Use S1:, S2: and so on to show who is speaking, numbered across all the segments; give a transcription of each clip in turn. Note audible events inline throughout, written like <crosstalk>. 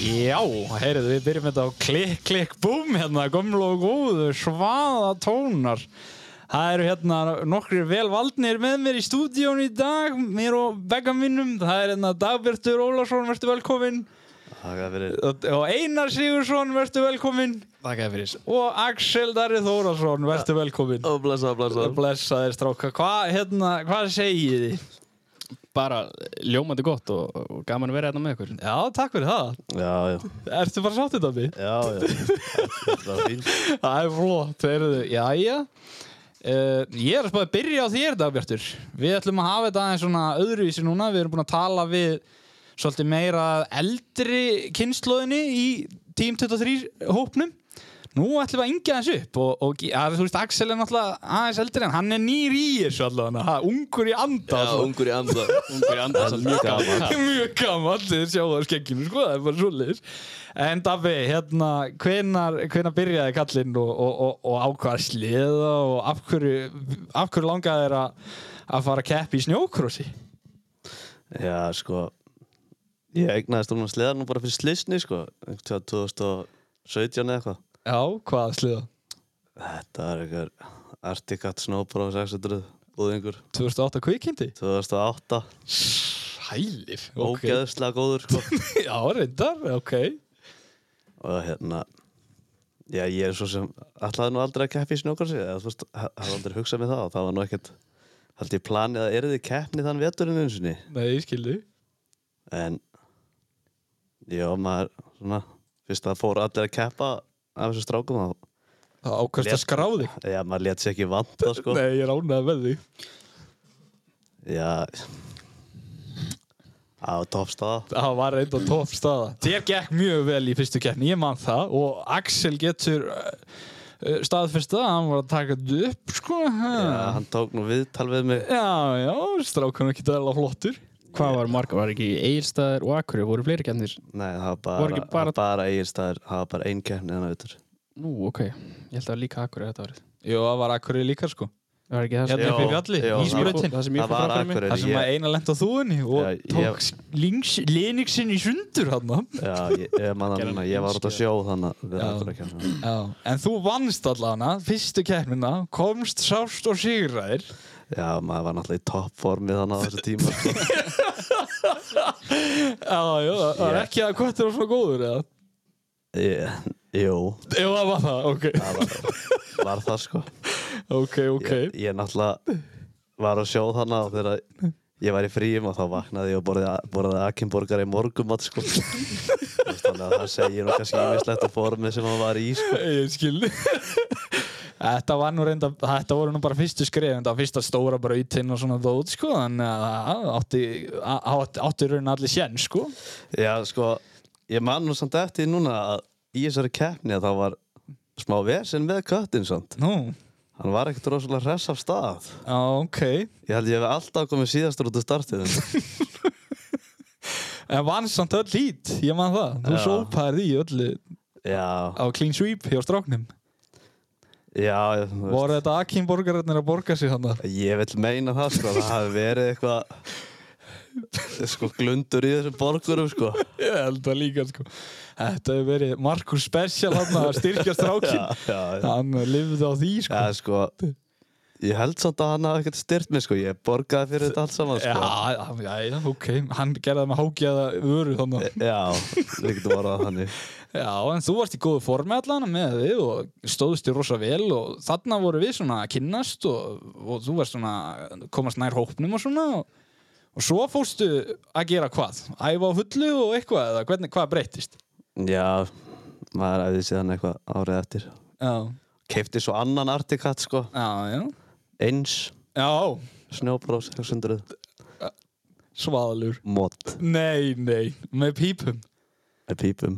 S1: Já, heyrðu, við byrjum þetta á klikk, klikk, búm hérna, gömlu og góðu, svaða tónar. Það eru hérna nokkri velvaldnir með mér í stúdíón í dag, mér og begga mínum. Það er hérna Dagbjörtur Ólafsson, verður velkominn.
S2: Það er verið
S1: Og Einar Sigursson, verður velkominn.
S3: Þakka fyrir
S1: Og Axel Darri Þórasson, verður velkominn.
S2: Ó, blessa, blessa
S1: Blessaðir stráka. Hvað, hérna, hvað segið þið?
S3: Bara ljómandi gott og, og gaman að vera hérna með ykkur
S1: Já, takk fyrir það.
S2: Já, já,
S1: Ertu bara sáttið af því?
S2: já, <laughs> já Það er fín
S1: Það er flott, heyrðu, jæja uh, Ég er að spáði að byrja á þér dagbjartur Við ætlum að hafa þetta aðeins svona öðruvísi núna Við erum búin að tala við svolítið meira eldri kynnslóðinni í Team 23 hópnum Nú ætlum við að yngja þessu upp og, og ge- að, þú veist, Axel er náttúrulega aðeins eldri en hann er nýr í þessu allavega ha, ungur í anda
S2: Já,
S1: svona.
S2: ungur í anda
S3: Ungur í andan
S2: Það er
S3: samt mjög gaman
S1: Mjög gaman, þið sjá það á skegginu, sko, það er bara svoleiðis. En Dabbi, hérna, hvenar, hvenar byrjaði kallinn og, og, og, og á hvað sliða og af hverju, af hverju langaði þér að, að fara að keppi í snjókrossi?
S2: Já, sko Ég eignaðist um að sleða nú bara fyrir slisni, sko einhvern tímann 2017 eða eitthvað
S1: Já, hvað sliða?
S2: Þetta er einhver Articat Snowbro 600 Búðingur
S1: 2008 kvikindi?
S2: 2008
S1: Hælir, ok.
S2: Ógeðslega góður, sko
S1: Já, reyndar, ok.
S2: Og hérna Já, ég er svo sem Ætlaði nú aldrei að keppi í snjókarsi Eða þú veist, hafði aldrei hugsað mig það og Það var nú ekkert Haldi ég planið að erði keppni þann veturinn eins og niður
S1: Nei, ég skildi.
S2: en já, maður svona, fyrst að það fóru allir að keppa af þessu strákum þá
S1: Það ákvæmst að
S2: Lét-
S1: skráði.
S2: já, maður létt sér ekki vant það sko
S1: Nei, ég ránaði með því.
S2: já á toppstaða
S1: það var reynda topp staða þér gekk mjög vel í fyrstu keppni, ég man það og Axel getur uh, staðfyrsta, hann var að taka þetta upp sko
S3: Ah.
S2: já,
S1: já,
S2: hann tók nú viðtal við mig
S1: já, já strákunum ekki það alveg flottur
S3: Hvað var marga, var ekki Egilstaðir og Akurey, voru fleiri kemnir?
S2: nei, það var
S3: Voru
S2: bara,
S3: ekki bara-
S2: bara... bara eiginstæður það var bara ein keppni þannig auðvitað
S3: Nú, ok, ég held að það var líka Akurey þetta árið
S1: Jú, það var akkur líka sko
S3: Það var ekki það sem
S1: Hérna
S2: Já,
S1: upp í fjalli,
S2: já,
S1: í
S3: það sem ég fór-
S1: sprautin
S3: Það sem ég
S2: það
S3: fór
S2: var
S3: fram fyrir mig
S2: akkurir
S1: Það sem að
S2: ég,
S1: eina lent á þúinni og
S2: Já, ég-
S1: tók ég... Linksinn í sundur hann
S2: já, ég, ég, man,
S3: Gerði
S2: hann,
S3: hann
S2: ég var út að sjó þannig að við
S1: Já.
S2: allir að kemna
S1: Já, en þú vannst allana, fyrstu keppnina, komst sást og sigraðir
S2: já, maður var náttúrulega í toppformi þannig á þessu tíma
S1: <laughs>
S2: sko.
S1: Já, já, það er
S2: Ég-
S1: ekki að hvað þér var svona góður eða?
S2: ég, jú,
S1: Jú, það var það, ok
S2: það var, var það sko
S1: Ok, ok
S2: ég, ég náttúrulega var að sjá þannig og þegar ég var í fríum og þá vaknaði ég og borðið borði Akinborgar í morgumat
S1: <laughs>
S2: sko. Þú veist, þannig að það segir nú kannski yfirslegt á formið sem hann var í sko.
S1: Ég skil <laughs> Þetta var nú reynda, þetta voru nú bara fyrstu skrif en það var fyrsta stóra brautinn og svona þótt sko, þannig að það átti átti, átti raunin allir sén sko
S2: Já, sko, ég man nú samt eftir því núna að í þessari keppni að það var smá vesinn með köttin samt.
S1: Nú,
S2: Hann var ekkert rosalega hress af stað.
S1: já, ok
S2: Ég held ég hef alltaf komið síðastur út af startið.
S1: En vann samt öll lít, ég man það Þú
S2: Já.
S1: sópaðir því öllu
S2: <laughs> Já,
S1: á clean sweep hjá stráknum
S2: já, ég- þú veist,
S1: Voru þetta Akinborgararnir að borga sig hann
S2: ég vil meina það sko, það hafi verið eitthvað sko glundur í þessum borgurum sko.
S1: Ég held það líka sko Þetta hefur verið Markus Special hann að styrkja strákin
S2: <laughs> já, já.
S1: Hann lifði á því sko
S2: Já, sko, ég held samt að hann hafi ekkert styrt mig, sko, ég borgaði fyrir þetta allt saman,
S1: Já,
S2: sko.
S1: já, já, ok, hann gerði það með hágjaða vöru þannig
S2: Já, já við getum orðað þannig.
S1: Já, en þú varst í góðu formi allan með þig og stóðst í rosa vel og þarna voru við svona að kynnast og, og þú varst svona að komast nær hópnum og svona og, og svo fórstu að gera hvað? Æfa á fullu og eitthvað eða hvernig, hvað breytist?
S2: Já, maður æfði síðan eitthvað árið eftir.
S1: Já,
S2: Keifti svo annan artikatt, sko,
S1: já, já
S2: eins,
S1: Já,
S2: snjóbrós, 600,
S1: svaðalur
S2: mót,
S1: Nei, nei, með pípum
S2: með pípum,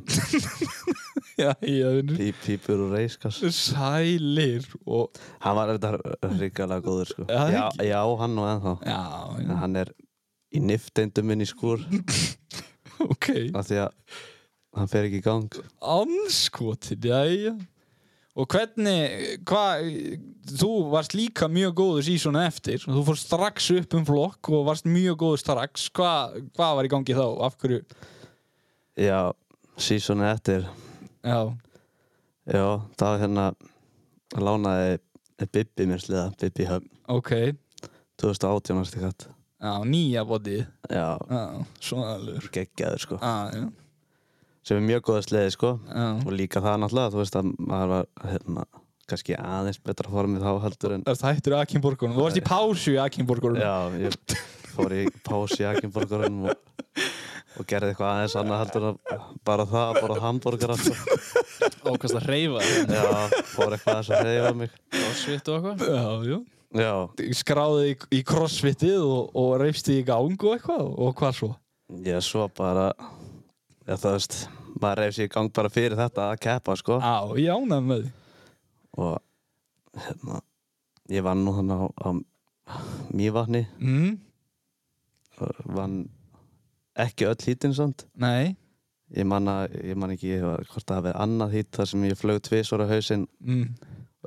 S1: Já, já, vinnur
S2: píp, pípur og reiskas.
S1: Sælir og
S2: Hann var þetta hrikalega góður, sko.
S1: Já,
S2: Já,
S1: ekki.
S2: já, hann og ennþá.
S1: Já,
S2: En
S1: já,
S2: hann er í nifteindum minn í skúr,
S1: ok
S2: af því að hann fer ekki í gang.
S1: Anskotin, jæja Og hvernig, hvað Þú varst líka mjög góður sísona eftir Þú fórst strax upp um flokk og varst mjög góður strax Hva, Hvað var í gangi þá? Af hverju?
S2: Já, sísoni eftir
S1: Já,
S2: já, það var hérna lánaði Bibbi mér sliða Bibbi Höfn
S1: ok
S2: 2018 hans til katt
S1: Já, nýja bodið
S2: já,
S1: Já, svona alveg
S2: geggjaður sko
S1: Já, já,
S2: sem er mjög góða sliði sko
S1: já
S2: og líka það náttúrulega, þú veist að maður var hérna, kannski aðeins betra formið þá heldur en
S1: Það er hættur Akinborgunum, þú varst í pásu í Akinborgunum
S2: já, ég fór í pási í Akinborgarunum og, og gerði eitthvað aðeins annað heldur en að bara það, bara hambúrgar sko.
S3: Ókvæmst að reyfa
S2: já, fór eitthvað aðeins að reyfa mig
S3: Crossfit og eitthvað
S1: Já, já
S2: já,
S1: Skráði í, í crossfitið og, og reyfsti í gang og eitthvað og hvað svo?
S2: ég svo bara já, þú veist, maður reyf sér í gang bara fyrir þetta að keppa sko
S1: Já, ég ánæði með því
S2: og hérna ég vann nú þannig á, á Mývatni
S1: mm?
S2: og vann ekki öll hýtin samt
S1: Nei
S2: Ég man, að, ég man ekki ég var, hvort það hafi verið annað hýtt þar sem ég flög tvisvar á hausinn
S1: mm.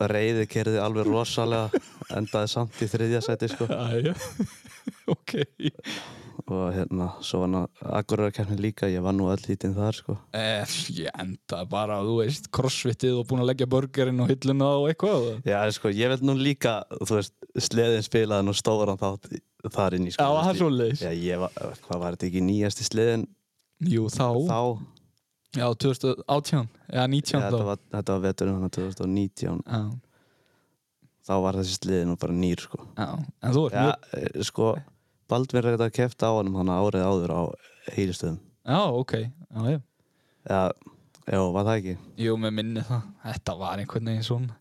S2: og reyði kerði alveg rosalega endaði samt í þriðja seti sko
S1: Já, já <laughs> Ok
S2: og hérna, svo var ná Akureyrakeppni líka, ég var nú öll hýtin þar sko
S1: eh, Ég enda bara, þú veist, crossfitið og búin að leggja burgerinn og hilluna og eitthvað
S2: Já, en sko, ég vil nú líka, þú veist, sleðin spilaði nú stóran þátt í- þar inn í
S1: Já,
S2: sko
S1: það er
S2: Þú veist,
S1: svoleiðis
S2: ég- Já, ég var, hvað var þetta ekki nýjasti sleðin
S1: Jú, þá,
S2: þá?
S1: Já, 2018 Eða
S2: Já,
S1: 19
S2: þetta
S1: þá
S2: var, þetta var veturinn hann 2019
S1: Já,
S2: þá var þessi sleðin nú bara nýr sko
S1: já En þú ert
S2: Já,
S1: mjög
S2: eh, sko, Baldvin reyndi að kefta á honum hann árið áður á heilistöðum
S1: Já, ok Já, já
S2: Já, já, var það ekki?
S1: Jú, með minni það. Þetta var einhvern veginn svona.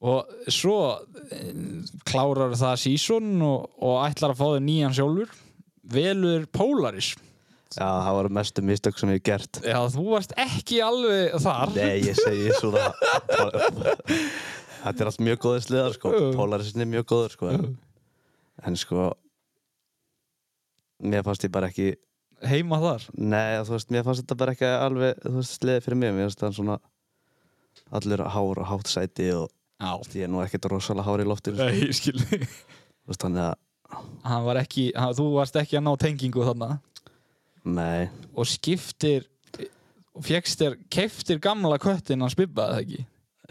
S1: Og svo eh, klárar það season og, og ætlar að fá þau nýjan sjálfur. Velur Polaris.
S2: Já, það var mestu mistök sem ég hef gert
S1: Já, þú varst ekki alveg þar.
S2: Nei, ég segi svona Þetta er allt mjög góðir sliðar sko Polarisinn er mjög góður sko en- En sko Mér fannst ég bara ekki
S1: Heima þar.
S2: Nei, þú veist, mér fannst þetta bara ekki alveg Þú veist, sliði fyrir mér, mér fannst það svona Allur hár og hátt sæti Og
S1: Já.
S2: ég er nú ekkert rosalega hár í loftinu sko.
S1: Nei, skilni.
S2: Þú veist, þannig að,
S1: Hann var ekki, hann, þú varst ekki að ná tengingu þarna.
S2: nei
S1: Og skiptir, og fjekkst þér, keftir gamla köttin hans Bibba, eða ekki?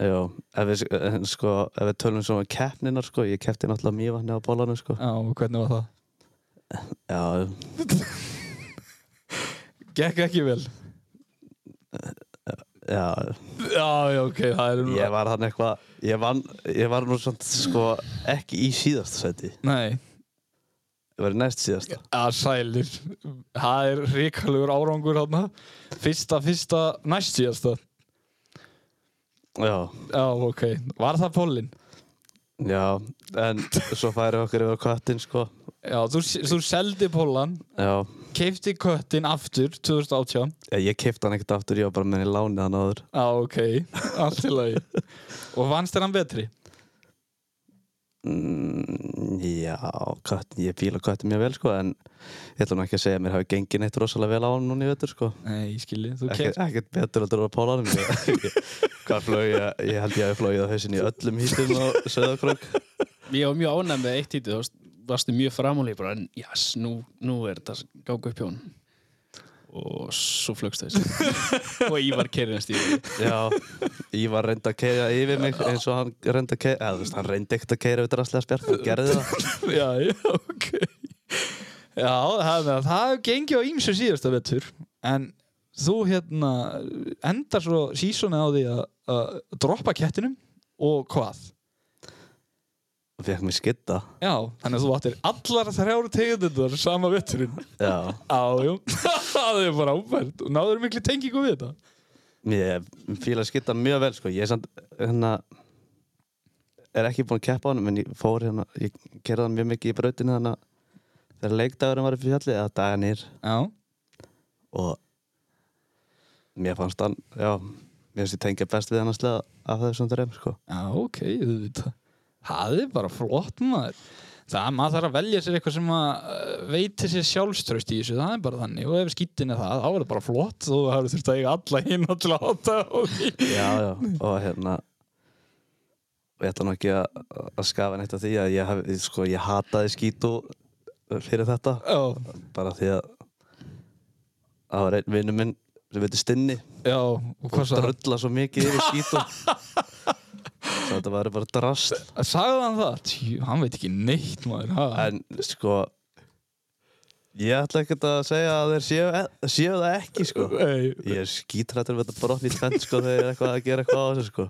S2: Já, ef við, en sko, ef við tölum svona um keppninar sko, ég keppti náttúrulega mývanni á bólanum sko.
S1: Já, og hvernig var það?
S2: Já,
S1: Gekk ekki vel.
S2: já,
S1: Já, já, ok, það er...
S2: ég var hann eitthvað, ég, vann, ég var nú svona sko ekki í síðasta seti,
S1: Nei.
S2: ég var í næst síðasta.
S1: að sælir það er ríkalegur árangur þarna fyrsta, fyrsta, næst síðasta
S2: Já,
S1: já, ok, var það pólinn?
S2: já, en svo færi okkur yfir á köttin sko,
S1: já, þú, þú seldi pólann
S2: já,
S1: keifti köttin aftur 2018
S2: ég, ég keppti hann ekkert aftur, ég var bara með henni lánið hann áður.
S1: já, ok, allt í lagi og vannst þér hann betri?
S2: Mm, já, köttin, ég fíla köttin mjög vel sko, en ég ætla nú ekki að segja að mér hafi gengið neitt rosalega vel á hann núna í vettur sko.
S1: nei, ég skilji, þú
S2: Ekkert,
S1: keifti
S2: ekkert betur heldur að Pálanum <laughs> Hvað flög ég? Ég held ég að ég flög á hausin í öllum hýttum á Söðakrók
S3: Ég var mjög ánægð með eitt hítið Þú veist, varstu mjög framhóli bara en jás, nú, nú er þetta gáku upp hjá hún og svo flögst þessi <laughs> og Ívar kerðinast í því.
S2: Já, ég var reynd að keira yfir mig eins og hann reynd að keira eða þú veist, hann reyndi ekkert að keira við drastlega spjart og gerði það
S1: <laughs> já, já, ok já, það, það gengi á ímsu síðasta vettur en þú hérna endar svo sísoni á því að, að droppa kettinum og hvað?
S2: og fekk mér skitta
S1: Já, þannig að þú áttir allar þrjár tegundundar sama vetturinn.
S2: Já,
S1: Á, jú. <laughs> það er bara áfært. Og náður miklu tengingu við þetta.
S2: ég fíla skitta mjög vel sko, ég er samt hérna er ekki búinn að keppa á hann en ég fór hérna, ég keiraði hann mjög mikið í brautinu þannig að þegar leikdagurinn var upp í fjalli eða daganir
S1: Já.
S2: og mér fannst hann já, mér finnst ég tengja best við hann að sleða af þessum dröm sko.
S1: Já, ok, þú veit það. Það er bara flott maður. Það, maður þarf að velja sér eitthvað sem að eh, veiti sér sjálfströst í þessu, það er bara þannig. Og ef skýttin er það, þá er það bara flott. Þú hefur þurft að eiga alla hinn til að átta á því.
S2: já, já, og hérna og ég ætla nú ekki að, að skafa neitt af því að ég, hef, sko, ég hataði skítu fyrir þetta
S1: Já,
S2: bara því að það var einn vinnu minn sem heitir Stinni
S1: Já, og hvað sagði hann?
S2: drölla svo mikið yfir skítum
S1: <laughs>
S2: svo þetta var bara drast
S1: Sagði hann það? Tjú, hann veit ekki neitt maður ha?
S2: en sko ég ætla ekkert að segja að þeir séu, e, séu það ekki sko
S1: Nei,
S2: ég er skítrættur við þetta brotni tvenn sko þegar ég er eitthvað að gera eitthvað á þessu sko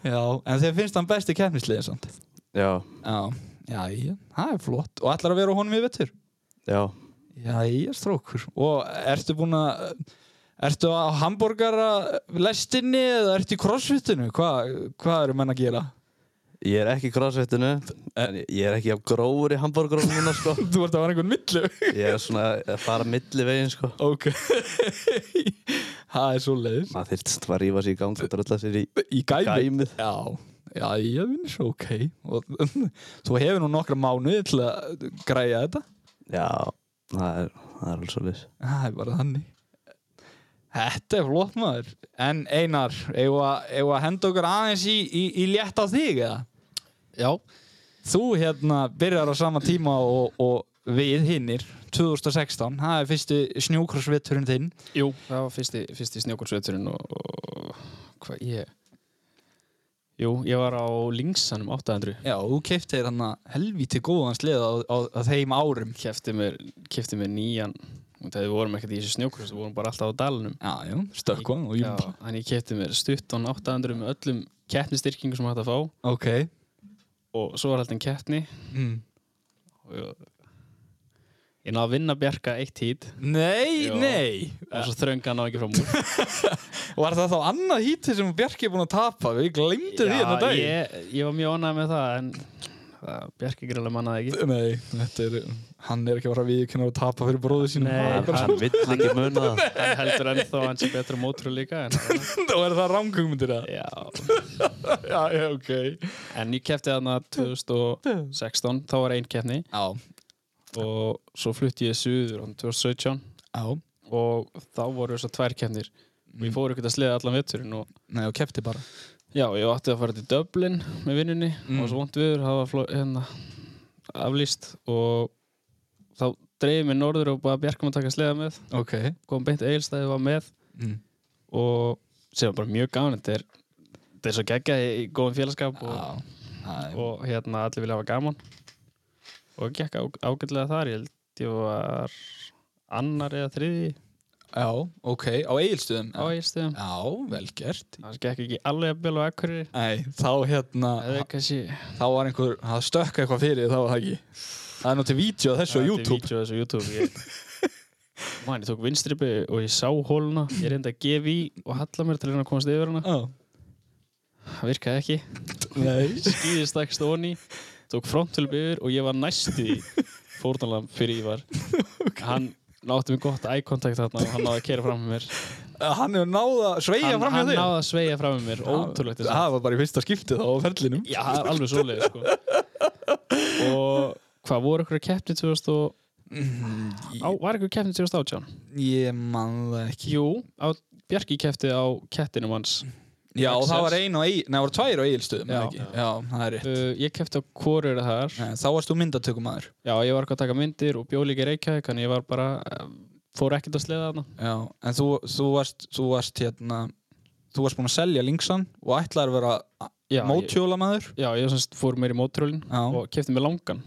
S1: Já, en þeir finnst hann besti keppnisliðin samt
S2: já,
S1: Já, já, já, það er flott Og ætlar að vera á honum í vettur
S2: já
S1: Já, ég er strókur Og ertu búin að Ertu á hambúrgara lestinni eða ertu í crossfitinu? Hvað hva eru menn að gera?
S2: ég er ekki í crossfitinu en ég- ég er ekki af gróður í hambúrgurum núna sko
S1: Þú ert að vera einhvern
S2: <laughs>
S1: millu
S2: ég er svona að fara milli veginn sko
S1: Ok <laughs> Það er svo leiðis
S2: maður þyrst að rífa sér í gang og drölla sér í
S1: Í gæmi
S2: gæmið
S1: Já, já, ég finnst svo ok og, <laughs> Þú hefur nú nokkra mánuði til að græja þetta
S2: já, það er, það er alveg svo leys
S1: Það er bara þannig Þetta er flott maður En Einar, eigum við að- eigum við að henda okkur aðeins í, í, í létt á þig eða?
S3: Já,
S1: Þú hérna byrjar á sama tíma og, og við hinnir 2016, það er fyrsti snjókrossvetturinn þinn
S3: jú, það var fyrsti, fyrsti snjókursveturinn og, og hvað ég Jú, ég var á um Lingsanum 800
S1: Já, þú keiftir hann að helvíti góðan sleða á, á, á þeim árum
S3: kefti mér, kefti mér nýjan og þegar við vorum ekkert í þessu snjókurs við vorum bara alltaf á dalnum
S1: Já, já, stökkvan og
S3: Já,
S1: júmpa
S3: þannig ég kefti mér stuttan 800 með öllum keppnistyrkingu sem hægt að fá
S1: Ok
S3: og svo var haldin keppni
S1: mm.
S3: og ég, ég náði að vinna Bjarka eitt hít
S1: Nei,
S3: Já.
S1: nei
S3: og svo þrönga hann á ekki frá múl
S1: Var það þá annað hítið sem Bjarki er búin að tapa Við glemdu því <laughs> hérna þetta dag
S3: ég, ég var mjög ánægð með það en það, Bjarki greiðlega mannaði ekki
S1: Nei, þetta er Hann er ekki bara við kynna að tapa fyrir bróðu sínum
S3: Nei,
S1: Það <laughs> er bara
S2: hann vill ekki muna
S1: <laughs>
S2: það
S3: hann heldur ennþá að hann sé betra mótrú líka en,
S1: svona Og er það rámgöngmyndir það?
S3: <laughs> já.
S1: Já, já, ok
S3: en ég kefti þarna 2016 þá var ein keppni
S1: Já,
S3: og svo flutti ég suður án 2017
S1: já
S3: og þá voru þessar tvær keppnir og
S1: Mm.
S3: ég fór ekkert að sleða allan vetturinn og
S1: Nei, og kefti bara
S3: já, ég átti að fara til Dublin með vinnunni
S1: Mm.
S3: og svo vond viður, það var fló, hérna, aflýst og þá dreifði mig norður og bara bjarkum að taka sleða með
S1: Ok
S3: kom beint eigilstæði var með
S1: mm.
S3: og sem var bara mjög gaman þetta er, þetta er svo geggja í, í góðum félagskap og,
S1: Já, það er-
S3: og hérna allir vilja hafa gaman og gekk á, ágætlega þar ég held ég var annar eða þriði
S1: já, ok Á eigilstöðum
S3: á eigilstæðum
S1: Já, vel gert
S3: það gekk ekki alveg að bjöla á Akureyri
S1: Nei, þá hérna
S3: eða kannski
S1: Þá var einhver, það stökk eitthvað fyrir þá var það ekki Það er nú til vídeo af þessu á
S3: Það er til
S1: YouTube
S3: vídeo af þessu á YouTube ég... <laughs> Man, ég tók vinstripi og ég sá hóluna Ég reyndi að gefa í og halla mér til að reyna að komast yfir hana
S1: Já,
S3: Það virkaði ekki
S1: nei
S3: Skýði stakst onni Tók frontvölp yfir og ég var næstu því Fórnalam fyrir ég <laughs> var Hann nátti mig gott eye contact þarna og hann náði að kera fram með mér
S1: Eh, Hann hefur náða að sveigja
S3: Hann,
S1: fram hjá
S3: hann
S1: þig
S3: náði að sveigja fram með mér Ótrúlegt þess að
S1: Það var bara í fyrsta skiptið þá á ferlinum
S3: Já, það er alveg svoleið <laughs> sko. Og hvað voru ykkur keppni 2000 og... Á, var ykkur keppni 2018?
S1: Ég man það ekki
S3: Jú, á, Bjarki kefti á kettinum hans
S1: Já,
S3: Axels.
S1: það var ein og ein, neða voru tvær á eigilstöðum
S3: Já.
S1: Já. Já, það er rétt
S3: uh, Ég kefti á hvorur þar
S1: Nei, Þá varst þú myndatökumæður
S3: Já, ég var eitthvað að taka myndir og bjó líka í Reykjavík Þannig ég var bara, um, fór ekkert að sleða þarna
S1: Já, en þú, þú, varst, þú varst hérna Þú varst búin að selja linksan og ætlaðir að vera
S3: Já, ég,
S1: mótjólamæður
S3: já, ég semst fór meir í mótrólin
S1: Já.
S3: Og kefti mér langan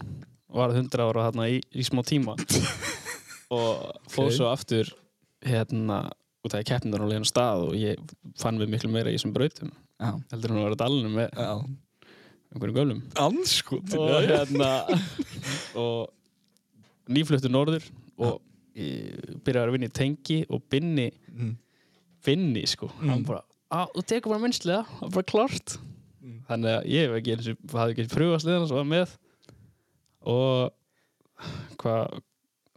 S3: Og var 100 ára þarna í, í smá
S1: <laughs>
S3: tíma Og fór
S1: Ok.
S3: svo aftur Hérna, og það er keppnir á leiðinu stað Og ég fann við miklu meira í þessum brautum
S1: Já,
S3: Heldur hann að vera á dalnum með
S1: já
S3: einhverjum gölum
S1: Anskot
S3: og hérna og nýfluttu norður og ég byrjaði að vinna í tengi og binni
S1: Mm.
S3: binni sko hann bara, að þú tekur bara minnslega það er bara klart þannig að ég hef ekki eins og hafði ekki pröfað sliðan sem var með og hvað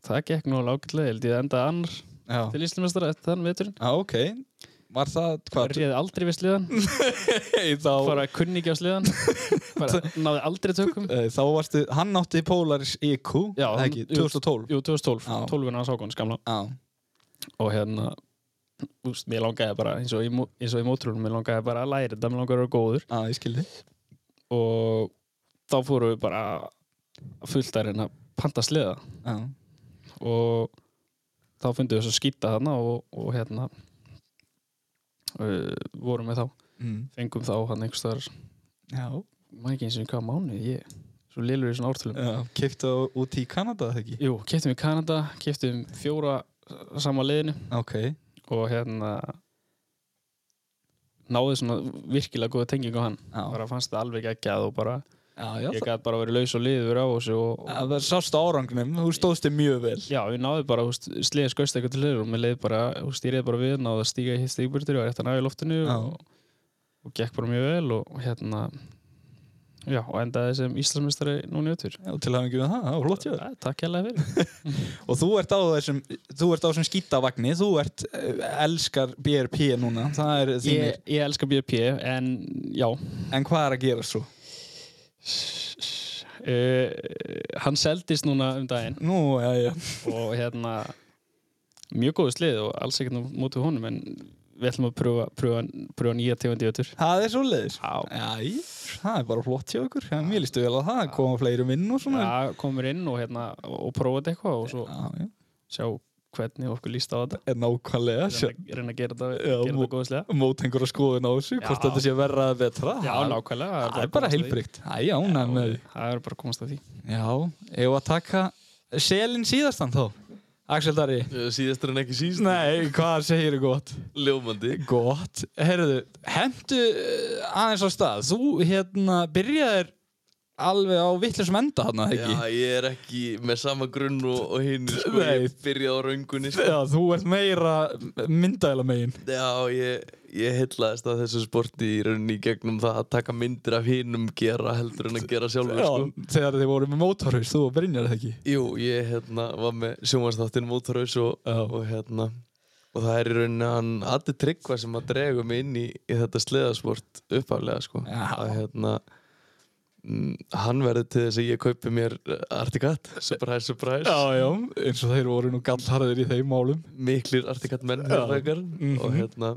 S3: það gekk nú láglega, held ég að enda annar
S1: Já,
S3: til Íslamestara eftir þann veturinn
S1: Já, ok Var það,
S3: Hvað?
S1: hvað,
S3: Réði aldrei við sliðan,
S1: Nei, þá
S3: bara kunni ekki á <laughs> sliðan bara náði aldrei tökum
S1: Nei, Eh, Þá varstu, hann átti Polaris IQ
S3: Já,
S1: eða
S3: hann-
S1: ekki,
S3: jú.
S1: 2012
S3: Jú, 2012,
S1: Já.
S3: 12 hann sá hann skamla
S1: Já,
S3: og hérna úst, mér langaði bara, eins og í, mó- eins og í mótrúlum mér langaði bara að læra þetta, mér langaði að vera góður
S1: já, ég skildi
S3: og þá fórum við bara fullt að reyna að panta sleða
S1: Já,
S3: og þá fundum við svo skýta þarna og, og hérna uh, vorum við þá
S1: mm.
S3: fengum þá hann einhvers staðar
S1: Já,
S3: maður ekki eins og hvað mánu ég svo lélur í svona ártölum
S1: já Keipta út í Kanada, eða ekki?
S3: Jú, keftum í Kanada, keftum fjóra s- sama liðinu
S1: Ok
S3: og hérna náði svona virkilega góða tenging á hann
S1: Já,
S3: bara fannst þetta alveg ekki að og bara
S1: já, já
S3: ég gæti bara verið laus og liður á þessu og,
S1: Það var sást árangnum, þú stóðst þig mjög vel
S3: já, ég náði bara húst, sliðið skauðst eitthvað til hliður og mér leiði bara, húst, ég reyði bara við náði að stíga hitt stígburtir og rétt að ná í loftinu
S1: Já.
S3: og, og gekk bara mjög vel og hérna já, og endaði sem Íslandsmeistari núna í öttur
S1: Já, til að hafa ekki með það, það var flott hjá þér.
S3: Takk hérlega fyrir
S1: Og þú ert á þessum, þú ert á þessum skítavagni, þú ert, eh, elskar BRP núna, það er þínir.
S3: ég, ég elska BFP en já
S1: En hvað er að gera svo?
S3: uh, hann seldist núna um daginn
S1: Nú, já, já.
S3: og hérna mjög góðu slið og alls ekkert nú mótið honum en við ætlum að pröfa, pröfa, pröfa nýja tegund í öttur
S1: Það er svo leiðis.
S3: Já,
S1: Jæ, það er bara flott hjá ykkur. Já, mér lístu vel að það, koma fleirum inn og svona.
S3: Já, komur inn og, hérna, og prófaði eitthvað og svo
S1: já. já.
S3: sjá hvernig okkur líst á þetta
S1: En nákvæmlega, sjá,
S3: reyna, reyna að gera þetta,
S1: Já,
S3: gera þetta
S1: mú-
S3: góðslega
S1: mót einhverja skoðun á þessu, hvort
S3: Já.
S1: þetta sé verra eða betra.
S3: Já,
S1: það-
S3: nákvæmlega
S1: Það er bara
S3: að komast að
S1: heilbrygt. Já, já,
S3: því.
S1: næm með því.
S3: Já, Það er bara að komast að því
S1: Já, ég var að taka selin síðastan þá. Axel Darri.
S2: Síðastur Eh, en ekki síst
S1: Nei, hvað segir gott?
S2: Ljómandi
S1: Gott, herðu, hendu eh, aðeins á stað, þú hérna byrjaðir alveg á vittlisum enda hann, ekki?
S4: Já, ég er ekki með sama grunn og, og hinn sko,
S1: Nei.
S4: ég byrjaði á raungunni
S1: Já,
S4: sko.
S1: þú ert meira myndaðila megin.
S4: Já, ég, ég hellaðist að þessu sporti í rauninni í gegnum það að taka myndir af hinnum gera heldur en að gera sjálfur
S1: Já,
S4: sko.
S1: þegar þið voru með mótorhús, þú og Brynjar, eða ekki?
S4: Jú, ég hérna, var með sjómanstáttin mótorhaus og,
S1: Já.
S4: og hérna og það er í rauninni hann Addi Tryggva sem að drega mig inn í, í þetta sleðasport uppaflega sko.
S1: Já.
S4: að hérna mm, hann verður til þess að ég kaupi mér artikat, surprise, surprise
S1: já, eins og þeir voru nú gallharðir í þeim málum. <laughs>
S4: miklir artikat menn
S1: Já. Mhm.
S4: hérfækar og hérna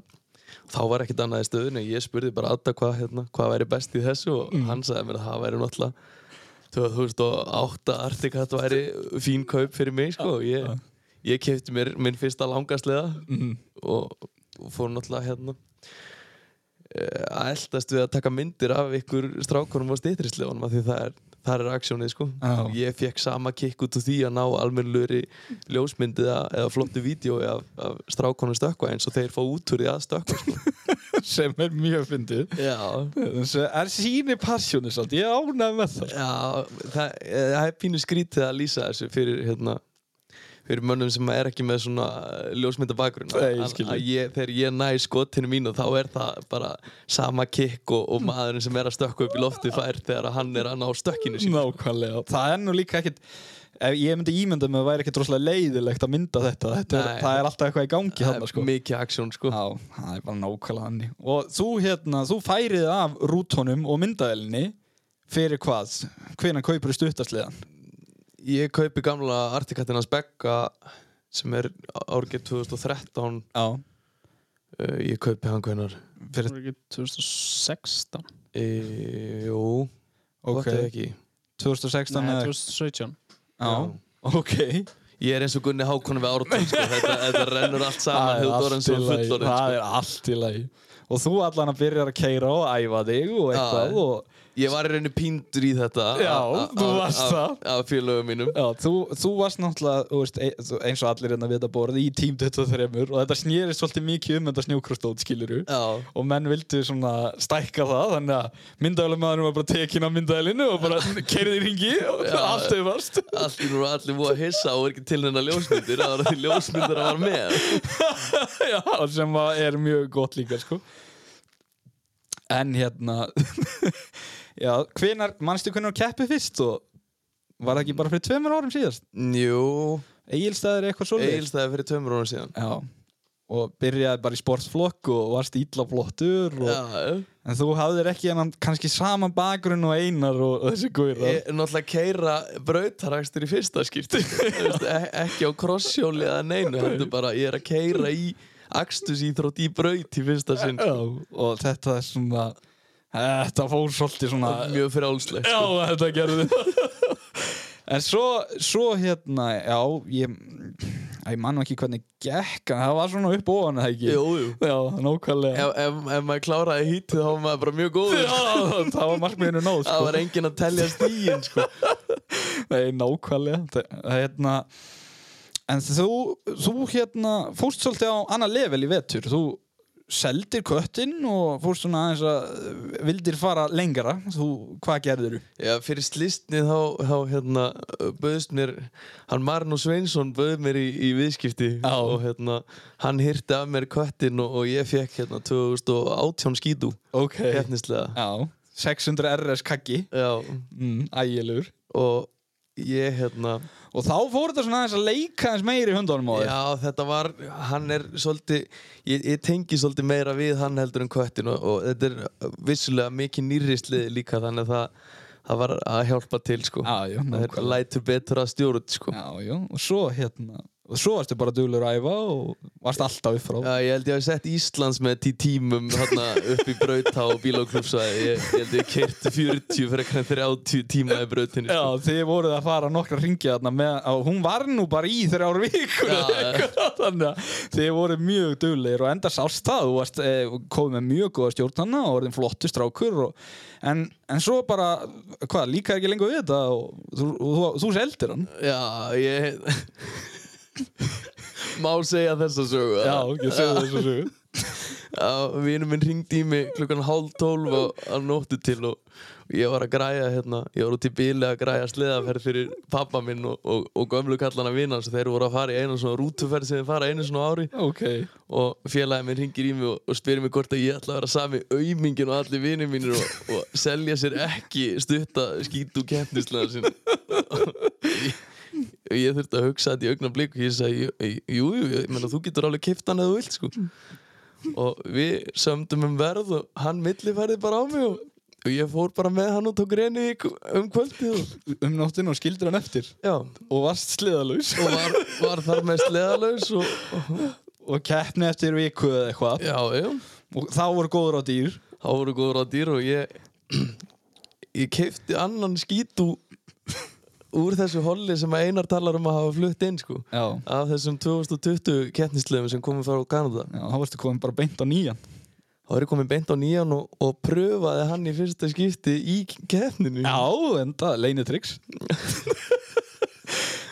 S4: þá var ekkert annað í stöðunni ég spurði bara Adda hvað, hérna, hvað væri best í þessu og
S1: Mhm.
S4: hann sagði mér að það væri náttúrulega 2008 artikat væri fín kaup fyrir mig sko. og ég, ég kefti mér minn fyrsta langaslega
S1: Mm.
S4: og, og fór náttúrulega hérna eh, að eldast við að taka myndir af ykkur strákunum á stýtrislefunum af því það er, það er aksjónið sko
S1: Já.
S4: ég fekk sama kikk út úr því að ná almennluri ljósmyndið eða flottu vídeo af, af strákunum stökkva eins og þeir fá út úr því að stökkva
S1: <laughs>
S4: sko.
S1: Sem er mjög fyndið.
S4: já,
S1: Þessi er síni passjónu svolítið, ég ánægði með það.
S4: Já, það, eh, það er pínu skrítið að lýsa þessu fyrir, hérna, fyrir mönnum sem er ekki með svona ljósmynda bakgrunn
S1: Nei, ég skil þig.
S4: ég, Þegar ég næ skotinu mínu þá er það bara sama kikk og, og maðurinn sem er að stökka upp í lofti fær þegar hann er að ná stökkinu sín
S1: Nákvæmlega, það er nú líka ekkit ef ég myndi ímynda mig að það væri ekkit rosalega leiðilegt að mynda þetta, þetta er,
S4: Nei.
S1: það er alltaf eitthvað í gangi
S4: Það
S1: hann
S4: er
S1: sko.
S4: mikið aksjón sko
S1: Já, það er bara nákvæmlega þannig Og þú hérna, þú færið af rútonum og myndaðelinni fyrir hvað? Hvenær kaupur stuttarsliðan?
S4: Ég kaupi gamla artikattina Spekka sem er árgett 2013
S1: Já,
S4: Eh, Ég kaupi hann hvernar
S1: fyrir,
S3: Það er ekki 2016
S4: e, Jú,
S1: ok,
S4: gott eða ekki
S1: 2016
S3: Nei,
S1: eða
S3: 2017
S1: Já, ok
S4: Ég er eins og Gunni Hákon við Ártun
S1: <laughs>
S4: sko. þetta, þetta rennur allt saman Hjóðdóran sem fullorinn
S1: það
S4: sko.
S1: er allt í lagi Og þú allan að byrja að keira og æfa þig og
S4: Já.
S1: eitthvað og,
S4: Ég var í rauninni píndur í þetta
S1: Já,
S4: a- a-
S1: þú
S4: a-
S1: varst
S4: a-
S1: það.
S4: Af félögum mínum
S1: já, þú, þú varst náttúrulega þú veist, e- þú- eins og allir hérna við þetta borð í tím 23 og þetta snýrist svolítið mikið um þetta snjókrostót skiluru
S4: Já,
S1: og menn vildu svona stækka það þannig að myndavælumæðurinn var bara tekin af myndavælinu og
S4: <laughs>
S1: bara keirði í ringi og allt þau varst
S4: allir voru allir búið að hissa og er ekki til hennar ljósmyndir það var því ljósmyndir að var með
S1: Já, sem að er mjög gott líka sko. en hérna <laughs> já, hvenar mannstu hvernig að keppi fyrst og var það ekki bara fyrir tveimur árum síðast
S4: Jú,
S1: Egilstaðir eitthvað svo
S4: Egilstaði fyrir tveimur rónu síðan
S1: já og byrjaði bara í sportflokk og varst ítla flottur og,
S4: Já,
S1: en þú hafðir ekki hennan kannski saman bakgrunn og einar og, og þessi góðir
S4: ég er náttúrulega að keira brautarakstur í fyrsta skipti <laughs> Þú veist, e- ekki á krossjóli eða neinu heldur bara, ég er að keira í akstusíþrótt í braut í fyrsta sinn
S1: Já, og þetta er svona Þetta fór svolítið svona
S4: mjög frjálslegt
S1: Já, þetta gerði En svo, svo hérna Já, ég Æ, ég man nú ekki hvernig gekk en það var svona upp ofan eða ekki
S4: Jú, jú
S1: Já, nákvæmlega
S4: Ef, ef, ef maður kláraði hítið þá var maður bara mjög góður
S1: Já, <laughs> það var markmiðinu náð sko.
S4: Það var enginn að telja stíin sko.
S1: Nei, nákvæmlega Það- það, hérna, En þú, þú hérna, fórst svolítið á annað level í vetur Þú seldir köttin og fórst svona aðeins að vildir fara lengra þú, Hvað gerður þú?
S4: Já, fyrir slistni þá, þá hérna, böðst mér hann Marnú Sveinsson böð mér í, í viðskipti
S1: Já.
S4: og hérna, hann hirti af mér köttin og, og ég fekk hérna 2018 skítu
S1: Ok
S4: hérnislega
S1: Já, 600 RS kaggi
S4: Já,
S1: mm, Ægilegur
S4: og ég hérna
S1: Og þá fór þetta svona aðeins að leika aðeins meiri hundunum á þér
S4: Já, þetta var, hann er svolítið, ég, ég tengi svolítið meira við hann heldur en köttin og, og þetta er vissulega mikið nýrrislið líka þannig að það, það var að hjálpa til sko.
S1: Já, já,
S4: það er
S1: nákvæmlega
S4: lætur betur að stjóra þetta sko. Já.
S1: Já, já, og svo hérna Og svo varstu bara duglur að æfa og varst alltaf upp frá
S4: ég held ég hafi sett Íslands með tí tímum þarna upp í brautá og bílóklúfsvæði. Ég, ég held ég kerti 40 frekar en 30 tíma í brautinu.
S1: Já,
S4: Sko.
S1: þið voruð að fara nokkra ringja þarna með, og hún var nú bara í þrjár vikur
S4: Já,
S1: eða eitthvað, þannig að þið voruð mjög duglegir og enda sást það þú varst e, komið með mjög góða stjórnana og orðin flottu strákur og, en, en svo bara, hvað, líka ekki lengur við þetta og þú, og þú, þú seldir hann
S4: Já, ég... Má segja þessa sögu.
S1: Já, ég segði þessu sögu
S4: að vinur minn ringdi í mig klukkan hálf tólf á, á nóttu til og og ég var að græja hérna, ég var út í bíli að græja sleðaferð fyrir pappa minn og, og, og gömlu kallana vinnans þeir voru að fara í einu svona rútuferð sem þeir fara einu svona á ári
S1: Ok,
S4: og félagið minn ringir í mig og, og spyrir mig hvort að ég ætla að vera sami auðmingin og allir vinir mínir og, og selja sér ekki stutta skítu keppnislega sinna og ég þurfti að hugsa þetta í augna blik og ég sagði, jú, jú, jú, ég meina þú getur alveg kipta hann eða þú vilt, sko og við sömdum um verð og hann millifærði bara á mig og, og ég fór bara með hann og tók reyni um kvöldið og,
S1: um nóttinu og skildir hann eftir
S4: já,
S1: og varst sliðalaus
S4: og var, var þar með sleðalaus og, og
S1: og keppni eftir viku eða eitthvað
S4: já, já
S1: og þá voru góður á dýr
S4: þá voru góður á dýr og ég ég keipti annan skítu úr þessu holli sem að Einar talar um að hafa flutt inn sko
S1: Já,
S4: af þessum 2020 keppnislegum sem komum frá Kanada
S1: já þá varstu komin bara beint á nýjan
S4: þá er ég komin beint á nýjan og, og pröfaði hann í fyrsta skipti í keppninu
S1: Já, en það, leinitryggs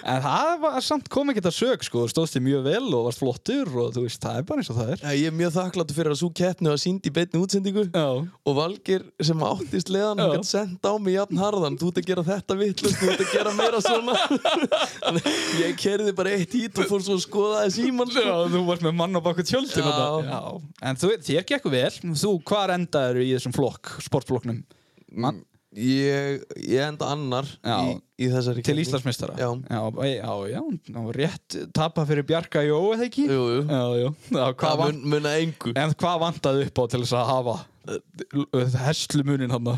S1: En það var samt kom ekki þetta sög sko, þú stóðst þig mjög vel og varst flottur og þú veist, það er bara eins og það er
S4: Já, ég er mjög þakkláttur fyrir að svo keppni var sínd í beinni útsendingu
S1: Já,
S4: og Valgir sem áttist leðan hann
S1: Já.
S4: gætt senda á mig jafn harðan þú ert að gera þetta vittlust, þú ert að gera meira svona
S1: <laughs>
S4: Þannig að ég kerði bara eitt hít og fór svo að skoða þess ímann
S1: já þú varst með mann á baku tjöldin
S4: Já.
S1: og það. já. En þú, þér gekk vel, þú hvar endaður í þessum flokk, sportflokknum Man,
S4: Ég, ég enda annar í,
S1: Já.
S4: í þessari
S1: til
S4: keppni.
S1: Íslandsmeistara
S4: Já.
S1: já, já, já, já og rétt tapa fyrir Bjarka Jó, eða ekki?
S4: Jú, jú.
S1: Já, já, já hvað
S4: Það
S1: van,
S4: mun, muna engu
S1: En hvað vantaði upp á til þess að eh, hafa Hestlumunin hann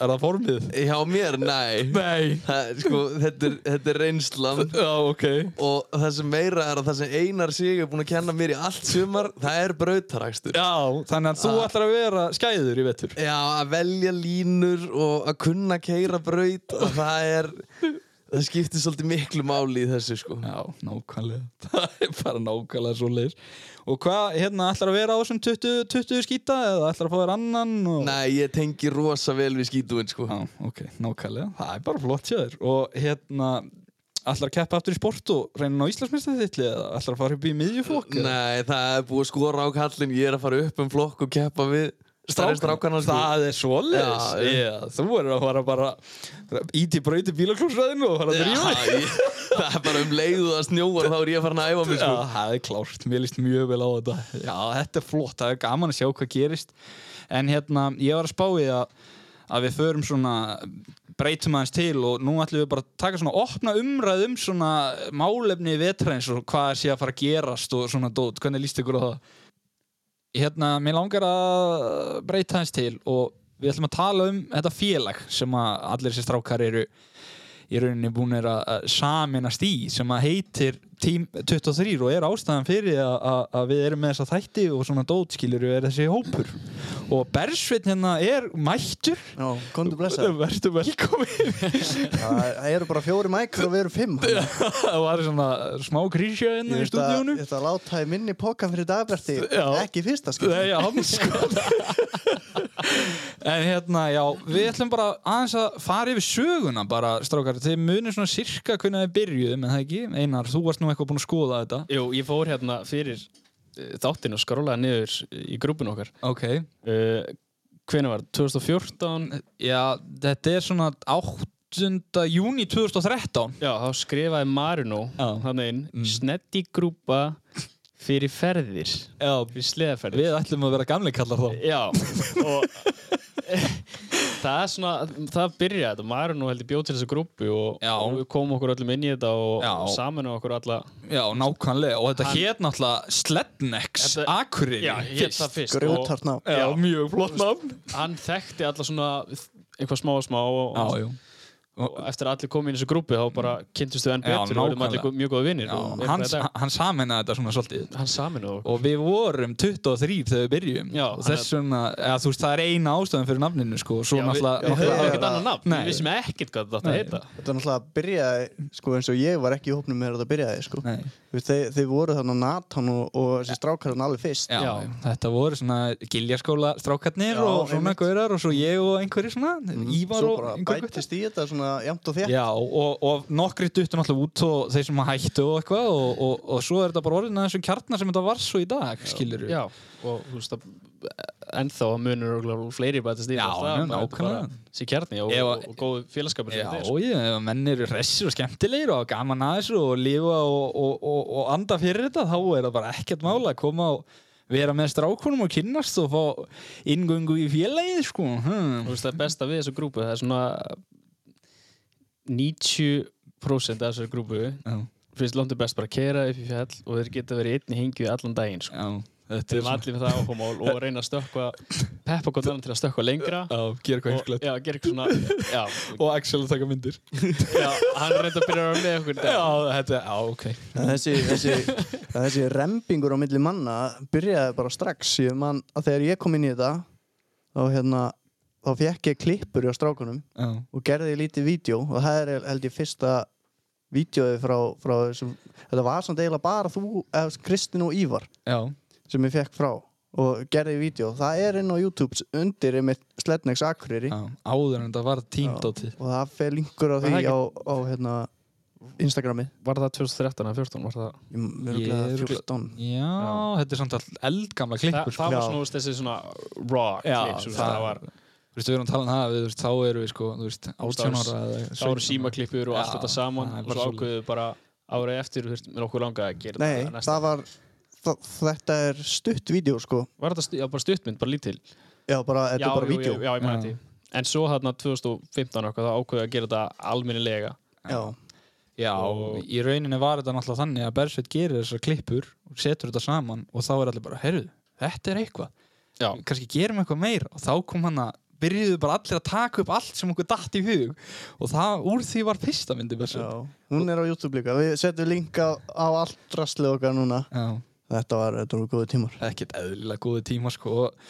S1: Er það formið?
S4: Hjá mér, nei
S1: Nei
S4: það, er, sko, þetta, er, þetta er reynslan
S1: Já, ok
S4: og það sem meira er að það sem Einar Sig er búin að kenna mér í allt sumar það er brautarakstur
S1: Já, þannig að þú
S4: Ah.
S1: ætlar að vera skæður í vetur
S4: Já, að velja línur og að kunna keira braut og það er það skiptir svolítið miklu máli í þessu sko
S1: Já, nákvæmlega <laughs> Það er bara nákvæmlega svo leir Og hvað, hérna, ætlar að vera á þessum 20, 20 skýta eða ætlar að fá þér annan og...
S4: Nei, ég tengi rosa vel við skítúin sko
S1: Já, ok, nákvæmlega Það er bara flott hjá þér Og hérna, ætlar að keppa aftur í sport og reyna á Íslandsmeistartitli eða ætlar að fara upp í miðjuflokk eða?
S4: Nei, það er búið að skora á kallin Ég er að fara upp um flokk og keppa við Stærri strákana sko
S1: Það er svoleiðis
S4: Já, já.
S1: Já, Þú verður að fara bara Íti brauti bílaklúsraðinu og fara að
S4: Já,
S1: drífa þig.
S4: ég, það er bara um leiðu að snjóar þá er ég að fara að æfa mig sko
S1: Já, það er klárt, mér líst mjög vel á þetta Já, þetta er flott, það er gaman að sjá hvað gerist En hérna, ég var að spá í að, að við förum svona breytum aðeins til og nú ætlum við bara að taka svona opna umræð um svona málefni vetrains og hvað sé að fara að gerast og svona dót, hvernig líst ykkur á það? Hérna, mér langar að breyta aðeins til og við ætlum að tala um þetta félag sem að allir þessi strákar eru í rauninni búinir að að saminast í sem að heitir Team 23 og er ástæðan fyrir að- að að við erum með þessa þætti og svona dótskilur er þessi hópur og Bersvinn hérna er mættur
S5: Já, komdu
S1: <laughs>
S5: blessa
S1: verður velkomin
S5: Það eru bara fjóri mækur og við erum fimm Í
S1: <laughs> það var svona smá krísja hérna í stúdíónu
S5: Þetta láta í minni pokan fyrir dagberti
S1: Já.
S5: Ekki í fyrsta skil
S1: Nei, já, hann sko <laughs> En hérna, já, við ætlum bara aðeins að fara yfir söguna bara, strákar, þið munir svona sirka hvernig þið byrjuðu, menn það ekki? Einar, þú varst nú eitthvað búinn að skoða þetta
S3: Jú, ég fór hérna fyrir eh, þáttinn og skrólaði niður í grúpun okkar.
S1: Ok,
S3: Uh, Hvenær var það? 2014?
S1: já, þetta er svona 8. júni 2013
S3: Já, þá skrifaði Marino
S1: Já.
S3: þannig inn, mm. snetti grúpa fyrir ferðir,
S1: Já,
S3: fyrir sleðaferðir.
S1: við ætlum að vera gamli kallar þá
S3: Já, og <laughs> það er svona, það byrjaði þetta. Marino heldur bjóð til þessa grúpu og,
S1: Já.
S3: og við komum okkur öllum inn í þetta og,
S1: Já.
S3: og saman okkur alla.
S1: Já, nákvæmlega, og þetta
S3: Hann-
S1: hét náttlega Slednex
S3: Þetta-
S1: Akureyri
S3: hétt það fyrst.
S1: sko.
S3: og-
S5: Grjótart ná
S1: Já, mjög flott nafn
S3: hann þekkti alla svona eitthvað smá og smá og,
S1: Já, jú
S3: og eftir að allir komið í þessu grúpi þá bara kynntust þau enn
S1: Já,
S3: betur og verðum
S1: nákvæmlega.
S3: allir gó- mjög góða vinnir
S1: Já, hann, hann saminnaði þetta svona svolítið
S3: hann samin og
S1: og við vorum 23 þegar við byrjum
S3: Já,
S1: og þess vegna, eða, þú veist, það er eina ástæðan fyrir nafninu sko, og svo
S3: við,
S1: náttúrulega
S3: við höfum
S5: já,
S3: ekkert
S5: já.
S3: annað nafn,
S1: Nei.
S3: við vissum ekkert hvað þetta
S1: Nei.
S3: átti að
S5: Þetta er náttúrulega að byrja Sko eins og ég var ekki í hópnum með þetta byrjaði sko.
S1: Nei.
S5: Þú veist, þeir, þeir voru þannig Nathan og, og þessi strákarinn alveg fyrst
S1: Já,
S3: Já.
S1: þetta voru svona giljaskóla strákarnir
S5: Já,
S1: og svona
S5: einmitt.
S1: gaurar og svo ég og einhverjir svona, Ívar
S5: Mm, Svo
S1: og
S5: bara
S1: einhver gaurar
S5: bætist í þetta svona jæmt og þétt
S1: Já, og, og nokkri duttu náttúrulega út og þeir sem hættu og eitthvað og, og, og svo er þetta bara orðin að þessum kjarnar sem þetta var svo í dag, skilur
S3: heita já, og þú veist að eh, ennþá munur örugglega fleiri bætist í
S1: Já,
S3: þetta.
S1: já,
S3: Það er bara-
S1: nákvæmlega.
S3: bara sér kjarni og,
S1: Ef
S3: og,
S1: að-
S3: og, góð félagskapur sem
S1: Já,
S3: þetta er, sko.
S1: ég, ef menn eru hressir og skemmtilegir og hafa gaman að þessu og lifa og, og, og, og anda fyrir þetta þá er það bara ekkert mála að koma og vera með strákunum og kynnast og fá inngöngu í félagið sko
S3: Þú
S1: hmm.
S3: veist, það er besta við þessu grúpu það er svona 90% af þessu grúpu
S1: Já.
S3: finnst lóndið best bara að kera upp í fjall og þeir geta verið einn í hengju allan daginn sko.
S1: Já, þetta er
S3: þeir eru
S1: svona
S3: allir með það áhugamál og reyna að stökkva peppa hvort annan til að stökkva lengra
S1: Já, gera eitthvað
S3: og,
S1: einskjöld
S3: já, gera eitthvað svona já,
S1: Og Axel að taka myndir Já,
S3: já, hann reynda að byrja að vera með okkur í dag
S1: þetta, já, ok
S5: En þessi,
S1: <laughs>
S5: þessi, en þessi rempingur á milli manna byrjaði bara strax ég man að þegar ég kom inn í þetta þá hérna þá fekk ég klippur hjá strákunum
S1: Já,
S5: og gerði lítið vídeo og það er held ég fyrsta vídeoði frá, frá þessum, þetta var samt eiginlega bara þú, eða Kristin og Ívar
S1: já,
S5: sem ég fekk frá og gerði vídeo, það er inn á YouTube undir með Slednex Akureyri
S1: já áður en þetta var tímt á tíð
S5: og það fer linkur á
S3: Er það
S5: því
S3: ekki-
S5: á, á hérna, Instagrami
S3: var það 2013 eða 14 var það
S5: ég, ég,
S1: Ég
S5: ég,
S1: er
S5: 14
S1: Já, þetta er samt all eldgamla klippur
S3: það,
S1: sko.
S3: það var
S5: Já.
S3: svona þú veist, þessi svona raw
S1: Já,
S3: klipp sem
S1: það-
S3: það var
S1: Þú veist, við erum að tala um það, við, þú veist, þá erum við sko, þú veist, 18 ára eða
S3: það voru
S1: 17 ára.
S3: símaklippur og allt
S1: Já,
S3: þetta saman
S1: það er
S3: og
S1: bara
S3: svo
S1: svoleiðis.
S3: ákveðu bara árið eftir þú veist, með okkur langa að gera
S5: Nei,
S3: þetta næsta
S5: það var þa- þetta er stutt vídeo sko
S3: Var þetta stu, já, bara stuttmynd, bara lítil?
S5: Já, bara,
S3: já,
S5: þetta er bara
S3: jú,
S5: vídeo
S3: Jú, já, ég maður
S1: Já.
S3: þetta. En svo hérna 2015 okkur, þá ákveði að gera þetta alminnilega.
S5: já.
S1: Já,
S3: Og-
S1: í rauninni var þetta náttúrulega þannig að Bersveit gerir þessar klippur og setur þetta saman og þá er allir bara, herru, þetta er eitthvað
S3: Já.
S1: kannski gerum eitthvað meira og þá kom hann að byrjuðu bara allir að taka upp allt sem okkur datt í hug og það úr því var fyrsta myndi
S5: Já.
S1: Bersveit
S5: Hún er á YouTube líka, við setjum link á, á allt rastlið okkar núna
S1: Já,
S5: Þetta var, þetta voru góði tímar
S1: ekkert eðlilega góði tíma sko og,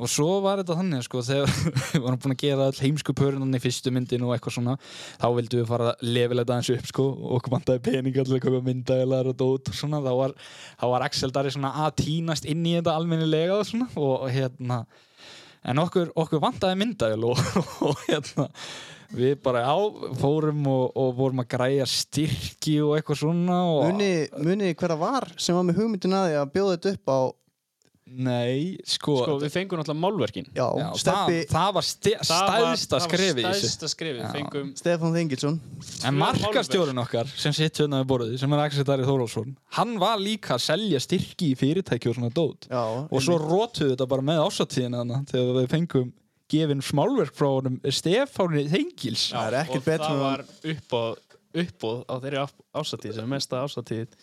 S1: og svo var þetta þannig sko þegar <laughs> við varum búin að gera all heimsku pörunan í fyrstu myndinu og eitthvað svona þá vildum við fara að lefilega aðeins upp sko og okkur vantaði pening allir að kaupa myndagælar og dót og svona þá var, þá var Axel Darri svona að týnast inn í þetta almennilega og svona og, og hérna en okkur, okkur vantaði myndagæl og, <laughs> og hérna við bara á, fórum og, og vorum að græja styrki og eitthvað svona og,
S5: Muni, muni hverða var sem var með hugmyndin að því að bjóða þetta upp á
S1: Nei,
S3: Sko, við fengum náttúrulega málverkin.
S5: Já,
S1: Já,
S5: Steppi,
S1: það, það var sti, stæðsta skrifi í
S3: Það var
S1: þessu
S3: stæðsta skrifið,
S1: Já.
S3: fengum...
S5: Stefán Þengilsson
S1: en
S3: tvö
S1: markastjórun okkar sem sitt hérna við borðið sem er Axel Dari Þórólfsson hann var líka að selja styrki í fyrirtæki og svona dót
S5: Já,
S1: og svo rótuðu þetta bara með ásatíðina hana þegar við fengum gefin smálverk frá honum Stefáni Þengils
S5: Það er ekkert
S3: og
S5: betra en-
S3: Það var uppbóð, uppbóð á þeirri ásatíð, sem er mesta ásatíð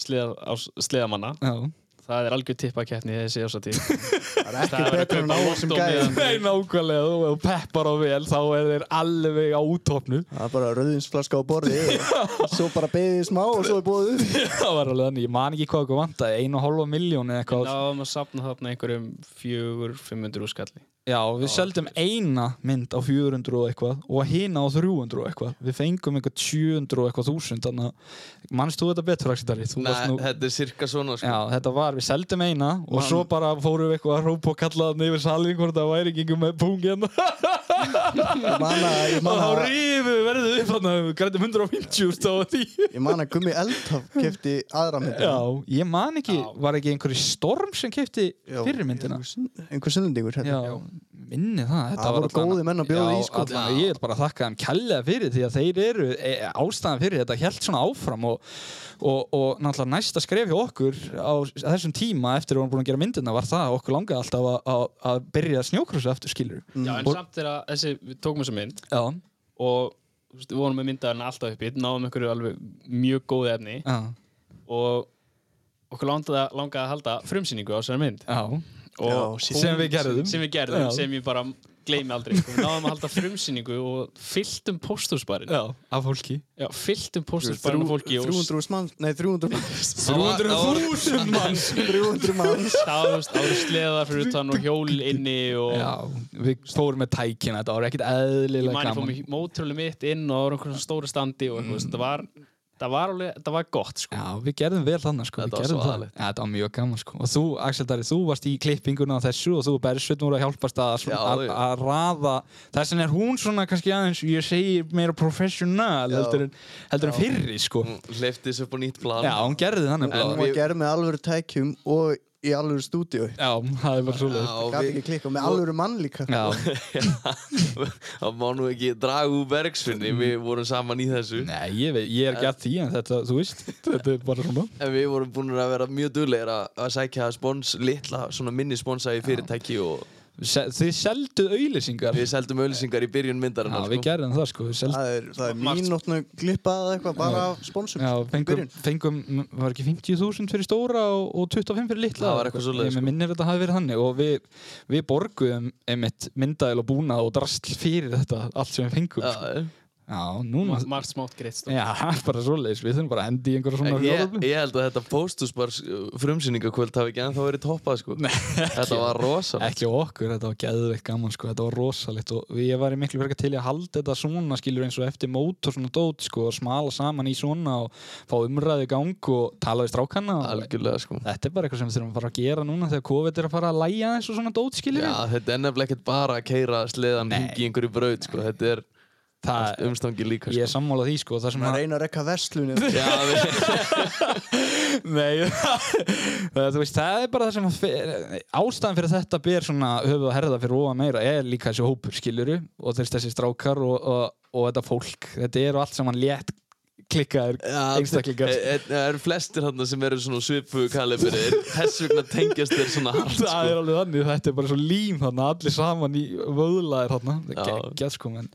S3: sleða- ás- sleðamanna.
S1: Já.
S3: það er algjör tippakeppni í þessi ásatíð
S5: <laughs> Það er
S3: Það
S5: ekki
S3: er að
S5: betra en
S3: kaupa
S5: að sem
S3: lottó
S5: gæði.
S3: meðan-
S1: Nei, nákvæmlega, þú ef þú peppar á vel þá er þeir alveg á útopnu
S5: Það er bara rauðinsflaska á borði
S1: <laughs>
S5: og svo bara beðið smá og svo er búið upp.
S1: Það var alveg þannig, ég man ekki hvað okkur vantaði einu og hálfa miljón eða
S3: Við
S1: eitthvað
S3: náðum að safna þarna einhverjum fjögur, 500 úr skalli
S1: Já, við seldum eina mynd á 400 og eitthvað og hina á 300 og eitthvað Við fengum eitthvað 700 og eitthvað þúsund þannig að mannst þú þetta betur, Axitari? Þú
S4: Nei,
S1: varst nú
S4: þetta er cirka svona sko.
S1: Já, þetta var, við seldum eina og
S5: Man-
S1: svo bara fórum við eitthvað að rópa og kalla þannig yfir salin hvort það væri ekki einhver með pung hérna
S5: Ég man að,
S1: <laughs>
S5: ég
S1: og
S5: man
S1: þá
S5: að,
S1: rifu verðið upp hann að við grætum 150 úrst á því
S5: ég man að Gummi Eldhaf kefti aðra myndina.
S1: Já, ég man ekki,
S3: Já.
S1: var ekki einhverju storm sem kefti
S5: Já,
S1: fyrir myndina
S5: einhver sunn- Einhver sunnendingur hérna.
S1: Já, minni það þetta
S5: Það
S1: var
S5: voru
S1: allan-
S5: góðir menn að bjóða
S1: Já,
S5: í, sko.
S1: allan, Ég vil bara þakka þeim kærlega fyrir því að þeir eru e, ástæðan fyrir þetta held svona áfram og, og, og náttúrulega næsta skref hjá okkur á þessum tíma eftir að við vorum búin að gera myndina var það að okkur langaði alltaf að, að, að byrja að snjókrossa eftir skilur
S5: Mm.
S3: Já, en
S1: Og-
S3: samt er að þessi, við tókum þessa mynd
S1: Já,
S3: og þú veist, við vorum með myndaðarna alltaf uppi náðum einhverju alveg mjög góð efni
S1: já,
S3: og okkur langaði, langaði að halda frumsýningu á þessari mynd
S1: já
S3: og
S5: Já,
S1: sí- sem við gerðum.
S3: sem, við gerðum,
S1: Já.
S3: sem ég bara gleymi aldrei sko. við náðum að halda frumsýningu og fylltum pósthúsbarinn
S1: Já, af fólki
S3: Já, fylltum pósthúsbarinn af fólki og
S5: 300 manns, nei 300 manns,
S4: Það var- það var-
S1: 300.000 manns
S5: 300 manns.
S3: stáðust ári sleðar fyrir utan og hjól inni og
S1: Já, við fórum með tækina þetta var ekkert
S3: ég
S1: eðlilega
S3: mani fór
S1: gaman
S3: mig mótrölu mitt inn og það var einhverjum stóru standi og eitthvað, mm. það var það var alveg, það var gott sko.
S1: Já, við gerðum vel þannig sko, við
S4: Þetta var
S1: gerðum
S4: svo
S1: það
S4: aðalegt.
S1: Já, þetta var mjög gaman sko Og þú, Axel Darri, þú varst í klippinguna á þessu og þú og Bersveit voru að hjálpast að, svona,
S4: Já,
S1: að,
S4: já.
S1: að raða Þess vegna er hún svona kannski aðeins, ég segi meira professional
S5: Já.
S1: heldur en, heldur en fyrri sko
S4: Hún hleypti þessu upp á nýtt plan
S1: Já, hún gerði þannig
S4: Mm, En-
S1: bara
S5: Hún var gerð með alvöru tækjum og í alvöru stúdíu.
S1: Já, það er bara svo leið
S5: Gat ekki klikka með alvöru mann líka.
S1: Já,
S4: Það má nú ekki draga úr bergsfinni
S1: Mhm.
S4: Við vorum saman í þessu
S1: nei, ég, veit, ég er ekki að því en þetta, þú veist, þetta er bara
S4: <laughs>
S1: svona
S4: En við vorum búin að vera mjög duglegir að, að sækja spons, litla, svona minni sponsa í fyrirtæki og
S1: Se, Þið selduð auðlýsingar
S4: við seldum auðlýsingar í byrjun
S1: Já,
S4: myndarinnar
S1: við gerðum það sko, við selduð
S5: Það er, það er mínútnu glippað eða eitthvað bara af sponsum.
S1: Já,
S5: í
S1: fengum,
S5: byrjun.
S1: fengum, var ekki 50.000 fyrir stóra og, og 25 fyrir litla
S4: Það var eitthvað svoleiðis,
S1: Ég
S4: sko.
S1: minnir að þetta hafi verið þannig og við, við borguðum einmitt myndaðil og búnað og drastl fyrir þetta allt sem við fengum sko.
S4: Já,
S1: Já, núna
S3: margt smátt greitt sko. stóð
S1: Já, <laughs> bara svoleiðis, við þurfum bara að hendi í einhverja
S4: En
S1: svona
S4: ég,
S1: fjáröflun.
S4: ég held að þetta póstusbar frumsýningakvöld hafi ekki ennþá verið toppað sko.
S1: Nei,
S4: Þetta var rosalega
S1: Ekki á okkur, þetta var geðveikt gaman sko, þetta var rosalegt og við- ég var í miklu verka til í að halda þetta svona skilur eins og eftir mót og svona dót sko og smala saman í svona og fá umræði í gang og tala við strákanna og
S4: Algjörlega sko
S1: Þetta er bara eitthvað sem við þurfum að fara að gera núna þegar COVID er að fara að læja þessu svona dót, skiljum
S4: Já, þetta er nefnilega ekkert bara að keira sleðan
S1: Nei.
S4: hringi í einhverju braut sko. Þetta er
S1: Það,
S4: umstangi líka
S1: ég
S4: sko.
S1: er sammála því, sko, það sem
S5: Hún
S1: að...
S5: reyna að rekka verslunum.
S1: <laughs>
S4: Já, við,
S1: Nei,
S4: <laughs>
S1: það, þú veist, það er bara það sem að... fer- Ástæðan fyrir þetta ber svona höfuð að herða fyrir ofan meira er líka þessi hópur, skiljur og þessi, þessi strákar og, og, og þetta fólk. Þetta eru allt saman létt klikkaðir einstaklingar.
S4: e- e- Það eru flestir hann sem eru svona svipu kaliberið Þess vegna tengjast þeir svona hart
S1: Það
S4: sko.
S1: er alveg þannig, þetta er bara svo lím þarna, allir saman í vöðlaðir þarna,
S4: Já.
S1: geggjað sko, menn,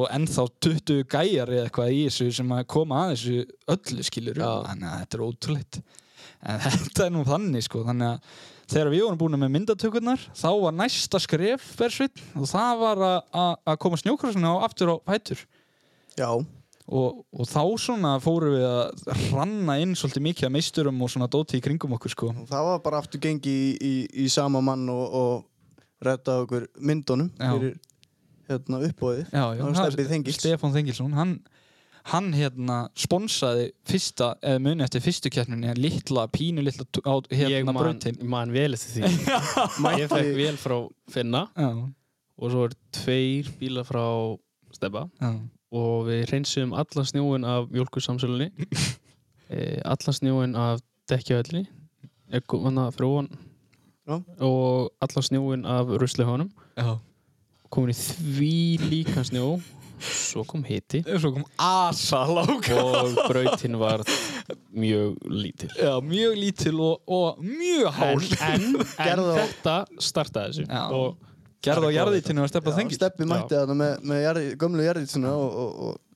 S1: og ennþá 20 gæjar eða eitthvað í þessu sem að koma að þessu öllu skilur,
S4: Já.
S1: þannig að þetta er ótrúleitt, en <laughs> þetta er nú þannig sko, þannig að þegar við vorum búin með myndatökurnar, þá var næsta skref, Bersveit, og það var að- að að koma snjókrossinu á aftur á fætur
S5: Já,
S1: og, og þá svona fórum við að ranna inn svolítið mikið að meisturum og svona dóti í kringum okkur sko,
S5: og það var bara aftur gengi í, í, í sama mann og, og retta okkur myndunum
S1: Já.
S5: fyrir hérna uppbóðið.
S1: já, já,
S5: Það var
S1: það-
S5: Stebbi Þengils.
S1: Stefán Þengilsson hann, hann hérna sponsaði fyrsta, eða muni eftir fyrstu keppninni litla, pínu litla tú- á,
S3: ég
S1: hérna
S3: man,
S1: brautin
S3: man vel eftir því
S1: <laughs>
S3: ég fekk vel frá Finna
S1: já,
S3: og svo er tveir bíla frá Stebba
S1: já,
S3: og við reynsum allan snjóin af
S1: <laughs>
S3: mjölkusamsölunni e, allan snjóin af dekkjavelli Eh, frúan
S5: Já.
S3: og allan snjóin af ruslihónum
S1: já
S3: komin í því líka snjó svo kom hiti
S1: svo kom asa láka
S3: og brautin var mjög lítil
S1: já, mjög lítil og, og mjög
S3: en,
S1: hál <laughs>
S3: en, en
S5: Gerðu á-
S3: þetta startaði þessu
S1: Já.
S3: og
S1: gerð á jarðitinu að Stefán
S5: Já,
S1: Þengil
S5: Steppi mætti þarna með, með jarði, gömlu jarðitsuna og, og,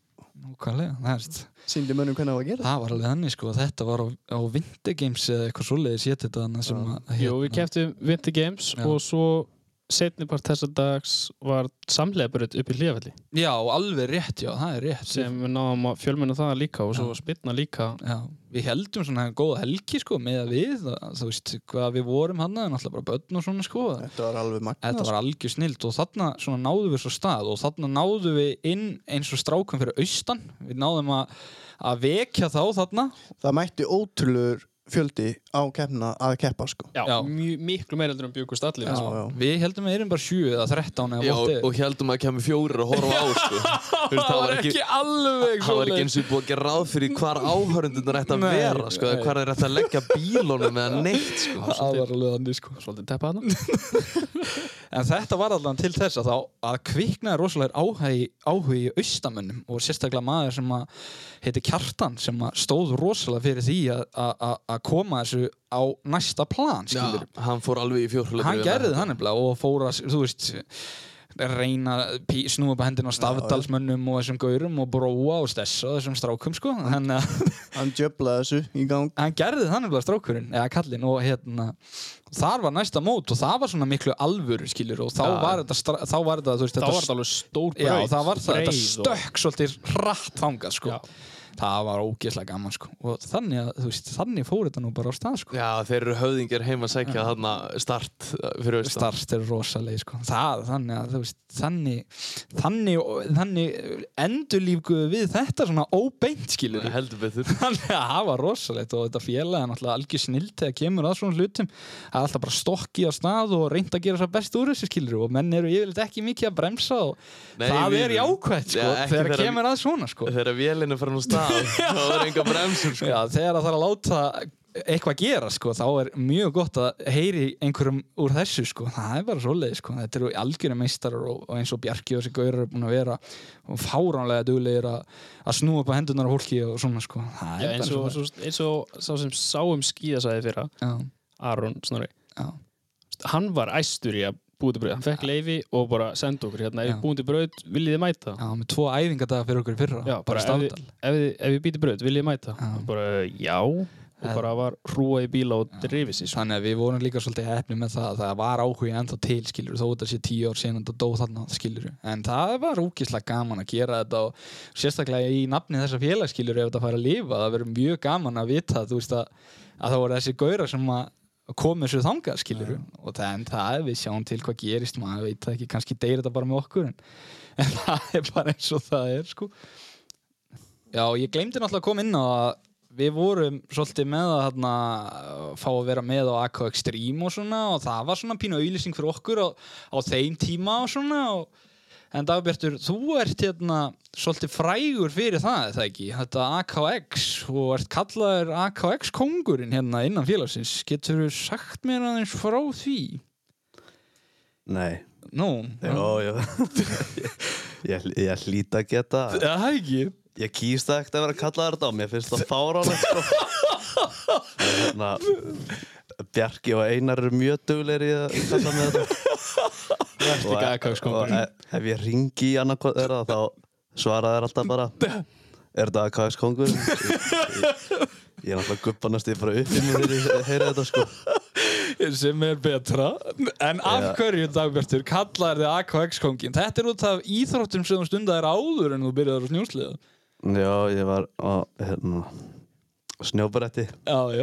S1: Nákvæmlega, það er þetta
S5: Sýndi mönnum hvernig það var að gera
S1: Það var alveg þannig sko, þetta var á, á Winter Games eða eitthvað svoleiðis ég til þarna sem að hérna,
S3: Jú, við keftum Winter Games
S1: Já.
S3: og svo setni part þessa dags var samlegabröð upp í hlíðafelli
S1: Já, alveg rétt, já, það er rétt
S3: sem við náðum að fjölmennu það líka og svo
S1: Já.
S3: spilna líka
S1: Já, við heldum svona góða helgi sko með að við, að, þú veist, hvað við vorum hann en alltaf bara börn og svona sko
S5: Þetta var alveg magna
S1: Þetta var algjör snilt og þarna svona náðum við svo stað og þarna náðum við inn eins og strákum fyrir austan við náðum að, að vekja þá þarna
S5: Það mætti ótrúlur fjöldi á keppna að keppa sko
S3: Já,
S1: Já.
S3: mjö- miklu meira heldur en bjögust allir
S5: Já.
S1: Við heldum við erum bara 7 eða 13 eða
S4: Já, og,
S1: whatever.
S4: og heldum að kemur fjórir að horfa á
S1: <laughs>
S4: sko. Þú veist, það var ekki
S1: alveg
S4: Það var ekki eins og búið að gera ráð fyrir hvar áhörundunar ætti að
S1: Nei,
S4: vera sko, eða
S1: nei.
S4: hvar þeir ætti að leggja bílunum eða neitt sko.
S1: Það var alveg þannig sko
S3: Svolítið teppa þarna
S1: En þetta var allan til þess að þá að kviknaði rosalega áhugi, áhugi í austamönnum og sérstaklega maður sem að heiti Kjartan sem að stóð rosalega fyrir því að- að að- að koma þessu á næsta plan
S4: Já,
S1: skilur.
S4: hann fór alveg í fjórhjóla
S1: Hann gerði það nefnilega og fór að, þú veist reyna, að pí- snúa upp að hendina á stafdalsmönnum og þessum gaurum og bróa og stessa og þessum strákum sko þannig að
S5: Hann djöflaði þessu í gang
S1: hann gerði það nefnilega strákurinn eða kallinn og hérna þar var næsta mót og það var svona miklu alvöru skilur og þá
S4: Já.
S1: var þetta stra- þá var þetta, þú veist,
S3: Þá var
S1: þetta
S3: þetta alveg stór
S1: Já,
S3: bröð
S1: það var það, þetta stökk svolítið hratt þangað sko. Það var ógeðslega gaman sko. og þannig, að, þú veist, þannig fór þetta nú bara á stað sko.
S4: Já, þeir eru höfðingar heima að segja þarna start eh, fyrir austan
S1: Start er rosaleg sko. það, þannig að þú veist þannig, þannig, þannig endurlífguðu við þetta svona óbeint skilur við.
S4: Heldur betur
S1: þannig að það var rosalegt og þetta félag er náttúrulega algjör snild þegar kemur að svona hlutum það er alltaf bara stokki á stað og reynd að gera svo best úr þessu skilur við. og menn eru yfirleitt ekki mikið að bremsa og
S4: Nei,
S1: það
S4: við
S1: er
S4: erum-
S1: jákvæmt sko,
S4: Já, ekki
S1: þegar
S4: þegar-
S1: kemur að svona sko.
S4: Þegar vélinn er farin á
S1: <laughs>
S4: stað þá er enga bremsur sko.
S1: Já, þegar það er að láta eitthvað gera, sko, þá er mjög gott að heyri einhverjum úr þessu, sko. Það er bara svoleið, sko. Þetta eru algjörum meistarar og, og eins og Bjarki og þessi gaurar eru búin að vera og fáránlega duglegir að, að snúa upp á hendurnar á fólki og svona, sko. Það
S3: Já,
S1: er
S3: eins og,
S1: bara svoleiðis.
S3: svo, eins og sá sem sáum skíðasæði fyrra
S1: Já,
S3: Aron Snorri
S1: já,
S3: hann var æstur í að búið til bröð hann fekk leifi og bara sendi okkur hérna, ef
S1: Já.
S3: við búið til bröð, viljið þið mæta
S1: já, með tvo æfingadaga fyrir okkur í fyrra.
S3: Já, bara
S1: bara
S3: ef, við-
S1: stafdal.
S3: ef, við- ef við býtum bröð, viljið þið mæta
S1: Já.
S3: Hann bara, "Eh, já, og
S1: En-
S3: bara var hrúa í bíla og drifið sér
S1: Þannig að við vorum líka svolítið hefni með það að það var áhuga ennþá til skilur þó þetta sé tíu ár sen þetta dó þarna skilur en það var úkislega gaman að gera þetta og sérstaklega í nafni þessa félagskilur ef þetta fær að lifa það verður mjög gaman að vita þú veist að, að það voru þessi gaurar sem að komið svo þangað skilur og það, en það við sjáum til hvað gerist maður veit það ekki, kannski deyr þetta bara með okkur en, en <laughs> það er bara eins og það er sko Já, ég glemdi náttúrulega að koma inn á að við vorum svolítið með að hana, fá að vera með á AK Extreme og svona og það var svona pínu auðlýsing fyrir okkur á, á þeim tíma og svona og, en Dagbjartur, þú ert hérna svolítið frægur fyrir það, er það ekki? Þetta AKX og ert kallaður AKX kongurinn hérna innan félagsins getur þú sagt mér aðeins frá því?
S2: Nei
S1: Nú,
S2: Jó, jó Ég, <laughs> ég hlýta að geta
S1: Já, það er ekki
S2: Ég kýst það ekkert að vera að kalla þetta á Mér finnst það fáránlegt sko. En hérna, Bjarki og Einar eru mjög dugleir í að kalla með þetta Og- og
S3: Vertikakakskompan
S2: e- Ef ég ringi í annarkot þeirra þá svara þeir alltaf bara Er þetta AKS kongur? Ég, ég, ég er alltaf gubbanast ég bara upp í mér þegar ég heyri þetta sko
S1: sem er betra en af hverju dagbjartur kallar þið AKX kongin þetta er út af íþróttum sem þú stundaðir áður en þú byrjaðir á snjósliða
S2: Já, ég var á hérna, snjóbretti
S1: já, já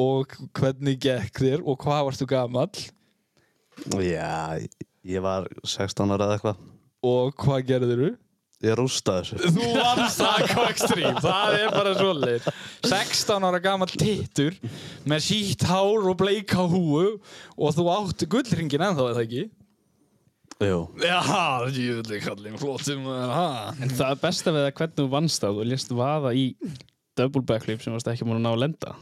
S1: og hvernig gekk þér og hvað varstu gamall
S2: Já, ég- ég var 16 ára eða eitthvað
S1: og hvað gerðir þú?
S2: Ég rústa þessu
S1: Þú vannst AKX Dream, það er bara svoleið 16 ára gamall tittur með sítt hár og bleika húu og þú átt gullringin ennþá eða ekki?
S2: Jú,
S1: Já, jöfnli kallin, flottum ha.
S3: en það er besta við það hvernig þú vannst að þú lést vaða í double backflip sem varst ekki múin að ná að lenda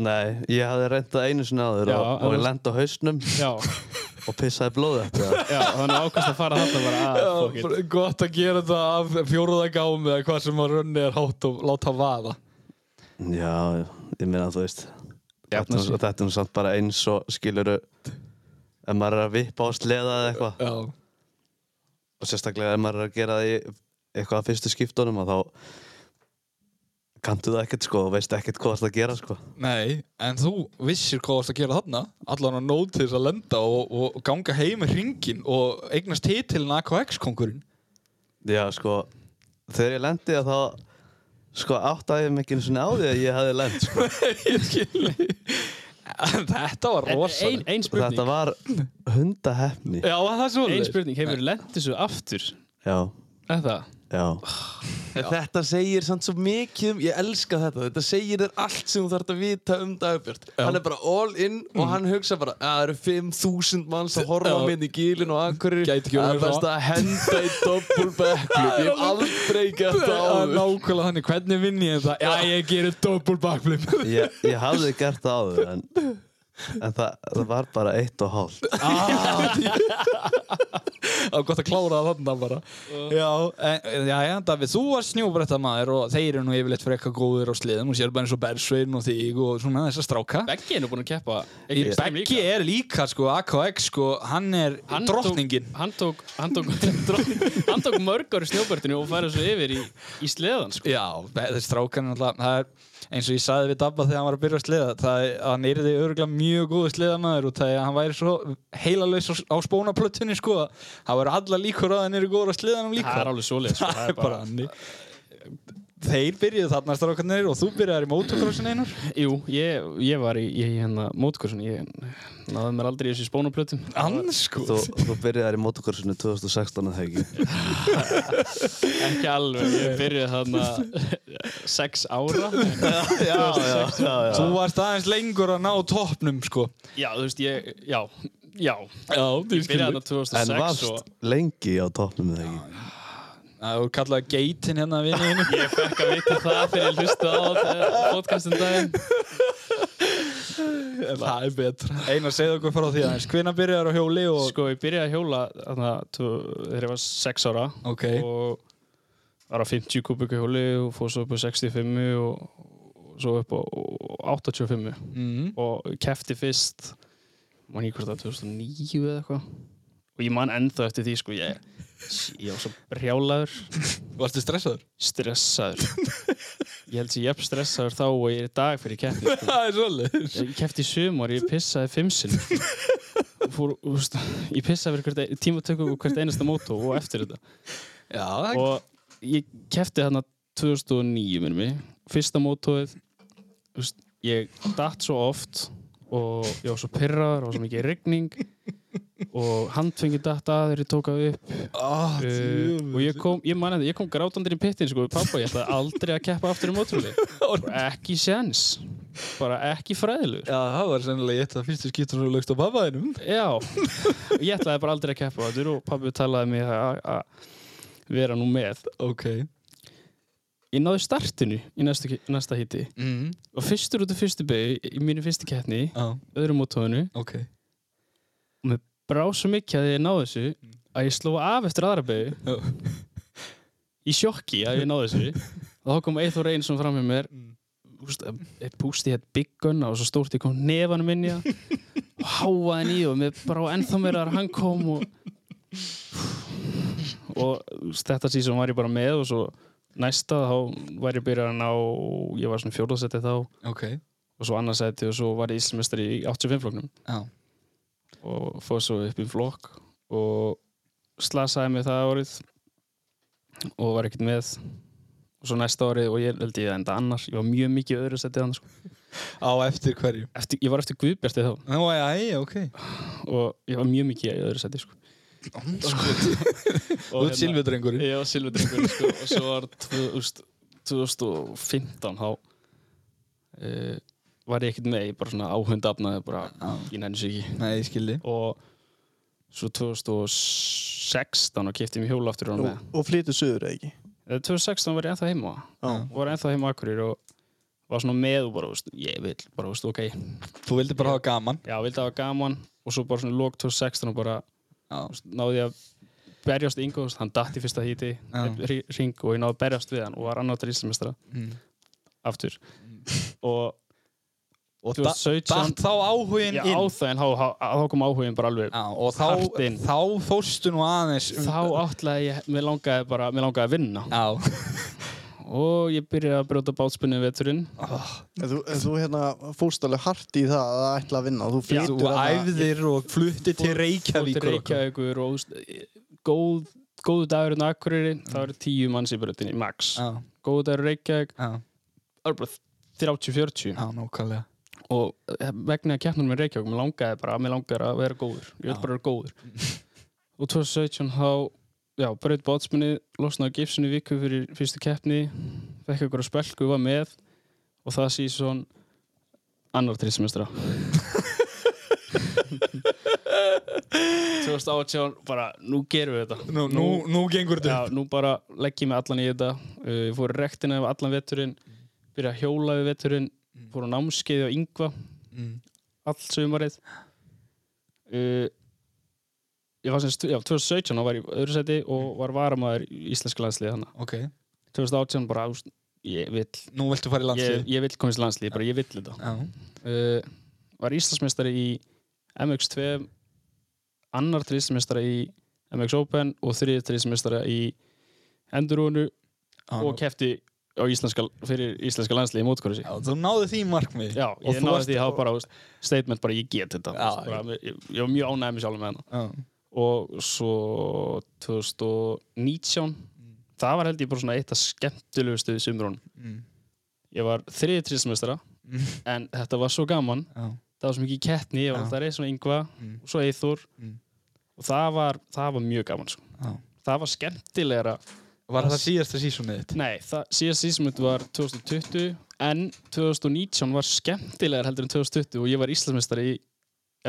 S2: nei, ég hafði reynt það einu sinni áður
S3: Já,
S2: og, og
S3: en
S2: ég
S3: þú-
S2: lendi á hausnum
S3: já, <laughs>
S2: og pissaði blóði eftir
S3: já þannig ákvæmst að fara þarna bara að fuck it
S1: Já, gott að gera þetta af fjóruða gámi eða hvað sem að rönni er hátt og láta vaða
S2: það Já, ég meina þú veist þetta,
S3: Jafna sig.
S2: er- þetta er nú samt bara eins og skiluru ef maður er að vippa á sleða eða eitthvað
S1: Já,
S2: og sérstaklega ef maður er að gera því eitthvað að fyrstu skiptunum að þá kanntu það ekkert sko og veist ekkert hvað það að gera sko
S1: Nei, en þú vissir hvað þú varst að gera þarna allan að nót til þess að lenda og, og ganga heim í ringin og eignast titilin <laughs> AKX-kongurinn
S2: já sko þegar ég lendi að þá sko áttaði ég mig ekki einu sinni á því að ég hefði lend sko.
S1: Ég skil Þetta var
S3: En
S1: rosa
S3: ein, ein spurning,
S2: þetta var hundahefni
S1: Já, var það er svo
S3: ein spurning, hefur lendið þessu aftur?
S2: já,
S3: Er það?
S2: já,
S4: En Þetta segir samt svo mikið um, ég elska þetta, þetta segir þér allt sem þú þarf að vita um Dagbjörn. Hann er bara all in og hann hugsa bara, að það eru 5.000 manns að horfa á
S1: Já.
S4: minni í gílinn og akkurir,
S1: Gæti ekki
S4: það
S1: verið
S4: er best
S1: það.
S4: að henda í doppul backflip, ég hef aldrei gert það
S1: Það er
S4: áður.
S1: nákvæmlega þannig, hvernig vinn ég þetta? Já, ég gerir double backflip
S2: ég, ég hafði gert það áður en, en það, það var bara eitt og hálft
S1: Það var gott að klára það þarna bara Já, en, já, já, Davíð, þú var snjóbretta maður og þeir eru nú yfirleitt frekka góðir á sliðum og sér bara eins og Bersvein og þig og svona þessa stráka
S3: Beggi er nú búin að keppa
S1: Í Beggi er líka sko, AKX sko, hann er
S3: Hann tók-
S1: drottningin
S3: Hann tók, hann tók, <laughs> drottning, hann tók mörg ári snjóbörtinu og færa svo yfir í, í sleðan sko.
S1: Já, þessi strákan er alltaf, það er eins og ég sagði við Dabba þegar hann var að byrja að sliða það er, hann er því örgulega mjög góðu sliðamæður og það er að hann væri svo heilalaus á, á spónaplötunni sko að það væri alla líkur á að hann eru góður að sliðanum líka
S3: Það er alveg svoleið sko.
S1: Það er <laughs> bara hannig Þeir byrjuðu þarna strákarnir og þú byrjaðir í motocrossin einar
S3: Jú, ég, ég var í, ég, hérna, mótkursun, ég náði mér aldrei í þessu spónuplötum.
S1: Ansku
S2: þú, þú byrjaði í motokorsinu 2016 að það ekki
S3: Ekki alveg, ég byrjuði þarna <laughs> sex ára.
S2: já, já, já,
S1: Þú varst aðeins lengur að ná toppnum sko
S3: Já, þú veist, ég, já, já.
S1: Já,
S3: Ég byrjaði þarna
S2: en
S3: 2006 og
S2: varst lengi á toppnum eða ekki
S1: Það þú kallaði geitin hérna að vinni <laughs> einu
S3: ég fekk að vita það fyrir að hlusta á eh, podcastin daginn.
S1: Það er betra Einar segðu okkur frá því aðeins Hvenær byrjaðir á hjóli og
S3: Sko, ég byrjaði að hjóla þarna tvö- þegar ég var sex ára
S1: Ok,
S3: og var á 50 kubíku hjóli og fór svo upp á 65 og, og svo upp á 85
S1: mm.
S3: og kefti fyrst man ég hvort það var 2009 eða eitthvað og ég man ennþá eftir því sko ég, ég var svo brjálaður
S1: varstu stressaður? <laughs>
S3: stressaður ég held sér jafn stressaður þá og ég er í dag fyrir keppni sko.
S1: Það er svolítið
S3: ég kefti í sumar, ég pissaði fimm sinn fór, úst, ég pissaði fyrir hvert, ein- tímatöku og hvert einasta mótó og eftir þetta
S1: Já, það er
S3: og ég kefti þarna 2009 minnum mig fyrsta mótóið þú veist, ég datt svo oft og ég var svo pirraður og svo mikið rigning og handfengi datt að þegar ég tók að upp
S1: oh,
S3: uh, og ég kom, ég man að ég kom grátandir í pittin sko við pappa, ég ætlaði aldrei að keppa aftur í mótrúli ekki séns bara ekki fræðilegur
S1: Já, það var sennilega ég þetta fyrstu skiptur og lögst á pappaðinum
S3: já, ég ætlaði bara aldrei að keppa aftur og pappi talaði mig að að vera nú með
S1: Ok
S3: ég náði startinu í næsta, næsta hitti
S1: mm.
S3: og fyrstur út af fyrstu begi í mínu fyrstu keppni,
S1: ah,
S3: öðru mótóinu
S1: Ok
S3: brá svo mikið að ég náði þessu að ég sló af eftir aðra begi
S1: Já.
S3: í sjokki að ég náði þessu og þá kom Eithor Einarsson fram með mér úst, eitt pústi hétt Big Gun og svo stórt ég kom nefanum inn í það og háaði henni í og mér brá ennþá meira að hann kom og, og úst, þetta síðan var ég bara með og svo næsta þá var ég byrjað að ná ég var svona fjórðasetti þá
S1: Ok
S3: og svo annarsæti og svo var ég íslmestari í 85 flokknum
S1: Já.
S3: og fóð svo upp í flokk og slasaði mig það árið og var ekkert með og svo næsta árið og ég held ég að enda annars ég var mjög mikið í öðru sæti annars sko.
S1: Á eftir hverju
S3: eftir, ég var eftir Guðbjarti þá
S1: Nú, já, já, ok
S3: og ég var mjög mikið í öðru sæti sko. <laughs>
S1: Þú
S3: hérna-
S1: ert silfudrengurinn
S3: Ég var silfurdrengur sko, og svo var tvö- úst, 2015 þá uh, var ég ekkert með ég bara svona áhundafnaði bara
S1: Já.
S3: ég nenni sér ekki
S1: Nei, ég skildi
S3: og svo 2016 og kipti mér hjóla aftur og var
S5: og,
S3: með
S5: og flytu suður eða ekki
S3: Eða 2016 var ég ennþá heima
S5: Já.
S3: var ennþá heima akkurir og var svona með og bara, veist, ég vil bara, veist, ok já,
S1: Þú vildi bara hafa gaman
S3: vildi hafa gaman og svo bara svona lók 2016 og bara
S1: Já.
S3: veist, náði ég að berjast yngu, veist, hann datt í fyrsta híti
S1: Já.
S3: ring og ég náði að berjast við hann og var annar til íslumestara
S1: mm.
S3: aftur og
S1: og da,
S3: 2017
S1: datt þá áhugin
S3: Já, á
S1: inn
S3: það en þá- þá- þá kom áhugin bara alveg
S1: já, og
S3: Hart
S1: þá,
S3: inn.
S1: þá fórstu nú aðeins um-
S3: Þá áttlaði ég, mér langaði bara, mér langaði að vinna
S1: já,
S3: og ég byrjaði að brjóta bátspunni veturinn
S5: En Þú, en þú hérna fórst alveg hart í það að ætla að vinna og þú flytur
S1: þú
S5: þarna-
S1: æfðir og fluttir til
S3: Fór til
S1: Reykjavíkur og eitthvað.
S3: Reykjavíkur og úst, góð, góðu dagurinn á Akureyri þá eru tíu manns í brjótinni, max
S1: já,
S3: góðu dagur í Reykjavík,
S1: já,
S3: það eru bara 30-40
S1: já, nákvæmlega
S3: og eh, vegna að keppnum með Reykjavík, mér langaði bara mér langaði að vera góður, ég vil
S1: Já.
S3: bara vera góður <laughs> og 2017 þá já, braut bátspunni, losnaði á gipsinu viku fyrir fyrstu keppni fekk ykkur að spelku, var með og það sé svon annar trísmestra 2018 bara, nú gerum við þetta
S1: nú, nú, nú gengur þetta
S3: Já, nú bara legg ég mig allan í þetta uh, ég fór í rektina yfir allan veturinn
S1: Mm.
S3: byrja að hjóla við veturinn fór á námskeiði á yngva
S1: mm.
S3: allt sumarið uh, ég var sem stu, já, 2017 þá var ég í öðru seti og var varamæður í íslenska landslið þannig
S1: ok,
S3: 2018 bara, úst, ég vill
S1: nú viltu fara í
S3: ég,
S1: landslið
S3: ég vill komast í landslið, ég bara ég vill þetta
S1: já,
S3: uh, var Íslandsmeistari í MX2 annar trísmeistari í MX Open og þriðið trísmeistari í Endurúnu
S1: já,
S3: og kefti á íslenska, fyrir íslenska landsliði í mótkórusi
S1: já, þú náði því markmið
S3: Já,
S1: Og
S3: ég
S1: þú
S3: náði
S1: varst-
S3: því að hafa bara veist, statement bara ég get þetta
S1: Já,
S3: veist, bara, ég, ég var mjög ánægð með sjálfum með hana
S1: já,
S3: og svo 2019 það var held ég bara svona eitt af skemmtilegustu sumrún
S1: mm,
S3: ég var þriði trísmestara
S1: Mm.
S3: en þetta var svo gaman
S1: já,
S3: það var svo mikið kettni, ég var
S1: Já.
S3: alltaf reis svona yngva
S1: Mm.
S3: og svo Eithor
S1: Mm.
S3: og það var, það var mjög gaman sko.
S1: já.
S3: það var skemmtilegra
S1: var það síðasta sísónið þitt
S3: Nei, það, síðast sísmut var 2020 en 2019 var skemmtilegar heldur en 2020 og ég var Íslandsmeistari í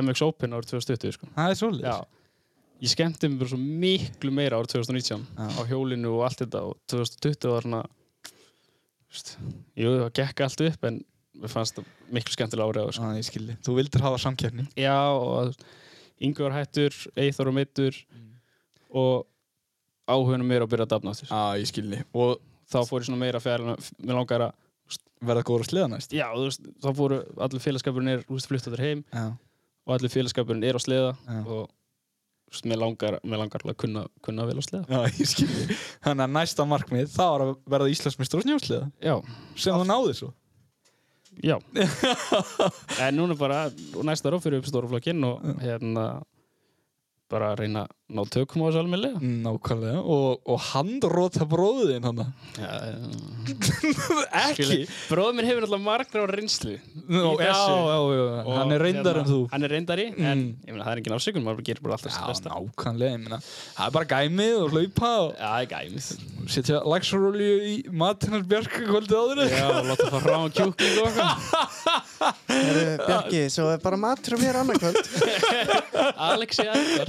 S3: MX Open árið 2020 sko.
S1: það er svolítið
S3: Já, ég skemmti mig bara svo miklu meira árið 2019
S1: Já.
S3: á hjólinu og allt þetta og 2020 var svona veist, jú, það gekk allt upp en mér fannst það miklu skemmtilega árið áður, sko.
S1: Já, ég skildi. Þú vildir hafa samkeppni.
S3: Já, og yngur hættur, eithor og meittur og áhugunum meira að byrja að dafna áttur
S1: Mm. Já, ég skildi. Og
S3: þá fór ég svona meira fjærlega, mér langar að
S1: verða góður að sliða næst.
S3: já, þú veist, þá fóru allir félagskapurinn er, þú veist, fluttaður heim
S1: Já,
S3: og allir félagskapurinn er á sleða
S1: Já.
S3: og þú veist, mér langar, mér langar alveg að kunna, kunna vel á sleða.
S1: já ég skildi. Þannig að næsta markmið, það var að verða Íslandsmeistur og snjósliða.
S3: Já,
S1: Sem þú náði svo.
S3: já. <laughs> en núna bara, og næsta ráf fyrir upp stóruflokkinn og hérna bara að reyna að ná tökum á þessu almennilega.
S1: Nákvæmlega. Og, og handróta bróðin hann.
S3: Já,
S1: Ekki.
S3: Bróður mér hefur náttúrulega margra ára reynslu.
S1: Nú,
S3: Í
S1: já,
S3: þessu.
S1: já, já, já.
S3: Og
S1: Hann er reyndar
S3: hérna,
S1: en þú.
S3: Hann er reyndari, en
S1: Mm.
S3: ég meina, það er engin afsökun, maður gerir bara
S1: Já,
S3: alltaf sitt besta.
S1: nákvæmlega. Ég meina, það er bara gæmið og hlaupa
S3: Já, það er gæmið.
S1: og setja laxarolju í matinnar bjarka kvöldið áður.
S3: Já, láta fara frá hann kjúkling og eitthvað.
S5: Heyrðu, Bjarki, svo er bara matur um hér <laughs> annarkvöld
S3: Alexi Eldar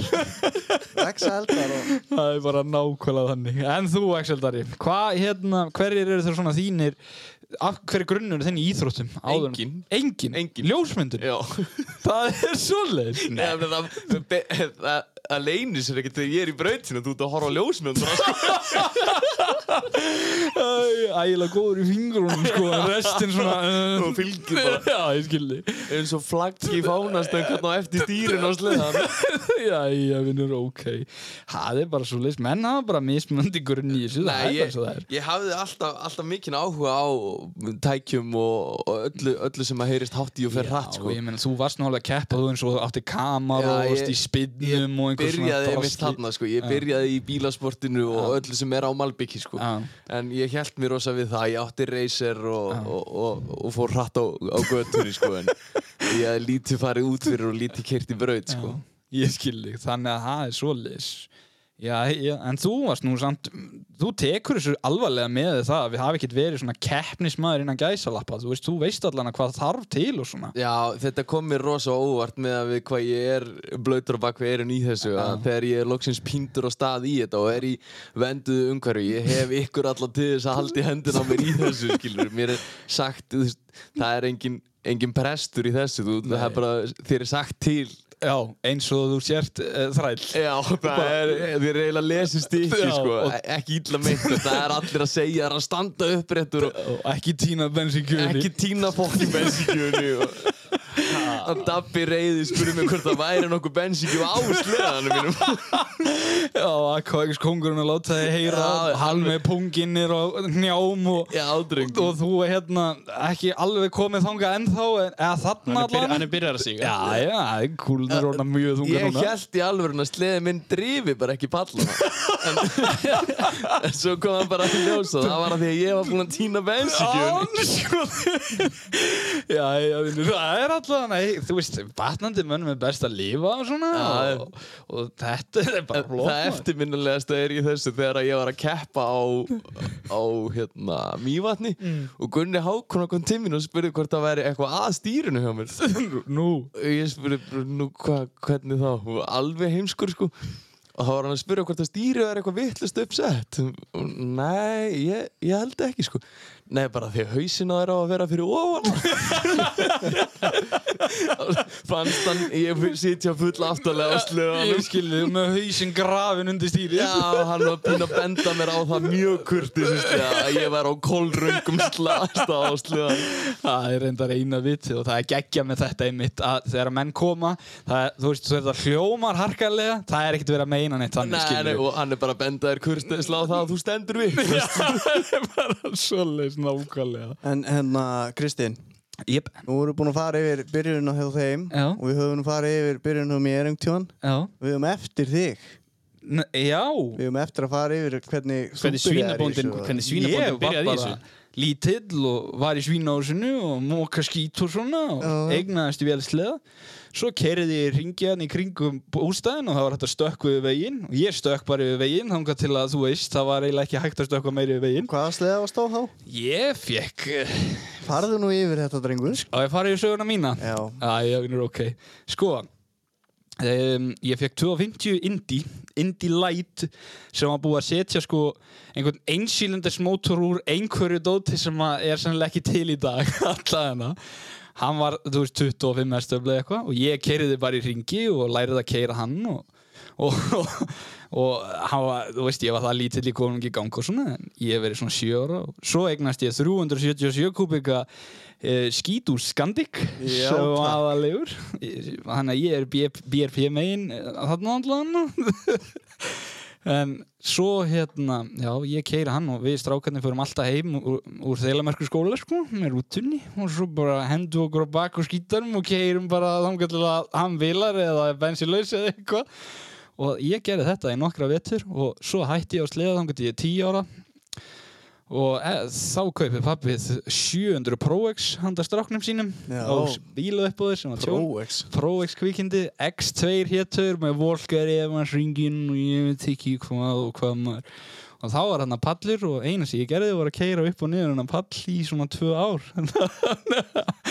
S5: Lexa eldar og
S1: Það er bara nákvæmlega þannig. En þú, Axel Dari, hvað, hérna, hverjir eru þér svona þínir, af hverju grunnur er þinn í íþróttum? áður en-
S4: Enginn.
S1: Engin?
S4: Enginn.
S1: Ljósmyndun?
S4: Já,
S1: Það er svoleiðis.
S4: Nei, það, það, það, það, það, það leynir sér ekkert þegar ég er í brautinu Þú ert að horfa á ljósmyndur sko.
S1: Ægilega góður í fingrunum, sko, en restin
S4: <laughs>
S1: svona... Uh,
S4: og fylgir bara
S1: <laughs> Já, ég skildi.
S4: eins og flaggi fánast einhvern hérna á eftir dýrin og sleðan
S1: Jæja, vinnur, ok. Það er bara svoleiðis. Menn hafa bara mismöndi grunn í þessu. það
S4: Nei,
S1: er bara
S4: ég,
S1: svo það er.
S4: ég hafði alltaf, alltaf mikinn áhuga á tækjum og, og öllu, öllu sem að heyrist hátt í og fer hratt sko.
S1: Já, ég meina, þú varst nálega að keppa þú eins og átti kamar
S4: Já,
S1: og varst
S4: ég-
S1: í spinnum og einhvers
S4: byrjaði einmitt þarna sko. ég
S1: Já.
S4: byrjaði í bílasportinu og öllu sem er á Malbyggi sko.
S1: Já.
S4: en ég held mér rosa við það ég átti racer og, og, og, og fór hratt á, á göttunni sko. en ég hafði lítið farið út fyrir og lítið kert í braut sko.
S1: Ég skildi, þannig að það er svoleiðis já, já, en þú varst nú samt þú tekur þessu alvarlega með það að við hafi ekkert verið svona keppnismæður innan gæsalappa, þú veist, þú veist allan að hvað þarf til og svona
S4: Já, þetta kom mér rosa óvart með að við hvað ég er blöytur og bakvið erun í þessu að þegar ég er loksins píndur og stað í þetta og er í venduðu umhverju ég hef ykkur allan til þess að haldi hendin á mér í þessu, skilur mér er sagt, þú veist, það er engin, engin prestur í þessu, þú, það er bara þér er sagt til
S1: Já, eins og þú sért uh, þræll
S4: Já, það er, þér er eiginlega lesist ekki,
S1: Já,
S4: sko,
S1: og-
S4: e- ekki illa meint það er allir að segja, það er að standa uppréttur og
S1: og ekki tína bensinkjöfni
S4: ekki tína fólk í bensinkjöfni og Hann Dabbi reyði spurði mig hvort það væri nokkuð bensíkjum á sleðanum mínum
S1: Já, Aquax kongurinn að láta þig heyra
S4: Já,
S1: Hann með punginnir og njám og,
S4: <laughs> Já, dreng
S1: og þú er hérna ekki alveg komið þangað ennþá en- Eða þarna
S3: Hann er byrja-
S1: allan
S3: hann er byrjar að síga
S1: Já, já, það er kúlnir orðna mjög þunga
S4: Ég
S1: núna
S4: held í alvörun að sleði minn drifi bara ekki palla en, <laughs> en svo kom hann bara að ljósa Það var að því að ég var búinn að týna bensíkjum
S1: Ánskjóð sko. <laughs> Já, já, vinur, það er alltaf nei, Þú veist, batnandi mönnum er best að lifa og svona
S4: Já, já.
S1: og, og þetta er bara flott
S4: Það
S1: maður.
S4: eftirminnilegasta er í þessu þegar að ég var að keppa á, á hérna, Mývatni og Gunni Hákon kom til mín og spurði hvort það væri eitthvað að stýrinu hjá mér <laughs>
S1: Nú
S4: og ég spurði bara, nú hva, hvernig þá Hún var alveg heimskur sko og þá var hann að spyrja hvort það stýrið er eitthvað vittlust uppsett og nei, ég, ég held ekki sko nei, bara því að hausina er á að vera fyrir ofan <laughs> fannst hann ég sitja full aftalega á
S1: Ég
S4: slöðanum
S1: skilði með hausinn grafin undir stýri
S4: Já, hann var pín að benda mér á það mjög kurtis að ég var á kolröngum slasta á slöðan
S1: Það er reyndar eina vitið og það er geggja með þetta einmitt að þegar menn koma það er, þú veist, þú veist það hljómar harkarlega það er ekkert verið að meina neitt þannig
S4: Nei, nei,
S1: skilur
S4: og hann er bara að benda þér kurtis á það að þú stendur við
S1: það er bara svoleiðis nákvæmlega
S5: En hérna, Kristín,
S1: Jep,
S5: nú erum við búin að fara yfir byrjunum hjá þeim
S1: Já.
S5: og við höfum nú farið yfir byrjunum hjá mér engtjón.
S1: já
S5: Við höfum eftir þig.
S1: N Já,
S5: Við höfum eftir að fara yfir hvernig þú
S3: Hvernig
S5: byrjaðir í
S3: svínabóndin-
S5: þessu.
S3: hvernig svínabóndin
S1: ég var
S3: byrjaði í
S1: bara lítill og var í svínásinu og móka skít og svona og
S5: Já.
S1: eignaðist vel sleða svo kerði ég ringjaðan í kringum bústæðin og það var hægt að stökk við veginn og ég stökk bara við veginn þangað til að þú veist það var eiginlega ekki hægt að stökkva meiri við veginn
S5: Hvaða sleða varst á þá?
S1: Ég fekk eh,
S5: Farðu nú yfir þetta, drengur.
S1: Á ég farið í söguna mína?
S5: Já.
S1: Æ, já, vinur, ok Sko um, Ég fekk 250 Indie Indie Light sem var búið að setja sko einhvern einsýlindis mótor úr einhverju dóti sem að er sennilega ekki til í dag <laughs> allavega hann var, þú veist, 25 stöflega eitthvað og ég keiriði bara í ringi og lærið að keira hann og, og, og, hann var, þú veist, ég var það lítill í konungi gang og svona en ég hef verið svona 7 ára og svo eignast ég 377 kubika e, skít úr Skandik
S5: Já,
S1: sem
S5: takk.
S1: aðalegur þannig að ég er BF BRP megin eh, þarna allan en svo hérna já, ég keira hann og við strákarnir förum alltaf heim úr, úr þeilamerkur skóla sko, með rútunni og svo bara hendu okkur á bak og skítarum og keirum bara þangar til að hann vilar eða bensinlaus eða eitthvað og ég gerði þetta í nokkra vetur og svo hætti ég á sleða þangar til ég er 10 ára og e, þá kaupið pappið 700 Pro-X handa stráknum sínum
S5: Já.
S1: og bíluð upp á þeir sem var tjón
S5: Pro-X.
S1: Pro-X kvikindi, X2 hétur með Volker Evans ringin og ég veit ekki hvað og hvað maður og þá var hann að pallur og eina sem ég gerði var að keira upp og niður hann að pall í svona tvö ár <laughs>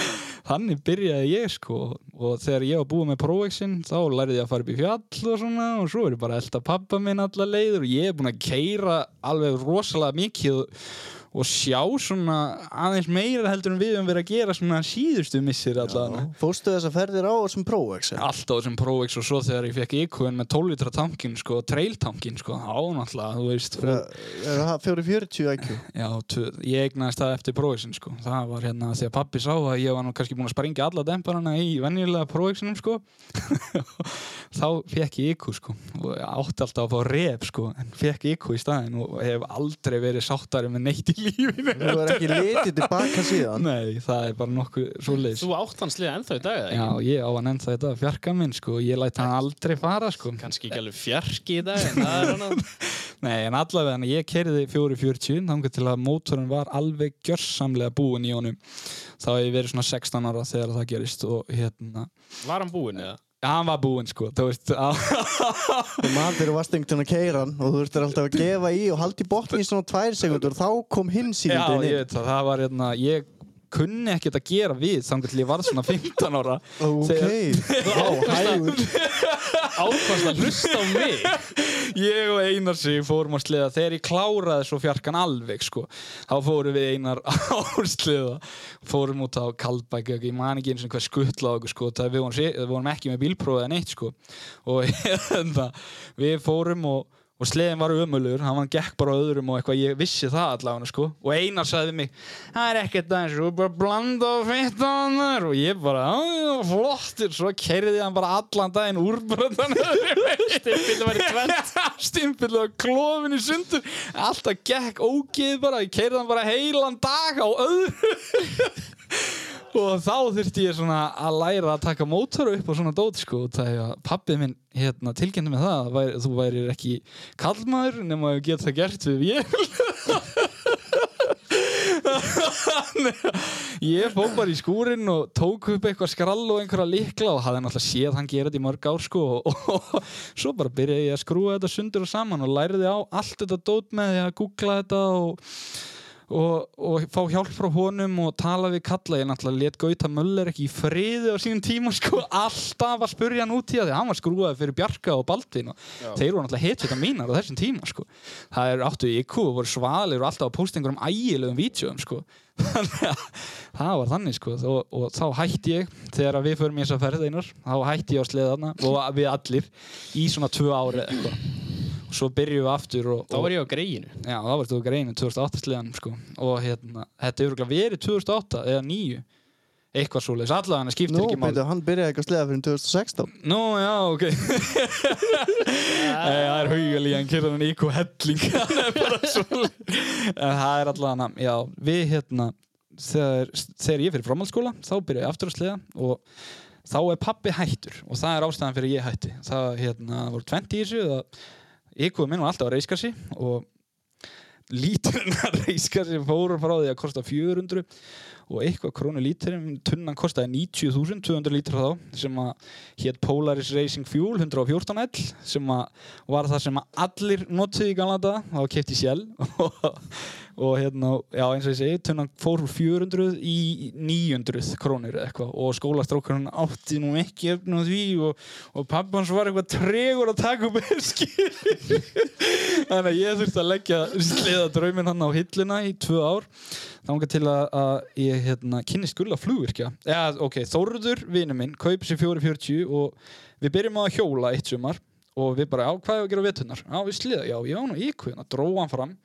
S1: þannig byrjaði ég sko og þegar ég var búið með Pro-X-in þá lærði ég að fara upp í fjall og svona og svo er ég bara að elda pappa minn alla leiður og ég er búin að keira alveg rosalega mikið og sjá svona aðeins meira heldur en við höfum verið að gera svona síðustu missir allavega
S5: Fórstu þess að ferðir á þessum Pro-X? eða?
S1: alltaf þessum Pro-X og svo þegar ég fekk IQ-en með 12 litra tankin sko, trail tankin sko, á náttúrulega, þú veist
S5: Er það 440 IQ?
S1: já, tvö, ég eignaðist það eftir Pro-X-in sko, það var hérna því að pappi sá að ég var nú kannski búin að springa alla demparana í venjulega Pro-X-inum sko <laughs> þá fekk ég IQ sko og ég átti alltaf að fá rep sko en fekk IQ í staðin og hef aldrei verið sáttari með neitt í lífinu
S5: Þú er ekki litið tilbaka síðan.
S1: nei, það er bara nokkuð svo leis
S3: Þú átt hans liða ennþá í dag eða
S1: já,
S3: ekki?
S1: ég á að nefna þetta fjarka minn sko, ég læt hann aldrei fara sko
S3: Kanski ekki alveg fjarki í dag en það er hann að
S1: Nei, en allavega, en ég kerði 440 þangar til að mótorinn var alveg gjörsamlega búinn í honum þá hef ég verið svona 16 ára þegar það gerist og hérna,
S3: Var hann búinn eða?
S1: ja, hann var búinn sko þú veist, á,
S5: Þú mann þegar þú varst einhvern veginn að keira hann og þú ertur alltaf að gefa í og haldi í botni í svona tvær sekundur og þá kom hinn
S1: <laughs> já,
S5: síðan
S1: ég veit það, það var hérna ég kunni ekkert að gera við þangar til ég var svona 15 ára
S5: Ok, þá hægur.
S3: Ákvæmst að hlusta á mig
S1: ég og Einar sig fórum að sleða þegar ég kláraði svo fjarkan alveg sko. þá fórum við Einar <laughs> á sleða fórum út á Kaldbæk ég man ekki eins og hvað skuttla á okkur sko. það við vorum, við vorum ekki með bílprófið en eitt sko. og hérna, við fórum og og sleðin var ömulur, hann var gekk bara á öðrum og eitthvað, ég vissi það allavega sko. og Einar sagði við mig, það er ekkert aðeins þú er bara blanda og fitta annar og ég bara, "Á, já, flottir svo kerði hann bara allan daginn úrbröndan stimpillu var í tvent <laughs> stimpillu var klófin í sundur alltaf gekk ógeð bara ég kerði hann bara heilan dag á öðru <laughs> og þá þurfti ég svona að læra að taka mótora upp og svona dót sko og það er að pappið minn hérna, tilkynnti mig það að væri, þú værir ekki kallmaður nema að geta það gert við vél <laughs> Þannig að ég fór bara í skúrin og tók upp eitthvað skrall og einhverja likla og hafði náttúrulega séð hann gera þetta í mörg ár sko og, og, svo bara byrjaði ég að skrúa þetta sundur og saman og læriði á allt þetta dót með því að googla þetta og og, og fá hjálp frá honum og tala við kalla, ég náttúrulega let Gauta Möller ekki í friði á sínum tíma sko, alltaf að spurja hann út í það því hann var skrúaði fyrir Bjarka og Baldvin og þeir voru náttúrulega hitjum þetta mínar á þessum tíma sko. það er áttu í IQ og voru svalir og alltaf að posta einhverjum ægilegum vítjóum sko. <laughs> þannig að það var þannig sko. og, og þá hætti ég þegar að við förum í þessa ferð einar þá hætti ég á sleðana og við allir í svona tvö ári eitthvað og svo byrjum við aftur og,
S3: Þá var ég á greiðinu.
S1: Já, það var þetta greinu 2008 sliðan sko. og hérna, þetta er örugglega verið 2008 eða 9 eitthvað svoleiðis, allavega skiptir
S5: Nú,
S1: ekki máli
S5: beidu, hann byrjaði ekki að sleða fyrir 2016
S1: Nú, já, ok Nei, Það er hugalí, hann kyrðan hann íkú helling <laughs> Það er bara svolítið En það er allavega, já, við hérna þegar, þegar ég fyrir framhaldsskóla þá byrja ég aftur að sliða og þá er pappi hættur og það er ástæðan fyrir ég hætti það hérna, voru 20 í þessu það, íkúið minn var alltaf að reyska sig og líturinn að reyska sig fóru frá því að kosta 400 og eitthvað krónu líturinn tunnan kostaði 90.000, 200 lítra þá sem að hétt Polaris Racing Fuel 114L sem að var það sem að allir notuði í gamla daga, það var keypt í sjæl <laughs> og, og hérna, já eins og ég segi tunnan fór úr 400 í 900 krónur eða eitthvað og skólastrókurinn átti nú ekki efni á því og, og pappans var eitthvað tregur að taka upp eski þannig að ég þurfti að leggja sliða drauminn hann á hilluna í tvö ár þanga til að, að ég hérna, kynnist gulla flugvirkja ja, ok, Þórður, vinur minn, kaup sér 440 og við byrjum á að hjóla eitt sumar og við bara, á, hvað er að gera vetunar? á, við sliða, já, ég á nú íku hérna, dró hann fram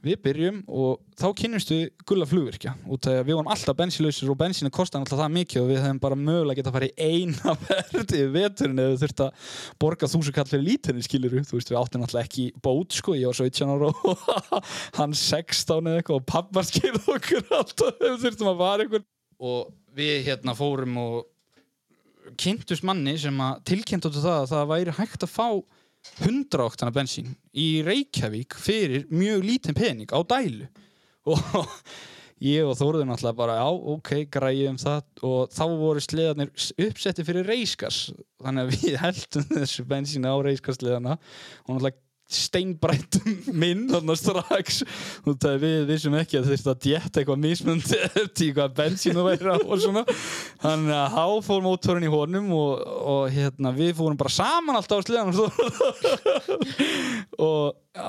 S1: við byrjum og þá kynnumst við gulla flugvirkja út af því að við vorum alltaf bensinlausir og bensinu kostaði alltaf það mikið og við hefum bara mögulega getað að fara í eina <laughs> verði veturinn ef við þurft að borga þúsukall fyrir líturinn skilur þú veist við áttum alltaf ekki bót sko ég var 17 ára og <laughs> hann 16 eða eitthvað og pappa skilði okkur alltaf ef við þurftum að fara einhver og við hérna fórum og kynntust manni sem að tilkynnt áttu það að það væri hægt að fá 100 oktana bensín í Reykjavík fyrir mjög lítinn pening á dælu og <laughs> ég og Þórður náttúrulega bara já, ok, græjum um það og þá voru sleðarnir s- uppsetti fyrir reiskas þannig að við <laughs> heldum þessu bensín á reiskasleðana og náttúrulega steinbrættum minn þarna strax og það er við vissum ekki að þurfti að djetta eitthvað mismundi <laughs> eftir eitthvað bensín og væri á og svona þannig að há fór mótorinn í honum og, og hérna við fórum bara saman alltaf á sleðan og svo og já,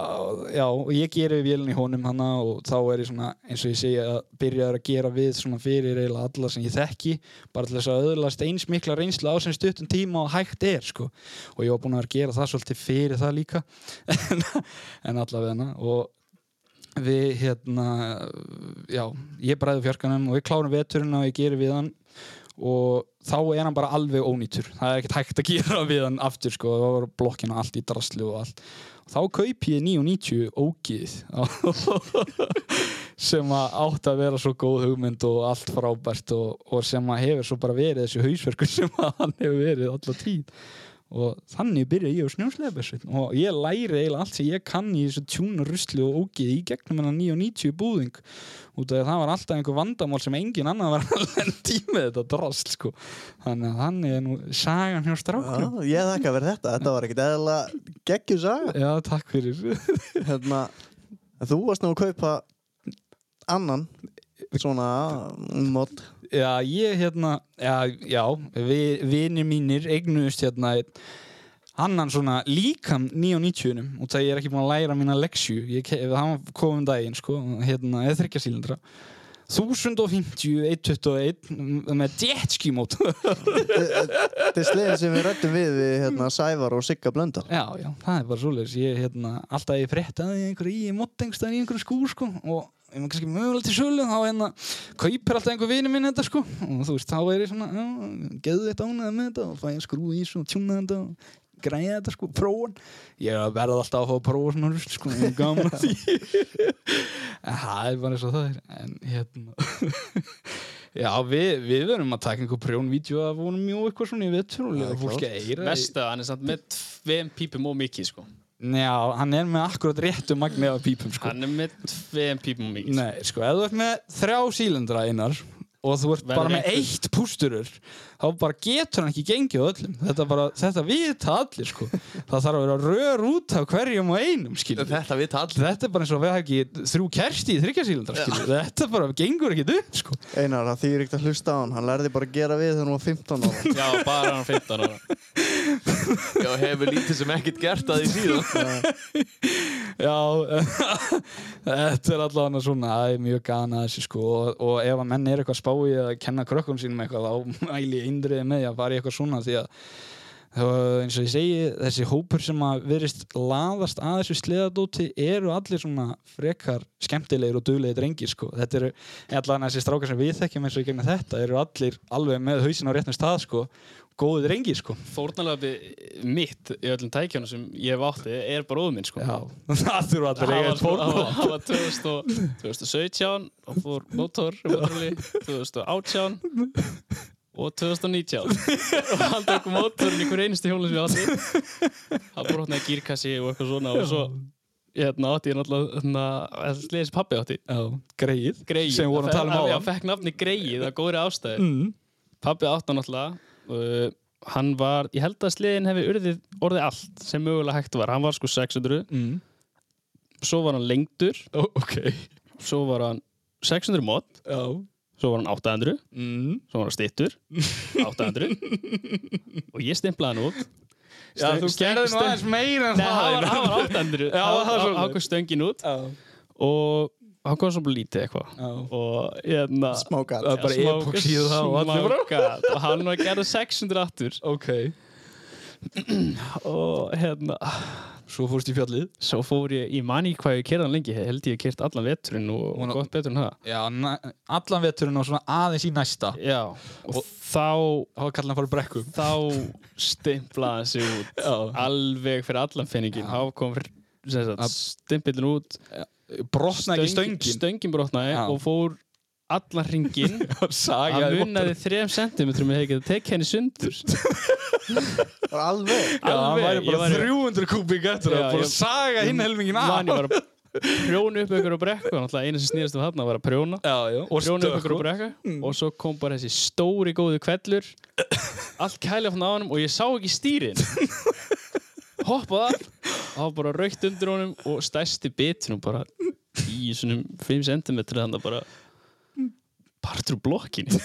S1: já, og ég geri vélun í honum hana og þá er ég svona eins og ég segja að byrjaður að gera við svona fyrir eiginlega alla sem ég þekki bara til þess að öðlast eins mikla reynslu á sem stuttum tíma og hægt er sko. og ég var búin að vera að gera það svolítið fyrir það líka <laughs> en, en allavega og við hérna já, ég bræði fjarkanum og við klárum veturinn og ég geri við hann og þá er hann bara alveg ónýtur það er ekkert hægt að gera við hann aftur sko, það var blokkina allt í draslu og allt þá kaup ég 990 ógið <laughs> sem að átt að vera svo góð hugmynd og allt frábært og, og sem að hefur svo bara verið þessi hausverkur <laughs> sem að hann hefur verið alltaf tíð og þannig byrja ég á snjósleifbessin og ég læri eiginlega allt sem ég kann í þessu tjúna rusli og ógið í gegnum hennar 990 búðing út af því að það var alltaf einhver vandamál sem engin annar var að <laughs> lendi með þetta drast sko. þannig að þannig er nú sagan hjá
S5: Já,
S1: stráknum
S5: ég þakka fyrir þetta, þetta var ekkert eðla geggjum saga
S1: Já, takk fyrir
S5: hérna, en Þú varst nú að kaupa annan svona mod
S1: Já, ég hérna, já, já vi, vinir mínir eignuðust hérna einn annan svona líkam 990-unum og það ég er um ekki búin að læra mína leksju, ég, ke- það var komum daginn sko, hérna, eða þryggja sílindra 1050 121 með jetski mót
S5: Þetta er slegin sem við rættum við við hérna, Sævar og Sigga Blöndal
S1: já, já, það er bara svoleiðis ég, hérna, alltaf ég fréttaði einhver í mótengstæðan í einhverju skúr, sko og ef maður kannski mögulega til sölu þá hérna kaupir alltaf einhver vini minn þetta sko og þú veist, þá er ég svona, já, geðu þetta ánæða með þetta og fæ ég skrúi í svo, tjúna þetta og græja þetta sko, prófun ég er að verða alltaf að fá að prófa svona rusl sko, ég er gaman að því en það er bara eins og það er en hérna <laughs> já, við, við verum að taka einhver prjónvídeó af honum mjög eitthvað svona í
S5: Já,
S1: vetturulega fólk að eyra
S3: Vesta, hann er samt með tveim pípum og mikið sko.
S1: Já, hann er með akkurat réttu magni af pípum sko.
S3: Hann er með tveim pípum og mikið
S1: Nei, sko, ef þú ert með þrjá sílindra einar og þú ert
S3: Verður
S1: bara með
S3: einhver-
S1: eitt pústurur þá bara getur hann ekki gengið á öllum þetta, bara, þetta vita allir sko. það þarf að vera rör út af hverjum og einum skilur.
S4: Þetta vita allir
S1: þetta er bara eins og við hafa ekki þrjú kerti í þryggja sílindra skilur. þetta bara gengur ekki upp sko.
S5: Einar, það þýr ekkert að hlusta á hann Hann lærði bara að gera við þegar hann var 15 ára
S3: Já, bara hann 15 ára
S4: Já, hefur lítið sem ekkert gert að því síðan
S1: Já, <laughs> þetta er allavega svona, það er mjög gana þessi sko og, og ef að menn er eitthvað spái að kenna krökkum sínum eitthvað þá <laughs> mæli ég eindriði með því að fara í eitthvað svona því að þá, eins og ég segi, þessi hópur sem að virðist laðast að þessu sleðadóti eru allir svona frekar skemmtilegir og duglegir drengir sko þetta eru, allavega þessi strákar sem við þekkjum eins og í gegnum þetta eru allir alveg með hausin á réttum stað sko góði drengir sko
S3: Fórnalöfi mitt í öllum tækjónum sem ég hef átti er bara óðum minn sko.
S1: Já, <laughs> það þurfa allir að eiga
S3: Það var,
S1: eitt
S3: sko, það
S1: fórnarlamb.
S3: var, það var 2000 og- 2017 og fór mótor,
S1: <laughs>
S3: mótorli, 2018 og 2019 og hann tók mótorin í hver einustu hjólu sem ég átti hann brotnaði gírkassi og eitthvað svona og svo hérna átti ég náttúrulega hérna, sliðis pappi átti
S1: Já, greið,
S3: greið
S1: sem við vorum að tala um Mm. á
S3: hann fekk nafni greið að góðri ástæði Pabbi átti hann náttúrulega uh, Hann var, ég held að sliðin hefði urðið orðið allt sem mögulega hægt var Hann var sko 600
S1: mm.
S3: Svo var hann lengdur
S1: Ó, ok
S3: Svo var hann 600 mót
S1: Já.
S3: Svo var hann 800
S1: Mm.
S3: Svo var hann
S1: <laughs>
S3: stittur 800 Og ég stimplaði hann út
S1: Já, þú gerði nú aðeins meira en
S3: Nei, hann var,
S1: það
S3: hann var 800
S1: Já, það var
S3: Hann- hann-
S1: svoleiðis.
S3: Hann kom stöngin út
S1: Já,
S3: Og hann kom svo bara lítið eitthvað
S1: já
S3: Og hérna
S5: Smákat
S1: Það er bara
S3: smá-
S1: epoxíð það og allir bara
S3: smágat. Og hann var gerðið 600 aftur
S1: Ok
S3: Og hérna
S1: Svo fórst í fjallið
S3: Svo fór ég, ég man ekki hvað ég kerði hann lengi, ég held ég kert allan veturinn og,
S1: Hún-
S3: og gott betur en það.
S1: Já, na- allan veturinn og svona aðeins í næsta
S3: Já, og, þá,
S1: Þá kallar hann fara brekkum
S3: þá stimplaði hann sig út,
S1: Já
S3: alveg fyrir allan finningin,
S1: Já.
S3: þá kom sem sagt,
S1: Að-
S3: stimpillin út,
S1: Brotnaði ekki
S3: stöng-
S1: stöngin
S3: stöngin brotnaði
S1: Já.
S3: og fór allan
S1: <laughs>
S3: ringin, hann
S1: Sagaði
S3: munnaði 3 cm með hefði getið tekið henni sundur.
S5: Alveg
S1: Já, hann væri
S3: ég
S1: bara 300 kúbík eftir
S3: Já,
S1: að bara
S3: ég-
S1: saga hinn helmingin af
S3: Man, ég var að prjóna upp ykkur á brekku, náttúrulega eina sem snýðast um þarna var að prjóna.
S1: Já, já Og
S3: prjónu upp ykkur á
S1: stökk
S3: brekka og svo kom bara þessi stóri góðu kvellur allt kæli á honum og ég sá ekki stýrin hoppaði af það var bara raukt undir honum og stærsti bitin og bara í svonum 5 cm þannig að bara partur úr blokkinni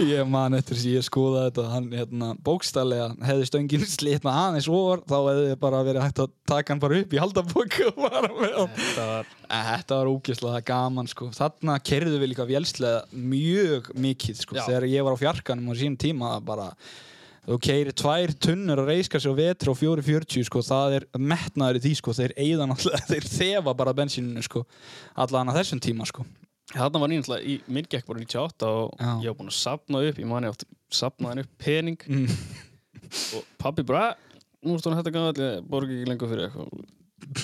S1: Ég man eftir þess að ég skoða þetta hann hérna, bókstallega hefði stöngin slitna aðeins ofar þá hefði bara verið hægt að taka hann bara upp í haldabóku og bara með hann
S3: þetta var
S1: En Þetta var ógeðslega gaman sko. Þarna kerðu við líka vélslega mjög mikið sko.
S3: Já.
S1: Þegar ég var á fjarkanum á sínum tíma það bara, þú keyrir tvær tunnur að reyska sér á vetri á 440 sko. það er metnaður í því sko. þeir eigða náttúrulega, <laughs> þeir þefa bara bensíninu sko. allan að þessum tíma sko.
S3: þarna var ég náttúrulega í minn gekk bara 98 og
S1: Já.
S3: ég var búinn að sapna upp ég mani átt sapnaði upp pening Mm. og pabbi bara "Ah, nú ertu hann hægt að ganga allir borga ekki lengur fyrir eitthvað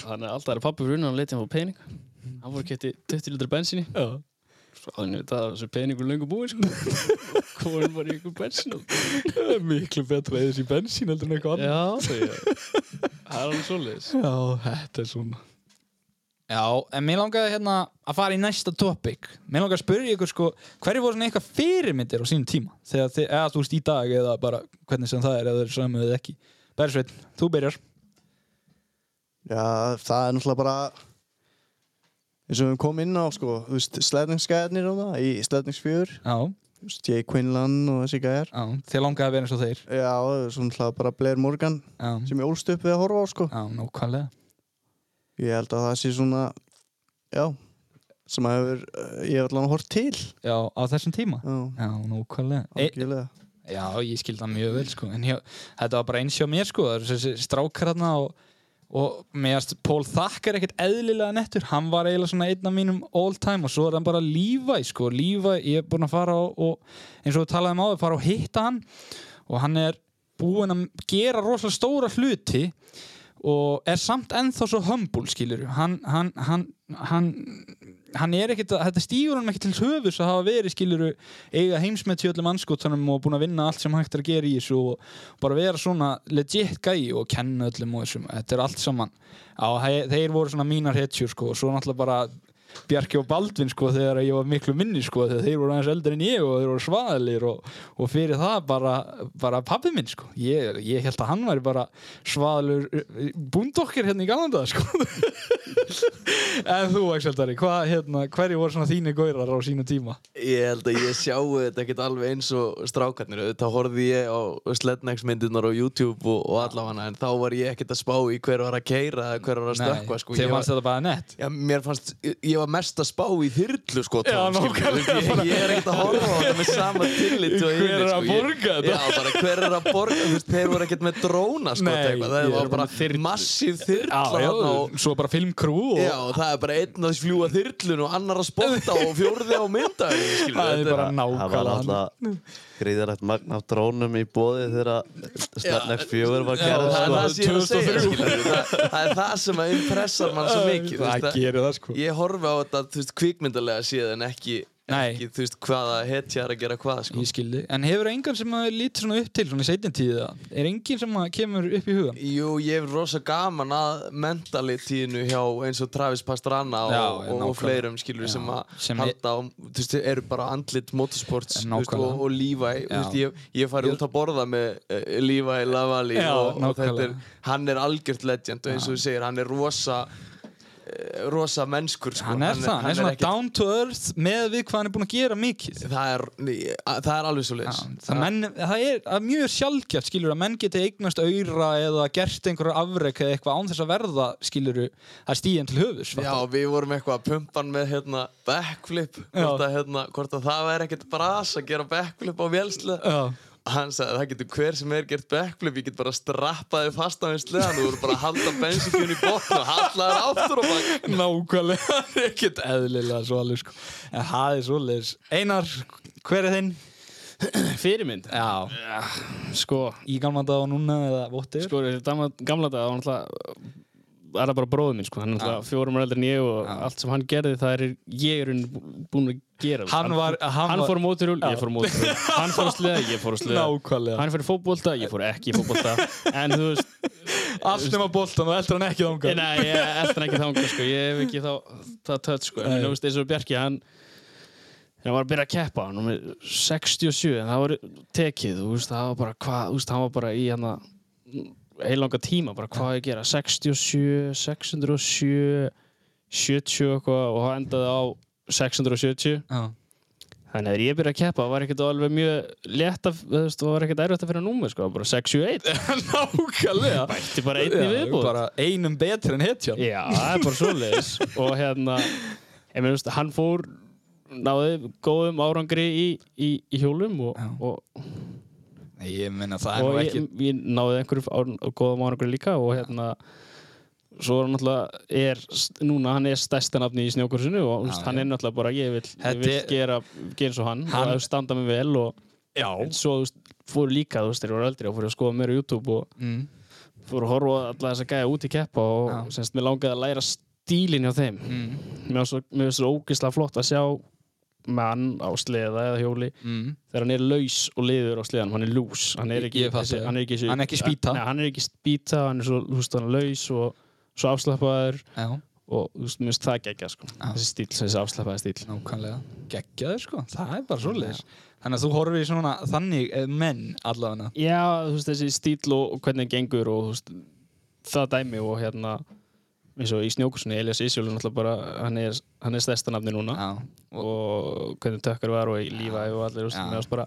S3: þannig að alltaf er pabbi fyrir unna hann leti hann á pening hann voru kætti 20 litra bensinni
S1: Já.
S3: svo þannig að það var þessu peningur lengur búinn sko <laughs> komur bara í ykkur bensin og
S1: Miklu betra eða þessi bensín heldur en eitthvað
S3: já segi ég. það er alveg svoleiðis
S1: Já, þetta er svona Já, en mér langaði hérna að fara í næsta topic Mér langaði að spyrja ykkur sko hverju voru svona eitthvað fyrirmyndir á sínum tíma þegar þið, eða þú veist í dag eða bara hvernig sem það er eða þeir sömu eða ekki Bergsveit, þú byrjar
S5: Já, það er náttúrulega bara eins og við komum inn á sko, þú veist, slæðningsgæðarnir og það í slæðningsfjör,
S1: Já,
S5: þú veist, Jay Quinlan og þessi gæðar
S1: já, þið langaði að vera eins og þeir
S5: Já, svona náttúrulega bara Blair Morgan
S1: Já,
S5: sem ég ólst upp við að horfa á sko
S1: já nákvæmlega
S5: Ég held að það sé svona, já sem að hefur, eh, ég hef allan hort til
S1: Já, á þessum tíma
S5: já,
S1: Já, nókvælega e,
S5: algjörlega
S1: Já, ég skildi það mjög vel sko En ég, þetta var bara eins hjá mér sko Það eru þessi strákar hérna og, og meðast Pól Þakkar ekkert eðlilega nettur Hann var eiginlega svona einn af mínum all time Og svo er hann bara lífa í sko Lífa, ég er búinn að fara á og, Eins og við talaðum á þau, fara og hitta hann Og hann er búinn að gera rosalega stóra hluti og er samt ennþá svo humble skilur hann, hann, hann, hann hann er ekkit, að- þetta stígur hann ekki til höfus að hafa verið skiluru eiga heimsmet í öllum anskotanum og búin að vinna allt sem hægt er að gera í þessu og bara vera svona legit gæi og kenna öllum og þessum, þetta er allt saman á, he- þeir voru svona mínar hetjur sko og svo náttúrulega bara Bjarki og Baldvin sko þegar ég var miklu minni sko þegar þeir voru aðeins eldri en ég og þeir voru svaðalir og, og fyrir það bara, bara pappi minn sko ég, ég held að hann væri bara svaðalur eh, búndokkir hérna í galanda sko en þú Axeldari, hvað hérna hverju voru svona þínir gaurar á sínu tíma
S4: Ég held að ég sjáu þetta ekkert alveg eins og strákarnir auðvitað horfði ég á Slednex-myndirnar á YouTube og, og allafana en þá var ég ekkert að spá í hver var að keira eða hver var að stökkva sko. Ég
S1: þegar fannst
S4: var,
S1: þetta bara nett
S4: já, mér fannst, ég, ég var mest að spá í þyrlu sko
S1: Já, nákvæmlega,
S4: ég, ég er ekkert að horfa á þetta með sama tillit og
S1: Hver er
S4: yfir, sko.
S1: að
S4: Ég-
S1: borga þetta?
S4: Já, bara hver er að borga, þú veist, þeir voru ekkert með dróna sko
S1: Nei,
S4: eitthvað. það
S1: ég er
S4: var
S1: bara með
S4: bara
S1: þyrlu.
S4: massíf
S1: Já,
S4: þyrla
S1: já,
S4: þarna og
S1: svo bara filmkrú og
S4: Já, og það er bara einn að fljúa þyrlun og annar að spotta og fjórði á mynda
S1: það er bara
S2: Það var
S1: nákvæmlega
S2: alltaf gríðarlegt magn af drónum í bóði þegar Snapnex 4 var
S4: Já,
S2: gerð
S4: það er
S2: sko.
S4: það sem ég er að segja, skilur það, það er það sem að impressar mann svo mikið þú veist,
S1: það gerir það sko
S4: Ég horfi á þetta, þú veist, kvikmyndalega séð en ekki,
S1: Nei.
S4: ekki þú veist, hvaða hetja er að gera hvað, sko
S1: Ég skildi, en hefur engan sem að lítur svona upp til svona í seitin tíða? Er engin sem að kemur upp í hugan?
S4: Jú, ég er rosa gaman að mentalitínu hjá eins og Travis Pastrana og,
S1: Já,
S4: og, og
S1: nákvæmlega.
S4: fleirum skilur sem að
S1: sem ég-
S4: halda á, þú veist, eru bara andlit motorsports þú veist,
S1: Nákvæmlega.
S4: og, og Levi, þú
S1: Já.
S4: veist, ég, ég fari út að borða með uh, Levi Lavali
S1: Já,
S4: og, og þetta er,
S1: nákvæmlega.
S4: hann er algjört legend og eins og þú segir, hann er rosa eh, rosa mennskur sko.
S1: Hann er það, hann er svona
S4: ekkert-
S1: down to earth með við hvað hann er búin að gera mikið.
S4: það er, ný, að, það er alveg svo
S1: Já,
S4: leiðis
S1: það, menn, það er að mjög sjálfgjart skilur að menn geti eignast auðra eða gert einhverja afrek eða eitthvað án þess að verða skilur að stíðin til höfus.
S4: Já,
S1: fattar?
S4: við vorum eitthvað að pumpa hann með hérna, backflip, hvort að, hérna, hvort að það væri ekkert bras að gera backflip á vélslega.
S1: Já.
S4: Hann sagði, það getur hver sem er gert backflip, ég get bara strappaði fast á hans sleðan og voru bara að halda bensinkjörn í botn og halla þér aftur og bak.
S1: Nákvæmlega, <laughs> það er ekkert eðlilega svo alveg sko. En það er svo Einar, hver er þinn?
S3: Fyrirmynd?
S1: Já,
S3: Sko,
S1: í gamla dag og núna eða vottir?
S3: sko þessi dama- gamla dag, það var náttúrulega er það bara bróðið minn, sko. Hann er náttúrulega fjórum ára eldri en ég og allt sem hann gerði, það er ég er búin að gera.
S1: Hann var- hann
S3: hann
S1: var-
S3: fór á móturhjól, ég fór á móturhjól. hann fór á sleða, ég fór á sleða.
S1: <laughs> Nákvæmlega.
S3: Hann fór í fótbolta, ég fór ekki í fótbolta.
S1: <laughs>
S3: en þú veist,
S1: Allt nema boltan og eldur hann ekki þangað.
S3: Nei, nei, ég eldan ekki þangað sko, ég hef ekki þá, það tött sko, en þú veist eins og Bjarki, hann, þegar hann var að byrja að keppa, hann var með 67, en það var tekið, þú veist, það var bara hvað, þú veist, hann var bara í hann að heilanga tíma, bara hvað á ég að gera, 67, 607, 70 og eitthvað og það endaði á 670,
S1: Já.
S3: þannig að þegar ég byrja að keppa, það var ekkert alveg mjög létt að, þú veist, það var ekkert erfitt að finna númer sko, bara 671,
S1: <laughs> Nákvæmlega
S3: þetta er bara einni viðbúð.
S1: bara einum betri en hetjan
S3: Já, það er bara
S1: <laughs>
S3: svoleiðis og hérna, ég meina, þú veist, hann fór náði góðum árangri í, í, í hjólum og,
S1: Já.
S3: og,
S1: Nei, ég meina það er
S3: og
S1: nú
S3: ég,
S1: ekki
S3: ég náði einhverjum ár, góðum árangri líka og hérna svo er hann náttúrulega er, núna hann er stærsta nafni í snjókursinu og þú veist,
S1: Já,
S3: hann
S1: já.
S3: er náttúrulega bara ég vil,
S1: Þetta
S3: ég vil
S1: er-
S3: gera, gera eins og hann,
S1: Hann-
S3: hann og standa mig vel og
S1: Já
S3: en svo þú veist, fór líka þú veist, þeir voru eldri og fór að skoða meira YouTube og
S1: mm.
S3: fór að horfa á alla þess að gæja út í keppa og
S1: Já.
S3: semst mér langaði að læra stílinn hjá þeim
S1: Mm.
S3: mér finnst svo, mér finnst svo ógislega flott að sjá mann á sleða eða hjóli
S1: Mm.
S3: þegar hann er laus og liður á sleðanum, hann er lús hann er
S1: Ég-
S3: ekki,
S1: ég fatta það.
S3: hann er ekki, þessi-
S1: Hann er ekki spýta.
S3: Nei, hann er ekki spýta, hann er svo, þú veist, hann er laus og svo afslappaður
S1: Já,
S3: og þú veist, mér finnst það geggja sko. þessi stíl, þessi afslappaði stíl
S1: nákvæmlega Geggjaður sko, það er bara svoleiðis Þannig að þú horfir í svona þannig eh, menn allavega
S3: já, þú veist, þessi stíl og, og hvernig hann gengur og þú veist, það dæmi og hérna eins og í snjókursunni, Elias Isjólu náttúrulega bara, hann er, hann er stærsta nafni núna
S1: Já, og,
S3: og hvernig tökkar var og lífaði og allir, þú veist,
S1: Já.
S3: mér varst bara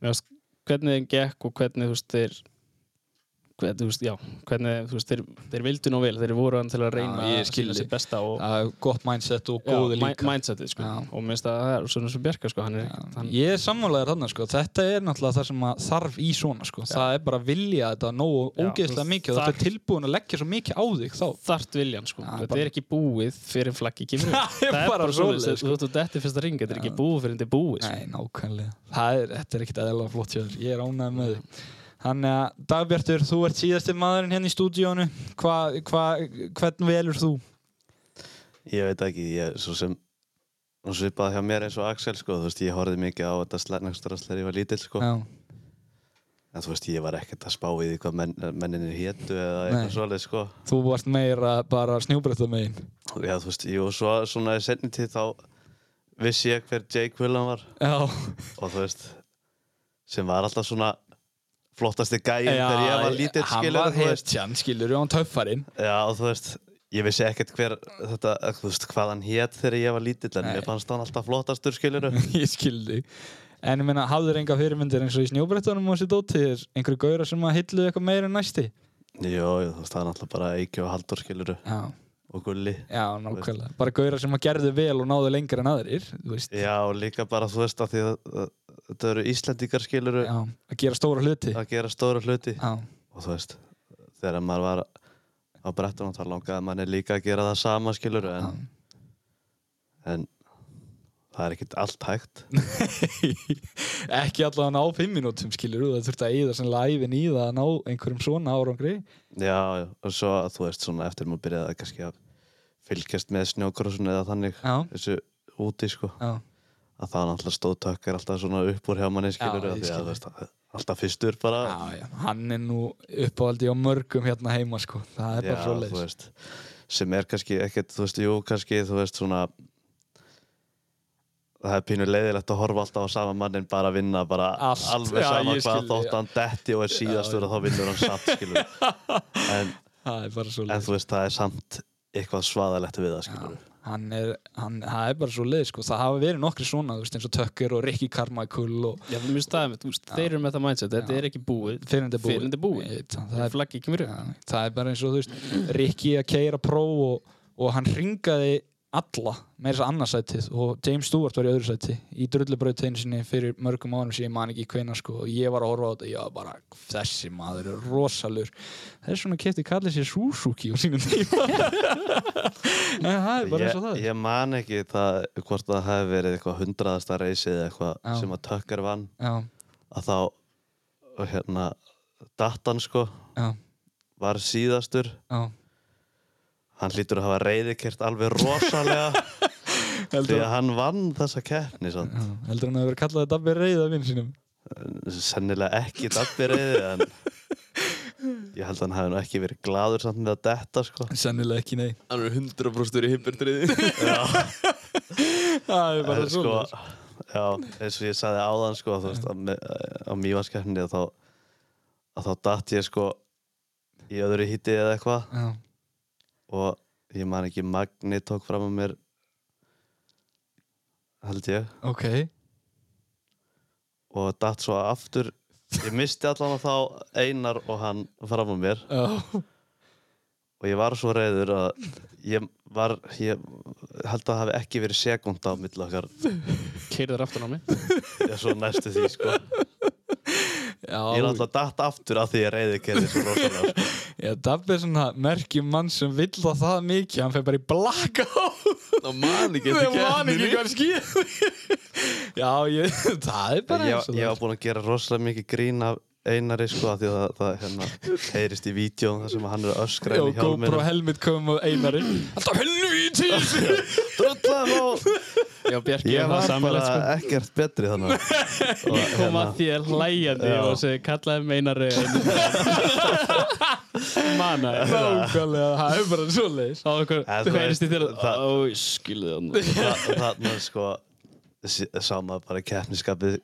S3: mér varst hvernig þeim gekk og hvernig þú veist þeir hver, þú veist, já, hvernig, þú veist, þeir, þeir vildu nú vel, þeir voru hann til að reyna
S1: Já, ég
S3: að
S1: skil
S3: skilja
S1: þig.
S3: sér besta og
S1: Það er gott mindset og
S3: já,
S1: góði
S3: mi-
S1: líka
S3: mindsetið, sko,
S1: Já.
S3: og minnst að það er svona svo bjerka, sko, hann er,
S1: Já,
S3: hann,
S1: Ég er sammálaður þarna sko Þetta er náttúrulega það sem að þarf í svona sko Það er bara að vilja þetta nógu
S3: Já,
S1: ógeðslega
S3: þú-
S1: mikið og
S3: þar-
S1: Þetta er tilbúin að leggja svo mikið á þig þá
S3: þart viljan, sko,
S1: Já,
S3: þetta
S1: bara-
S3: er ekki búið fyrir flaggi kemur upp.
S1: Það er bara
S3: svoleiðis,
S1: svoleiðis,
S3: sko. þú þú þetta er fyrsta ring, þetta er ekki búið fyrir þetta er búið, sko.
S1: Nei, nákvæmlega Það er, Þetta er ekkit aðeinslega flott hjá þér Ég er ánægð með þig Þannig að Dagbjartur, þú ert síðasti maðurinn hérna í stúdíónu hva, hva, Hvern velur þú?
S2: Ég veit ekki, ég svo sem hún svipaði hjá mér eins og Axel sko, þú veist, ég horfði mikið á þetta slænagsdrasl þegar ég var lítill sko,
S1: Já,
S2: en þú veist, ég var ekkert að spá í því hvað menn, menninir héttu eða
S1: Nei.
S2: eitthvað svoleið sko.
S1: þú vart meira bara snjúbreytta megin
S2: Já, þú veist, jú, svo svona í setni tíð þá vissi ég hver Jake Willan var
S1: Já,
S2: og þú veist, sem var alltaf svona flottasti gæinn þegar ég var lítill
S1: Hann
S2: skilur,
S1: var hetjan, skilur, hann töffarinn
S2: Já, og þú veist, ég vissi ekkert hver þetta, þú veist, hvað hann hét þegar ég var lítill, en
S1: Nei.
S2: mér fannst hann alltaf flottastur, skilur
S1: <laughs> ég skildi en ég meina, hafður enga fyrirmyndir eins og í snjóbrettunum og þessi dóti er einhverju gauðra sem að hillu eitthvað meira en næsti
S2: Jó, jú, þú veist, það er náttúrulega bara Eiki og Halldór, skilur
S1: já,
S2: og Gulli.
S1: já nákvæmlega, bara gauðra sem að gerðu vel og náðu lengur en aðrir þú veist,
S2: Já, og líka bara, þú veist, að því að að- þetta eru Íslendingar, skilur
S1: já, að gera stóra hluti
S2: að gera stóra hluti
S1: já,
S2: og þú veist, þegar maður var á brettunum, þá langaði manni líka að gera það sama, skilur
S1: já.
S2: en, en það er ekkert allt hægt.
S1: ekki allavega á fimm mínútum skilur það þurfti að eyða sem læfin í það að ná einhverjum svona árangri
S2: Já, já, og svo, þú veist, svona eftir maður byrjaði að kannski að fylgjast með snjókrossun eða þannig,
S1: Já.
S2: þessu úti, sko
S1: já,
S2: að það náttúrulega stóðtökkar alltaf svona upp úr hjá manni skilur
S1: Já,
S2: já,
S1: ég
S2: því
S1: skil.
S2: að þú veist að- alltaf fyrstur bara
S1: já, já. hann er nú uppáhaldi á mörgum hérna heima sko, það er bara svo
S2: þú veist sem er kannski ekkert, þú veist, jú, kannski þú veist svona það er pínu leiðilegt að horfa alltaf á sama mannin bara að vinna bara
S1: Allt,
S2: alveg
S1: já,
S2: sama
S1: ég skil
S2: hvað
S1: þig, já.
S2: þótt hann detti og er síðastur og þá vinnur hann samt skilur
S1: <laughs>
S2: en,
S1: það er bara svo
S2: en þú veist, það er samt eitthvað svaðalegt við það skilur
S1: hann er, hann, það er bara svo leið sko. það hafa verið nokkri svona, þú veist, eins og Tucker og Ricky Carmichael og
S3: Já, þú mjög staðið með, þú veist, þeir eru með það mindset, þetta er ekki búið,
S1: fyrirndi búið,
S3: Fyrrnefndi búið.
S1: Ég veit það, það, er,
S3: flaggi kemur upp.
S1: ja, það er bara eins og þú veist Ricky að keira pró og, og hann ringaði alla með þess að annarsætið og James Stewart var í öðru sæti í drullubrautinu sinni fyrir mörgum árum sem ég man ekki hveina sko og ég var að horfa á þetta, já bara þessi maður er rosalur þess vegna kefti kallið sér Suzuki á sínum
S2: <laughs>
S1: tíma en það er bara eins og það er.
S2: ég, ég man ekki það, hvort það hefði verið eitthvað hundraðasta reysi eða eitthvað
S1: Já.
S2: sem að tökkar vann
S1: já,
S2: að þá og hérna dattan sko
S1: já,
S2: var síðastur
S1: já
S2: hann hlýtur að hafa reyðikert alveg
S1: <laughs>
S2: rosalega því að hann vann þessa keppni sann.
S1: Já, heldur hann að vera kallaði Dabbi reyða vinn sínum
S2: sennilega ekki dabbi reyði en
S1: <laughs>
S2: ég held að hann hefði nú ekki verið gladur samt með að detta sko
S1: Sennilega ekki,
S2: <laughs>
S1: nei
S4: Hann er 100% í himberdriði
S1: Það er bara
S2: en, sko,
S1: svona
S2: já, eins og ég sagði áðan sko, þú veist, á, mi- á mývaskefni að þá, að þá datt ég sko í öðru híti eða eitthvað
S1: Já,
S2: og ég man ekki Magni tók fram að mér held ég
S1: ok
S2: og datt svo aftur ég misti allan að þá Einar og hann fram að mér
S1: Já,
S2: og ég var svo reyður að ég var ég held að það hafi ekki verið sekund á milli okkar
S3: Keyrðir aftan á mig.
S2: ég svo næstu því sko ég er alltaf datt aftur af því ég reyði kerði svo rosalega sko.
S1: Já, Dabbi er svona merkjum mann sem vill það það mikið Hann fer bara í blakka á
S4: Ná man ekki
S1: Það man
S4: eftir
S1: ekki
S4: keppninni
S1: hvað skýr <laughs> Já, ég, <laughs> það er bara
S2: ég,
S1: eins og
S2: ég
S1: það
S2: var búin að gera rosalega mikið grín af Einari sko af því að það, það hérna, heyrist í vídjón þar sem hann er
S1: Já,
S2: öskraðin í hjálminu
S1: GoPro helmet kom og einari Alltaf helvíti
S2: <laughs> Drullan og
S3: Já, Bjarki,
S2: Ég
S3: ég
S2: var
S3: var
S2: bara
S3: samlega, sko.
S2: ekkert betri
S3: <laughs>
S2: þannig
S3: Ég kom að þér hlæjandi
S2: Já.
S3: og segi, kallaði meinar Mana
S1: Nákvæmlega, það er bara svo leiðis
S3: Þá okkur,
S2: Ja,
S3: þú
S2: þú
S3: heyrist í
S2: veist,
S3: þér
S2: það-
S3: Ó, ég skilði það
S2: Þannig að hérna, sko sí- sá maður bara keppniskapið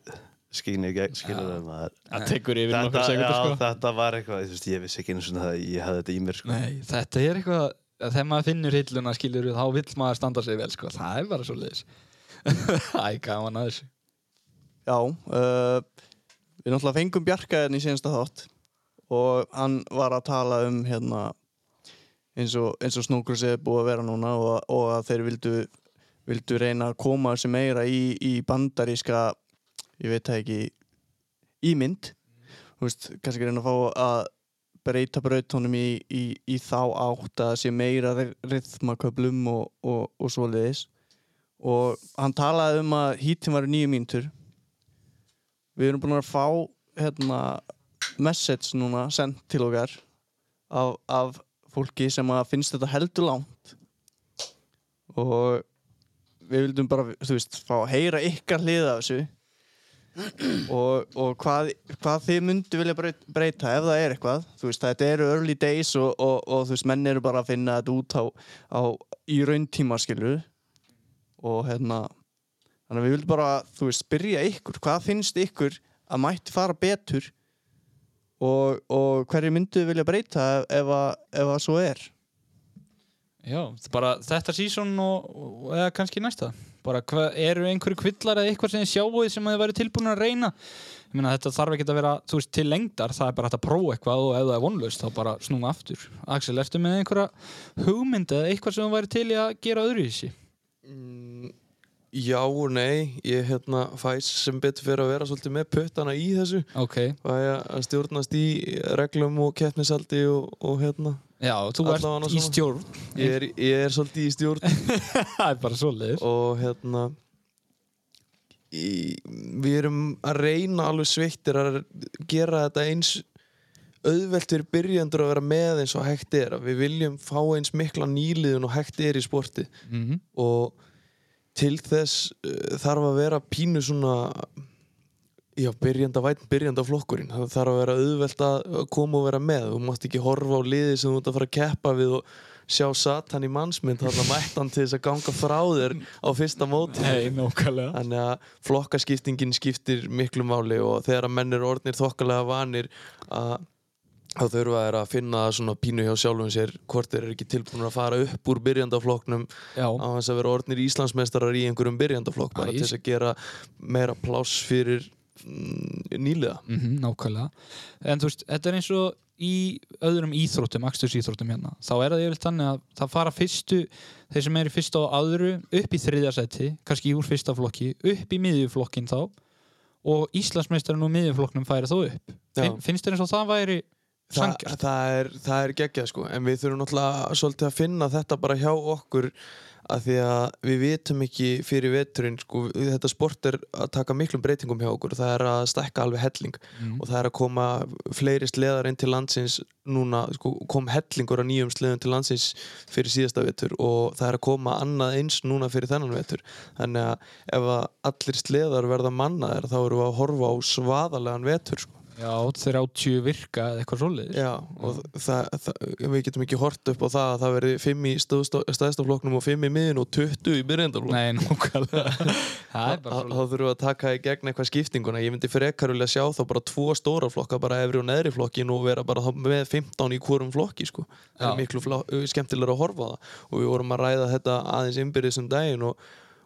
S2: skínu í gegn skilur við maður
S3: Það tekur yfir
S2: þetta,
S3: nokkur
S2: já,
S3: sekundur, sko
S2: þetta var eitthvað, þú veist, ég vissi ekki einu svona að ég hefði þetta í mér sko
S1: Nei, þetta er eitthvað að þegar maður finnur hilluna skilur þá vill maður standa sig vel sko, það er bara svo leiðis <laughs> Æ, gaman að þessu
S5: Já, uh, við náttúrulega fengum Bjarka hérna í síðansta þátt og hann var að tala um hérna eins og, eins og snúkrus er búið að vera núna og, og að þeir vildu, vildu reyna að koma þessu meira í, í bandaríska ég veit það ekki ímynd Þú veist, kannski reyna að fá að breyta brautónum í, í, í þá átt að það sé meira rithmaköplum og, og, og svoleiðis og hann talaði um að hítin var nýju mínútur við erum búin að fá hérna, message núna sendt til okkar af, af fólki sem að finnst þetta heldur langt og við vildum bara, þú veist, fá að heyra ykkar hliða af þessu og, og hvað, hvað þið myndu vilja breyt- breyta ef það er eitthvað þú veist, þetta eru early days og, og, og þú veist, menn eru bara að finna þetta út á, á í rauntíma skilur og hérna þannig að við vildum bara, þú veist, spyrja ykkur hvað finnst ykkur að mætti fara betur og, og hverju myndu vilja breyta ef, ef, að, ef að svo er
S1: Já, þetta er bara þetta sísón og, og eða kannski næsta bara hva, eru einhverju kvillar eða eitthvað sem þið sjáuð sem þið væri tilbúin að reyna ég meina þetta þarf ekki að vera þú veist, til lengdar, það er bara hægt að prófa eitthvað og ef það er vonlaust þá bara snúma aftur Axel, ertu með einhverja hugmynd eða eitthvað sem þú væri til í að gera öðru í þessi
S4: Já og nei, ég hérna fæs sem betur fyrir að vera svolítið með puttana í þessu
S1: Ok,
S4: og að að stjórnast í reglum og keppnisaldi og, og hérna
S1: já, þú
S4: Allavega
S1: ert í
S4: svona.
S1: stjórn <laughs>
S4: ég er, ég er svolítið í stjórn
S1: það er bara svoleiðis
S4: og hérna í, við erum að reyna alveg sveittir að gera þetta eins auðvelt fyrir byrjandur að vera með eins og hægt er að við viljum fá eins mikla nýliðun og hægt er í sporti
S1: mm
S4: og til þess uh, þarf að vera pínu svona já, byrjanda vætn, byrjanda flokkurinn það þarf að vera auðvelt að að koma og vera með þú mátt ekki horfa á liði sem þú ert að fara að keppa við og sjá satan í mannsmynd þannig að mættan til þess að ganga frá þér á fyrsta móti
S1: Nei, nákvæmlega
S4: Þannig að flokkaskiptingin skiptir miklu máli og þegar að menn eru orðnir þokkalega vanir að þá þurfa þeir að finna svona pínu hjá sjálfum sér hvort þeir eru ekki tilbúin að fara upp úr byrjandaflokknum
S1: Já,
S4: á þess að vera orðnir Íslandsmeistarar í einhverjum byrjandaflokk bara
S1: Æ,
S4: til þess að gera meira pláss fyrir mm, nýliða
S1: mm nákvæmlega en þú veist, þetta er eins og í öðrum íþróttum, akstursíþróttum hérna þá er það yfirleitt þannig að það fara fyrstu þeir sem eru í fyrsta og aðru upp í þriðja sæti, kannski úr fyrsta flokki upp í miðjuflokkin þá og Íslandsmeistarinn og miðjuflokknum færi þó upp
S4: Já.
S1: Finn, finnst þér eins og það væri
S4: Þa,
S1: sangjart?
S4: það er, það er geggjað sko en við þurfum náttúrulega svolítið að finna þetta bara hjá okkur að því að við vitum ekki fyrir veturinn sko, við- þetta sport er að taka miklum breytingum hjá okkur, það er að stekka alveg helling
S1: Mm.
S4: og það er að koma fleiri sleðar inn til landsins núna, sko, kom hellingur af nýjum sleðum til landsins fyrir síðasta vetur og það er að koma annað eins núna fyrir þennan vetur þannig að ef að allir sleðar verða mannaðir þá erum við að horfa á svaðalegan vetur sko.
S1: Já, 30 virka eða eitthvað svoleiðis
S4: Já, og það, það, við getum ekki hort upp á það að það verði 5 í stæðstafloknum og 5 í miðin og 20 í byrjendafloknum.
S1: Nei,
S4: <laughs>
S1: nákvæmlega Það er bara
S4: Þá
S1: svoleiðis
S4: þurfum við að taka í gegn eitthvað skiptinguna. Ég myndi frekarulega sjá þá bara tvo stóra flokka, bara efri og neðri flokkin og vera bara þá með 15 í hverjum flokki, sko. Það
S1: Já.
S4: er miklu flá, skemmtilega að horfa á það. Og við vorum að ræða þetta aðeins innbyrðis um daginn og,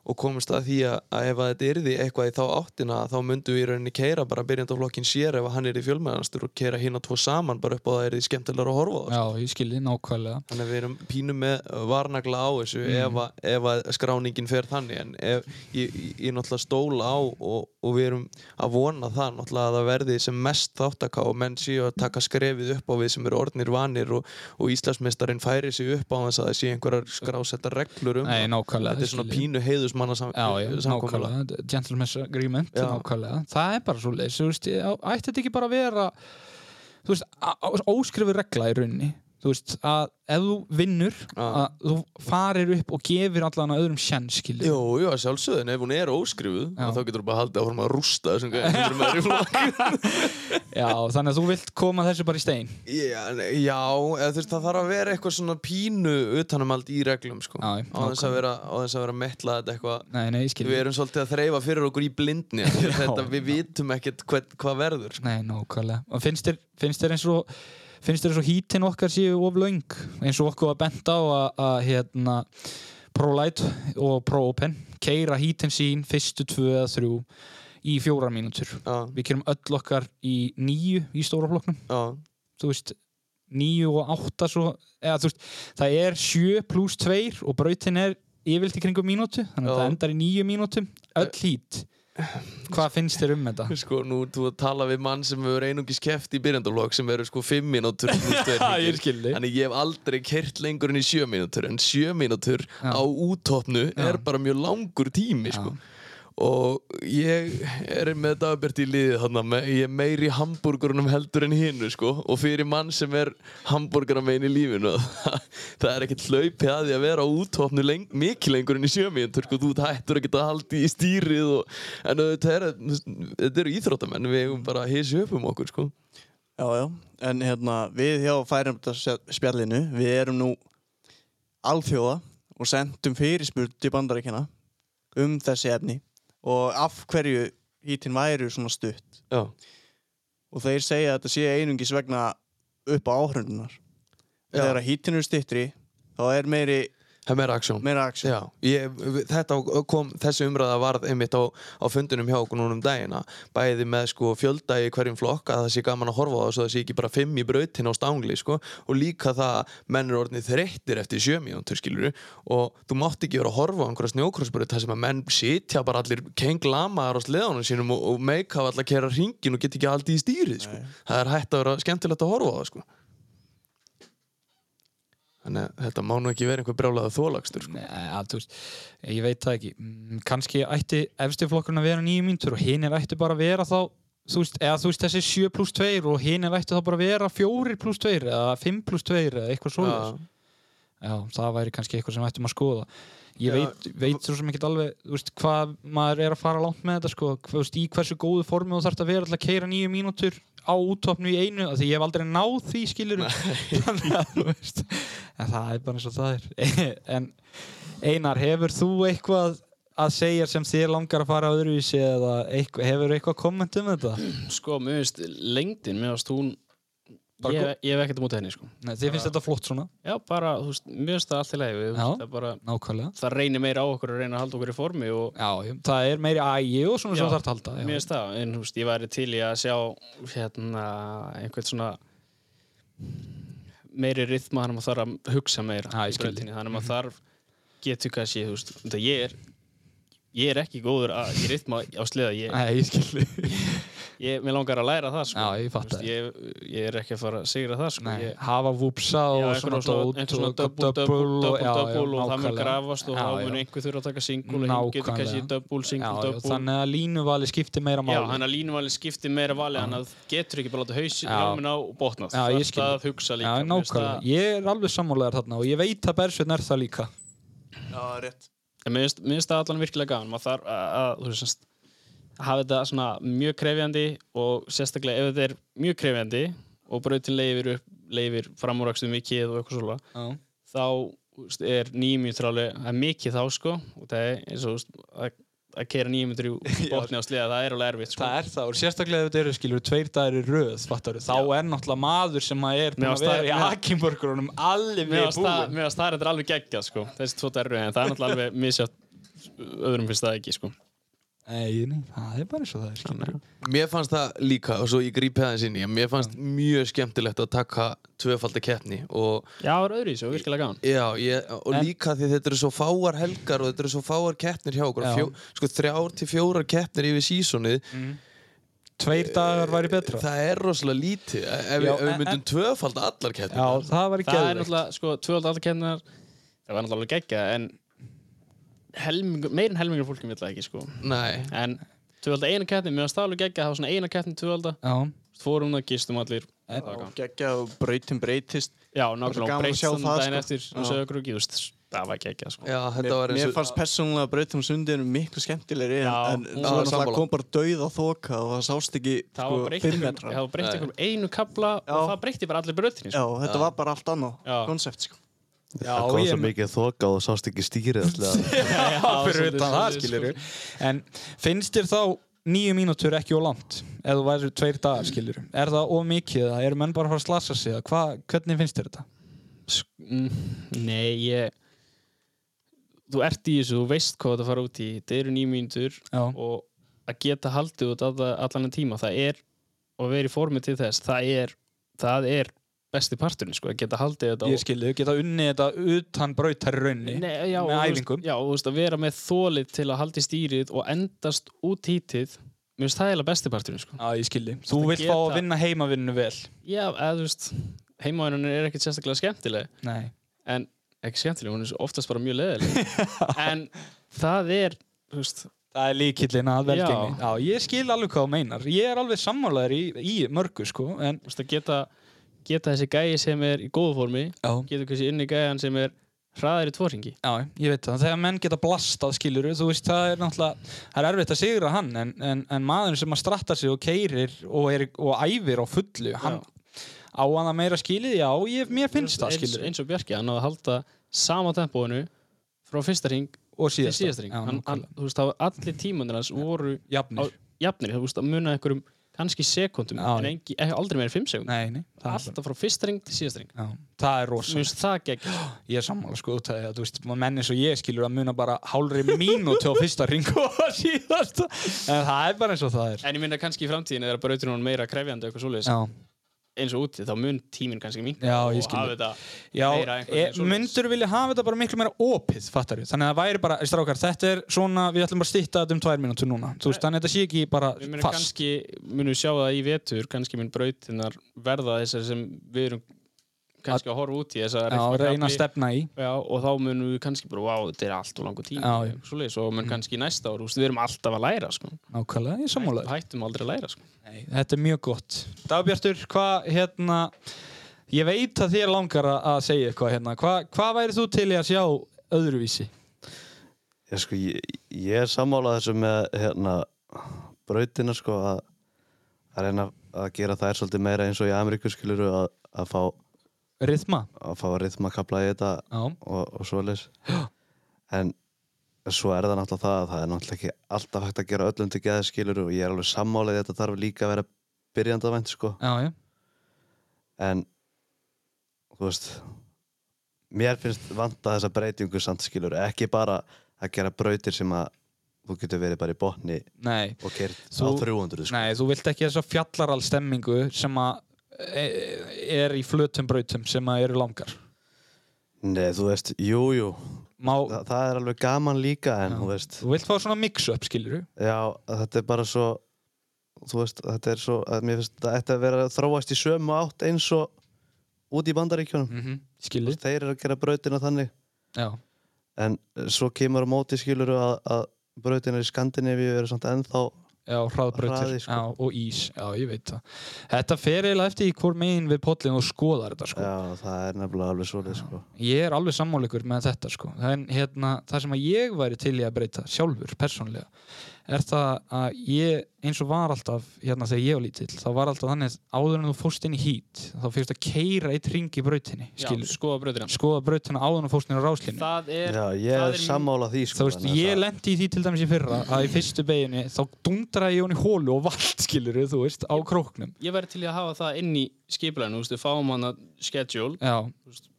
S4: og komumst að því að, að ef að þetta yrði eitthvað í þá áttina þá myndum við í rauninni keira bara byrjendaflokkin sér ef að hann er í fjölmæðanstur og keira hinn tvo saman bara upp á það er skemmtilega að horfa á það.
S1: Já, ég skilji nákvæmlega
S4: Þannig að við erum pínum með varnagla á þessu
S1: Mm.
S4: ef, að, ef að skráningin fer þannig en ef, ég, ég, ég náttúrulega stóla á og, og við erum að vona það náttúrulega að það verði sem mest þáttaka og menn séu að taka skrefið upp á við sem eru orðnir vanir og, og Íslandsmeistarinn færi sig upp á þess að það sé einhverjar skrásettar reglur um
S1: Nei,
S4: það.
S1: nákvæmlega
S4: Þetta
S1: ég
S4: er svona
S1: skil þig.
S4: pínu heiðusmanna sam,
S1: Já, já,
S4: samkomulag.
S1: nákvæmlega, gentleman's agreement,
S4: Já.
S1: nákvæmlega, það er bara svo leys, þú veist, ég- á- ætti þetta ekki bara að vera, þú veist, á- á- óskrifu regla í rauninni, þú veist, að ef þú vinnur,
S4: Já.
S1: að þú farir upp og gefir allan að öðrum sjens, skilur,
S4: Jú, jú, sjálfsögðin, ef hún er óskrifuð
S1: Já.
S4: þá getur þú bara haldið að horfa að rústa þessum
S1: <laughs>
S4: gæðum sem er í flokk
S1: já, þannig að þú vilt koma þessu bara í stein,
S4: Já, nei, já eða, þú veist, það þarf að vera eitthvað svona pínu utanumald í reglum sko.
S1: Já, já,
S4: á þess að vera, á þess að vera metla þetta eitthvað
S1: nei, nei, skilur,
S4: við erum svolítið að þreyfa fyrir okkur í blindni af því að þetta, við vitum ekkert hvað, hvað verður sko.
S1: nei, nákvæmlega, og finnst þér, finnst þér eins og, finnst þér eins og hítinn okkar séu of löng, eins og okkur var bent á að, að hérna, ProLight og ProOpen keira hítinn sín fyrstu tvö eða þrjú í fjórar mínútur
S4: já,
S1: við kerum öll okkar í nýju í stóra flokknum
S4: já,
S1: þú veist 9 og 8 svo, eða, þú veist, það er 7 pluss 2 og brautin er yfirlt í kringum mínútu þannig að
S4: Já.
S1: það endar í 9 mínútum öll hít hvað finnst þér um þetta?
S4: Sko, nú ert þú að tala við mann sem hefur einungis keft í byrjandalokk sem eru sko 5 mínútur plús tvær hringir.
S1: skil þig.
S4: Þannig ég hef aldrei kert lengur enn í 7 mínútur en 7 mínútur
S1: Já.
S4: á útopnu
S1: Já.
S4: er bara mjög langur tími sko. og ég er með dagbjart í liðið þarna með- ég er meiri í hambúrgurunum heldur en hinnu sko. og fyrir mann sem er hambúrguramein í lífinu <laughs> það er ekkert hlaupi að því að vera á útopnu leng mikið lengur enn í 7 mínútur sko. þú ert hættur ekkert að haldi í stýrið og, en þetta er, þetta eru íþróttamenn við eigum bara að hísi upp um okkur sko.
S5: Já, já, en hérna við hjá færumdagsspjallinu við erum nú alþjóða og sendum fyrirspurt til bandaríkina um þessi efni og af hverju hítinn væri svona stutt
S4: Já.
S5: og þeir segja að þetta sé einungis vegna upp á áhrundunar
S4: Já.
S5: þegar hítinn eru styttri þá er meiri,
S4: það er meira aksjón
S5: meira aksjón
S4: Já, ég, þetta kom, þessi umræða varð einmitt á, á fundunum hjá okkur núna um dagina bæði með sko fjölda í hverjum flokk að það sé gaman að horfa á það svo það sé ekki bara fimm í brautin á stangli sko og líka það að menn eru orðnið þreyttir eftir sjömiðjóntur skilur og þú mátt ekki vera að horfa á einhverja snjókrossbröð þar sem að menn sitja bara allir kenglamaðar á sleðanum sínum og, og meika allar að kera hringin og get ekki aldrei í stýrið sko það er hægt að vera skemmtilegt að horfa á það sko Þannig að þetta má nú ekki vera einhver brjálaða þólagstur sko.
S1: Nei, eh, að, þú veist, ég veit það ekki Mm, kannski ætti efsti flokkurinn að vera nýju mínútur og hinn er ætti bara að vera þá þú veist, eða þú veist þessi 7 pluss 2 og hinn er ætti þá bara að vera 4 pluss 2 eða 5 pluss 2 eða eitthvað svoleiðis
S4: Já.
S1: já, það væri kannski eitthvað sem ættum að skoða ég
S4: Já.
S1: veit, veit svo sem ekkert alveg þú veist, hvað maður er að fara langt með þetta sko, Hvað, þú veist, í hversu góðu formi þú þarft að vera til að keira nýju mínútur á útopnu í einu af því ég hef aldrei náð því skilur <laughs> þannig að þú veist en það er bara eins og það er <laughs> en Einar, hefur þú eitthvað að segja sem þér langar að fara öðruvísi eða eitthvað, hefur eitthvað komment um þetta?
S3: Sko, mér finnst lengdin, mér finnst hún
S1: Bara
S3: ég, ég hef ekkert á móti henni, sko
S1: Nei, þið finnst þetta flott svona,
S3: Já, bara, þú veist, mér finnst það allt í lagi við, þú veist,
S1: Já.
S3: það bara,
S1: nákvæmlega
S3: það reynir meira á okkur að reyna að halda okkur í formi og
S1: Já, ég- það er meiri ægi og svona sem
S3: Já.
S1: þarf að halda
S3: Mér
S1: já.
S3: finnst það, en þú veist, ég væri til í að sjá hérna, einhvern svona meiri rithma þannig að maður þarf að hugsa meira
S1: Ah, ég
S3: í
S1: skil
S3: brautinni, þannig að maður þarf getur kannski, þú veist, þetta ég er ég er ekki góður að í rithma á sleða, ég,
S1: Nei, ég skil
S3: ég mér langar að læra það, sko
S1: Já, ég fatta
S3: Þú veist, ég, ég er ekki að fara að sigra það, sko
S1: Nei,
S3: ég,
S1: hafa vúpsa
S3: Já,
S1: og
S3: einhver
S1: svona
S3: svona-
S1: dót
S3: einhver svona
S1: og
S3: double, double, double,
S1: já, já,
S3: double og það mun
S1: nákvæmlega.
S3: grafast og
S1: Já,
S3: þá mun
S1: já.
S3: einhver þurfa að taka single og hinn getur kannski
S1: Nákvæmlega.
S3: double,
S1: Já,
S3: single,
S1: já,
S3: double
S1: þannig að línuvali skiptir meira
S3: Já,
S1: máli
S3: þannig að línuvali skiptir meira vali þannig að getur ekki bara láta hausin
S1: Já.
S3: hjámin á og botnað
S1: Já, ég skil.
S3: Það að hugsa líka
S1: Já,
S3: mér finnst
S1: nákvæmlega, ég er alveg sammálaðar þarna og ég veit að Bersveinn er það líka
S5: Já, rétt
S3: það- Mér finnst- mér finnst það allan virkilega gaman maður þarf að, að þú veist hafa þetta svona mjög krefjandi og sérstaklega ef þetta er mjög krefjandi og brautin leifir upp leifir framúrakstum mikið og eitthvað svona
S1: Já,
S3: þá þú veist, er nýjumjöndur alveg það er mikið þá sko og það er eins og þú veist, að, að kera nýjumjöndur
S1: <laughs>
S3: í botni á sliða það er alveg erfitt sko.
S1: það er það og sérstaklega ef þetta eru skilur tveir dagir í röð, fattar þá er náttúrulega maður sem að er búin
S3: Mér
S1: að
S3: varst
S1: vera í
S3: það-
S1: Akimborgrunum alveg
S3: Mér varst það-
S1: búin
S3: mér varst það þetta er alveg geggjað sko þessi tvo derru en það er náttúrulega alveg misjátt öðrum finnst það ekki sko
S1: Nei, nei, það er bara eins og það er skilur
S4: Mér fannst það líka, og svo ég grípi aðeins inn í að Mér fannst
S1: Mm.
S4: mjög skemmtilegt að taka tvöfaldi keppni og,
S3: Já, það er öðru í þessu, virkilega gaman
S4: já, ég, og
S1: En-
S4: líka því þetta eru svo fáar helgar og þetta eru svo fáar keppnir hjá okkur
S1: Já.
S4: Fjó, sko, Þrjár til fjórar keppnir yfir sísonið
S1: Tveir dagar væri betra
S4: Það er rosalega lítið Ef,
S1: Já,
S4: ef við
S1: en-
S4: myndum tvöfalda allar keppnir
S1: Já, það væri
S3: Það er
S1: geðveikt
S3: náttúrulega, sko, tvöld aldarkennar Það var náttúrulega alveg geggjað en helming, meirin helmingur fólki vil það ekki sko
S4: Nei,
S3: En tvölda eina keppni, mér varst það alveg geggjað það var svona eina keppni tvölda
S1: Já,
S3: Fórum það, gistum allir
S1: En-
S3: það var gaman.
S5: Gekkja og brautin breytist
S3: Já,
S5: svo
S3: nákvæmlega,
S5: gaman
S3: hún
S5: að
S3: breyst
S5: sjá
S3: þannig
S5: það,
S3: daginn
S5: sko.
S3: eftir
S5: Já.
S3: og sögðu okkur ekki, þú veist, það var geggjað sko
S4: já, þetta
S5: Mér,
S4: var
S5: mér
S4: eins og
S5: fannst persónulega brautum sundinu miklu skemmtilegri en,
S3: Já,
S5: en
S3: já,
S5: svo náttúrulega
S4: sammála.
S5: kom bara dauð á þoka og það sást ekki sko,
S3: Það var breytt
S5: fimm
S3: einhverjum-
S5: metra.
S3: það var breytt einhverjum einu kabla og
S5: Já.
S3: það breytti bara allir sko. brötinni
S5: Já, þetta var bara allt annað
S3: Já.
S5: konsept sko.
S2: það kom
S1: ég
S2: svo
S1: me-
S2: mikið þoka og sást ekki
S1: <laughs>
S2: stýrið alltaf
S3: <laughs>
S1: Já, fyrir utan það skilur En finnst þér þá nýju mínútur ekki og langt eða þú væri tveir dagar skilur er það of mikið eða eru menn bara að fara að slasa sig eða hva, hvernig finnst þér þetta?
S3: Sk- mm, Nei, ég Þú ert í þessu, þú veist hvað þetta fara út í Þetta eru nýjum mínútur
S1: Já,
S3: og að geta haldið út alla- allan þennan tíma það er, og verið formið til þess það er það er besti parturinn sko, að geta haldið þetta
S1: Ég skilði, geta unnið þetta utan brautar í rauninni
S3: Nei, já,
S1: með
S3: og þú
S1: æfingum.
S3: veist- Já, og þú veist, að vera með þólið til að haldi stýrið og endast út hítið Mér finnst það eiginlega besti parturinn sko.
S1: Já, ég skilði Þú
S3: að
S1: vilt fá að
S3: geta-
S1: vinna heimavinnu vel
S3: Já, eða þú veist, heimavinnun er ekkert sérstaklega skemmtileg
S1: Nei
S3: En ekki skemmtileg, hún er svo oftast bara mjög <laughs> leðileg En það er, þú veist,
S1: Það er líkillin að velgengni.
S3: Já.
S1: Já. ég skil alveg hvað þú meinar. Ég er alveg sammálaður í, í mörgu, sko. En,
S3: þú veist, að geta, geta þessi gæi sem er í góðu formi
S1: já.
S3: Getur kannski inn í gæjan sem er hraðar í tvoringi
S1: já, ég veit það. Þegar menn geta blastað, skilur þú veist, það er náttúrulega, það er erfitt að sigra hann, en, en, en maður sem að stratta sig og keirir og, er, og æfir á fullu, hann á hann að meira skilið, já, ég, mér finnst það,
S3: eins,
S1: skilur
S3: eins og Bjarki, hann hafði að halda sama tempóinu frá fyrsta ring
S1: Og
S3: til
S1: síðast.
S3: síðasta ring
S1: Já,
S3: hann, hann,
S1: nákvæmlega.
S3: þú veist, það var allir tímanir hans voru
S1: Jafnir.
S3: á- jafnir, þú veist, að muna einhverjum kannski sekundum,
S1: Já,
S3: en
S1: já.
S3: engi, ekki aldrei meira en fimm sekundum,
S1: Nei, nei. Það,
S3: alltaf frá fyrsta ring til síðasta ring
S1: er- já, það er rosa.
S3: mér finnst það gegn,
S1: Ég er sammála sko út af því að þú veist, menn eins og ég skilur að muna bara hálfri mínútu á fyrsta ring <laughs> og á síðasta en það er bara eins og það er.
S3: en ég minna kannski í framtíðinu þegar brautir hún meira krefjandi og eitthvað svoleiðis,
S1: Já,
S3: eins og úti, þá mun tíminn kannski minka
S1: Já, ég
S3: og
S1: skil.
S3: hafa þetta
S1: já
S3: meira
S1: e,
S3: einhvern veginn svoleiðis.
S1: myndur vilja hafa þetta bara miklu meira opið, fattar við. Þannig að það væri bara, strákar, þetta er svona, við ætlum bara að stýtta þetta um tvær mínútu núna. Þú veist, þannig að þetta sé ekki bara
S3: Ég meina,
S1: fast.
S3: kannski munum við sjá það í vetur, kannski mun brautinnar verða þessar sem við erum kannski að horfa út í þessar
S1: Já,
S3: eitthvað
S1: reyna að
S3: kafli.
S1: stefna í.
S3: Já, og þá munum við kannski bara, vá, þetta er allt og langur tími
S1: Já, Mm. já.
S3: svoleiðis, og mun kannski næsta ár, þú veist, við erum alltaf að læra sko.
S1: Nákvæmlega, ég er sammála þér.
S3: hættum aldrei að læra sko.
S1: Nei, þetta er mjög gott. Dagbjartur, hvað, hérna, ég veit að þér langar að- að segja eitthvað hérna. Hva, hvað væri þú til í að sjá öðruvísi?
S2: Ég, sko, ég, ég er sammálað þessu með hérna, brautina sko, að, að reyna að gera þær svolítið meira eins og í Ameríku skilur að, að fá,
S1: Rithma?
S2: að fá rithmakabla í þetta
S1: Já.
S2: og, og svoleiðis en svo er það náttúrulega það að það er náttúrulega ekki alltaf hægt að gera öllum til geða skilur og ég er alveg sammálað þetta þarf líka að vera byrjandavænt sko
S1: Já, já.
S2: en þú veist mér finnst vanta þessa breytingu samt skilur ekki bara að gera brautir sem að þú getur verið bara í botni
S1: Nei,
S2: og kert á
S1: Þú-
S2: 300 sko.
S1: nei, þú vilt ekki þessa fjallaral stemmingu sem að e- er í flötum brautum sem að eru langar.
S2: nei, þú veist, jú, jú
S1: Má,
S2: Þa, það er alveg gaman líka en þú veist,
S1: þú vilt fá svona mix-up, skilur
S2: já, þetta er bara svo þú veist, þetta er svo að mér finnst þetta ætti að vera að þróast í sömu átt eins og út í bandaríkjunum
S1: mm -hmm.
S2: Mhm. Þú veist, þeir eru að gera brautina þannig
S1: Já,
S2: en svo kemur á móti skilur að, að brautina í Skandinavíu eru samt ennþá
S1: já hraðbrautir
S2: Hraði, sko.
S1: já, og ís, já, ég veit það. Þetta fer eiginlega eftir í hvor megin við pollin og skoðar þetta, sko.
S2: Já, það er nefnilega alveg svolítið sko.
S1: Ég er alveg sammáleikur með þetta, sko. En hérna, það sem að ég væri til í að breyta sjálfur, persónlega, er það að ég, eins og var alltaf, hérna þegar ég var lítill, þá var alltaf þannig að áður en þú fórst inn í hít, þá fyrst að keira eitt ring í brautinni, skilur.
S3: já, skoða brautina
S1: skoða brautina áðan og fórstinni á ráslinu
S3: það er,
S2: Já, ég
S3: það
S2: er
S3: er
S2: sammála því sko,
S1: þú veist,
S2: þannig að
S1: ég
S2: það-
S1: lendi í því til dæmis í fyrra að í fyrstu beginni þá dundraði ég hún í hólu og vald skilur þú veist, á króknum
S3: ég væri til í að hafa það inn í skipuleginu, þú veist, við fáum hann að schedule,
S1: já,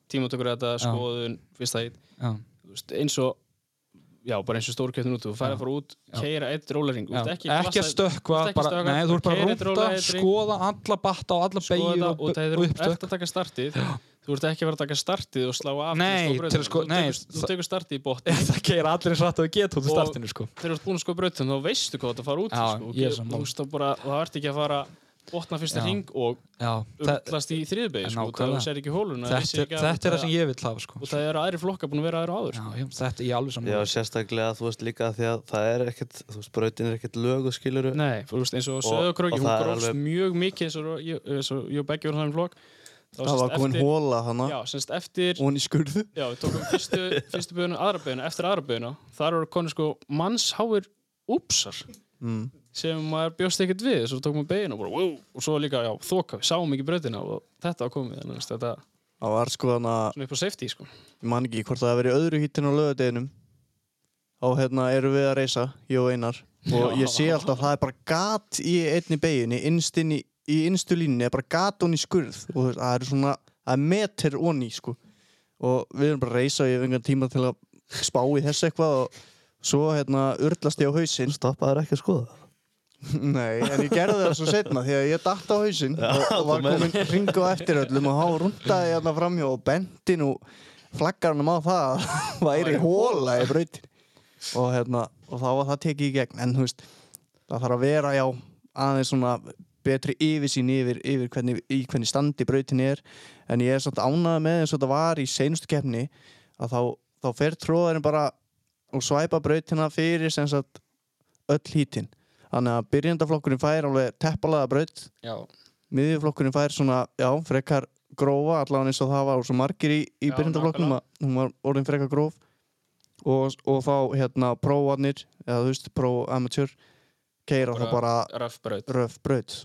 S3: tímatökur þetta,
S1: Já.
S3: skoðun, fyrsta hit
S1: já,
S3: Þú veist, eins og já, bara eins og stórkjöfnum út, þú færi að fara út
S1: Já.
S3: keira eitt rólaring,
S1: já.
S3: þú veist,
S1: ekki, ekki að
S3: klassa-
S1: stökkva
S3: þú veist, ekki
S1: bara,
S3: stökkva,
S1: nei, þú ert bara
S3: keyra
S1: að
S3: eitt
S1: rúnda,
S3: rólega, eitt ring.
S1: skoða alla batta og alla
S3: skoða
S1: beigir
S3: það
S1: og,
S3: og það
S1: og
S3: er
S1: uppstök
S3: eftir að taka startið þú ert ekki að vera að taka startið og slá af
S1: Nei,
S3: til að skoða
S1: til að sko-
S3: brautina.
S1: nei,
S3: þú, tekur, þú
S1: það-
S3: tekur startið í botn
S1: <laughs> það keira allir eins rætt og geta út í
S3: Og-
S1: startinu sko
S3: þegar þú ert búin að skoða brautin þá veistu hvað þetta fara út í,
S1: Já,
S3: sko,
S1: ég er
S3: og,
S1: sammála.
S3: þú veist, þá bara, og það ert ekki að fara botna fyrsta
S1: Já.
S3: hring og
S1: já, það,
S3: umtlast í þriðbegi sko, það
S1: Nákvæmlega.
S3: þú sér ekki hóluna
S1: þetta, er- þetta er það sem ég vil hafa sko
S3: og það eru aðri flokka búin að vera aðra áður
S1: já,
S3: sko.
S1: já, þetta, ég er alveg
S2: Já,
S1: saman
S2: sérstaklega þú veist líka því að það er ekkert þú veist, brautin er ekkert lögu skilur
S3: nei, þú veist, eins og söðokröki
S2: og
S3: hún
S2: það er
S3: grófst
S2: alveg-
S3: mjög mikið eins og ég- eins og ég og Beggi voru það um flokk Þá
S5: það
S3: semst
S5: var komin
S3: eftir-
S5: hóla hana
S3: já, semst eftir
S5: og hún í skurðu
S3: Já, við tókum fyrstu, fyrstu böðuna, aðra böðuna, eftir aðra böðuna þar voru konu sko mannsháir úpsar
S5: mm.
S3: sem maður bjóst ekkert við, svo tókum við böðina og bara, wow, og svo líka, já, þoka, við sáum ekki bröðina og þetta var komið, þannig að þetta er
S5: það var sko hana,
S3: svona upp á safety, sko.
S5: ég man ekki hvort það hafi verið í öðru hýttinu á lögadeginum og hérna erum við að reysa, ég og Einar og ég sé alltaf að það er bara gat í einni beginni, innst inn í, í innstu línni er bara gat hún í skurð og þú veist, það er svona, það er meter onni sko. og við erum bara að reysa og ég hef engan tíma til að spá í þessu eitthvað og svo hérna urlast ég á hausinn
S2: Stoppaður ekki að skoða
S5: Nei, en ég gerði það svo setna því að ég datt á hausinn og, og var komin ring á eftir öllum og há rundaði hérna framjá og benti nú flaggarnum á það að <laughs> væri hóla í brautin og hérna, og þá var það tekið í gegn en þú veist, það þarf að vera já, aðeins svona betri yfirsýn yfir, yfir hvernig, í hvernig standi brautin er, en ég er svolítið ánað með eins og þetta var í seinustu keppni að þá, þá fer tróðarinn bara og svæpa brautina fyrir sem sagt öll hítinn Þannig að byrjandaflokkurinn fær alveg teppalaða braut,
S3: Já,
S5: miðjuflokkurinn fær svona, já, frekar grófa, allavega eins og það var svo margir í, í
S3: Já,
S5: byrjandaflokknum að hún var orðin frekar gróf og, og þá hérna prófarnir, eða þú veist, próamatjör, keira þá bara
S3: röfbraut
S5: röf braut.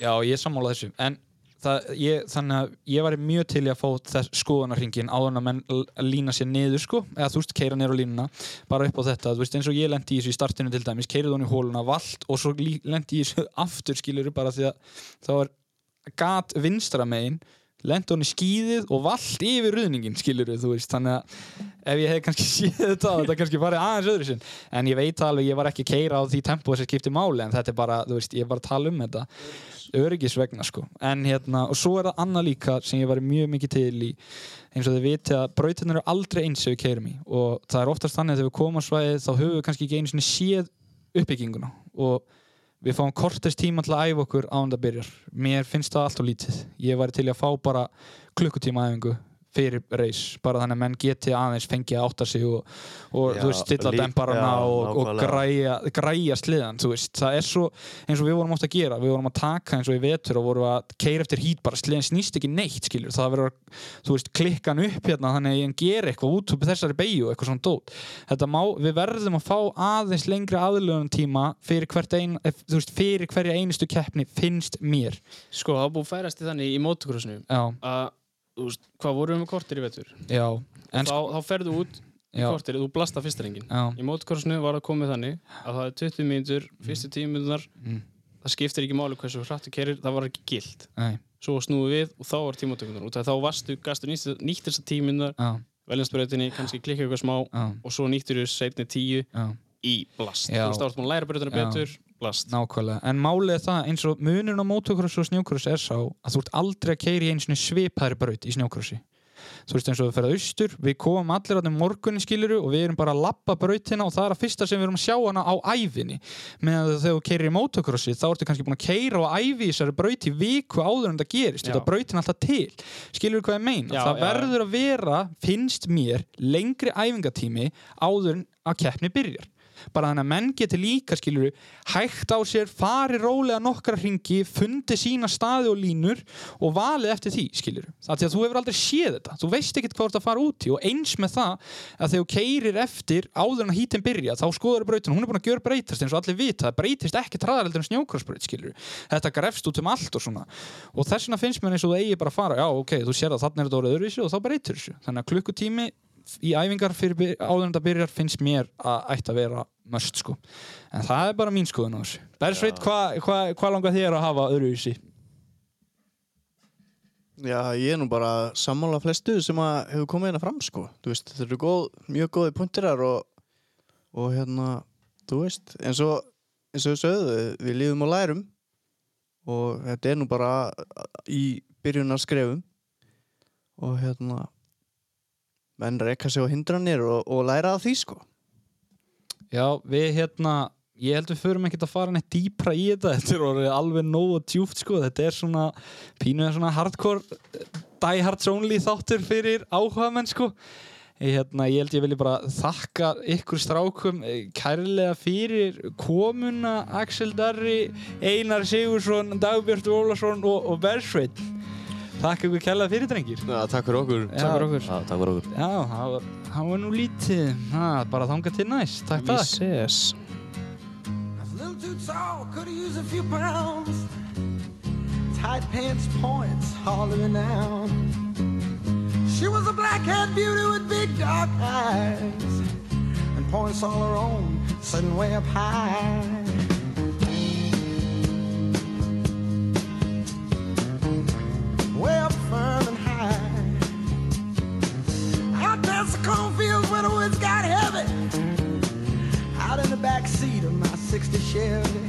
S1: Já, ég er sammála þessu En það, ég, þannig að ég var mjög til í að fá þess skoðanarringin áður en að menn l- lína sér niður sko eða þú veist, keira niður á línuna bara upp á þetta, þú veist, eins og ég lendi í þessu í startinu til dæmis keirið hún í hóluna vald og svo lí- lendi ég í þessu <laughs> aftur skilur bara því að þá var gat vinstra megin lendi hún í skíðið og vald yfir ruðningin skilur þú veist, þannig að ef ég hef kannski <laughs> séð þetta, þetta kannski farið aðeins öðru sinn, en ég veit alveg, ég var ekki að keira á því tempo sem skipti máli, en þetta er bara, þú veist, ég er bara að tala um þetta öryggis vegna sko en hérna, og svo er það annað líka sem ég var mjög mikið til í eins og þið viti að brautirnar eru aldrei eins sem við keirum í og það er oftast þannig að þegar við komum á svæðið þá höfum við kannski ekki einu sinni séð uppbygginguna og við fáum kortest tíma til að æfa okkur án það byrjar mér finnst það allt og lítið ég var til í að fá bara klukkutíma æfingu fyrir reis, bara þannig að menn geti aðeins fengið að átta sig og, og
S2: Já,
S1: þú veist, stilla
S2: lí-
S1: demparana
S2: já,
S1: og, og
S2: nákvæmlega.
S1: græja, græja sliðan, þú veist, það er svo eins og við vorum oft að gera, við vorum að taka eins og í vetur og vorum að keira eftir hít bara sliðan snýst ekki neitt, skilur, það verður að, þú veist, klikka hann upp hérna, þannig að ég ger eitthvað út úr þessari beigju, eitthvað svona dót þetta má, við verðum að fá aðeins lengri aðlöðum tíma fyrir hvert ein eh, þú veist, fyrir hverja einustu keppni finnst mér,
S3: Sko, það var búið að færast í þannig í motocrossinu
S1: já,
S3: að, þú veist, hvað vorum við með kortir í vetur?
S1: já en,
S3: Þá, þá ferðu út í
S1: já,
S3: kortir, þú blasta fyrsta rengin
S1: já,
S3: Í motocrossinu var það komið þannig að það er 20 mínútur, fyrstu 10 mínúturnar
S1: Mm.
S3: það skiptir ekki máli hversu hratt þú kerir það var ekki gilt.
S1: nei,
S3: Svo snúið við og þá var tímatökunar út af þá varstu, gastu nýtt, nýtt þessar 10 mínúturnar
S1: já,
S3: veljastbrautinni, kannski klikka eitthvað smá
S1: já,
S3: og svo nýttur þú seinni 10
S1: já
S3: í blast.
S1: Já.
S3: Þú veist, þá ertu búin að læra brautina
S1: Já.
S3: betur, blast.
S1: Nákvæmlega, en málið er það eins og munurinn á motocross og snjókross er sá að þú ert aldrei að keira í einu sinni svipaðri braut í snjókrossi. Þú veist eins og við ferðum austur, við komum allir að um morgunni skiluru og við erum bara að lappa brautina og það er að fyrsta sem við erum að sjá hana á æfinni. Meðan að þegar þú keirir í motocrossi þá ertu kannski búin að keira og æfi í þessari braut í viku áður en það gerist.
S3: Já.
S1: Þetta brautin er alltaf til. Skilur hvað ég meina?
S3: Já,
S1: það
S3: já, já.
S1: verður að vera, finnst mér, lengri æfingatími áður en að keppni byrjar bara þannig að menn geti líka skilur hægt á sér, fari rólega nokkra hringi, fundi sína staði og línur og valið eftir því skilur, það því að þú hefur aldrei séð þetta þú veist ekkert hvað þú ert að fara út í og eins með það að þegar þú keirir eftir áður en að hítin byrja, þá skoður brautin hún er búin að gjör breytast eins og allir vita, það breytist ekki traðar heldur en snjókrossbraut skilur þetta grefst út um allt og svona og þess vegna finnst mér eins og það eigi bara að fara já ok, þú sér að þannig er þetta orðið öðruvísi og þá breytir þessu þannig að klukkutími í æfingar fyrir byr- áður en það byrjar finnst mér að ætti að vera möst sko en það er bara mín skoðun á þessu Bersveit, hvað hva, hva langar þér að hafa öðruvísi?
S5: Já, ég er nú bara sammála flestu sem að hefur komið hérna fram, sko. Þú veist, þetta eru góð, mjög góði punktirar og, og hérna, þú veist, eins og, eins og við sögðu, við lífum og lærum og þetta er nú bara í byrjunar skrefum og hérna, menn reyka sig á hindranir og, og læra af því, sko.
S1: Já, við hérna ég held við förum ekkert að fara neitt dýpra í þetta þetta er orðið alveg nóg og djúft sko þetta er svona, pínu er svona hardcore eh, die hard only þáttur fyrir áhugamenn sko ég, hérna, ég held ég vilja bara þakka ykkur strákum eh, kærlega fyrir komuna Axel Darri, Einar Sigursson Dagbjörn Ólason og, og Bersveit Takk ykkur kærlega fyrir drengir
S2: Já, takk fyrir okkur
S1: Já.
S3: Takk fyrir okkur.
S2: Já, takk fyrir okkur
S1: Já, það var, það var nú lítið ha, bara þangað til næst, takk
S3: Við
S1: takk
S3: ses.
S6: A little too tall, could have used a few pounds. Tight pants, points, hollering out. She was a black haired beauty with big dark eyes. And points all her own, sitting way up high. Way up firm and high. Out past the cornfields when the woods got heavy out in the back seat of my 60 Chevy.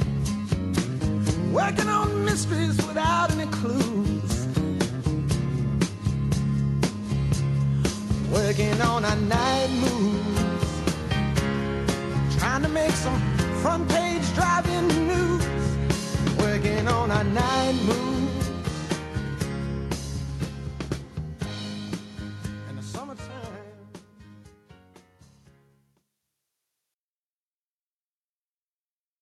S6: Working on mysteries without any clues. Working on our night moves. Trying to make some front page driving news. Working on our night moves.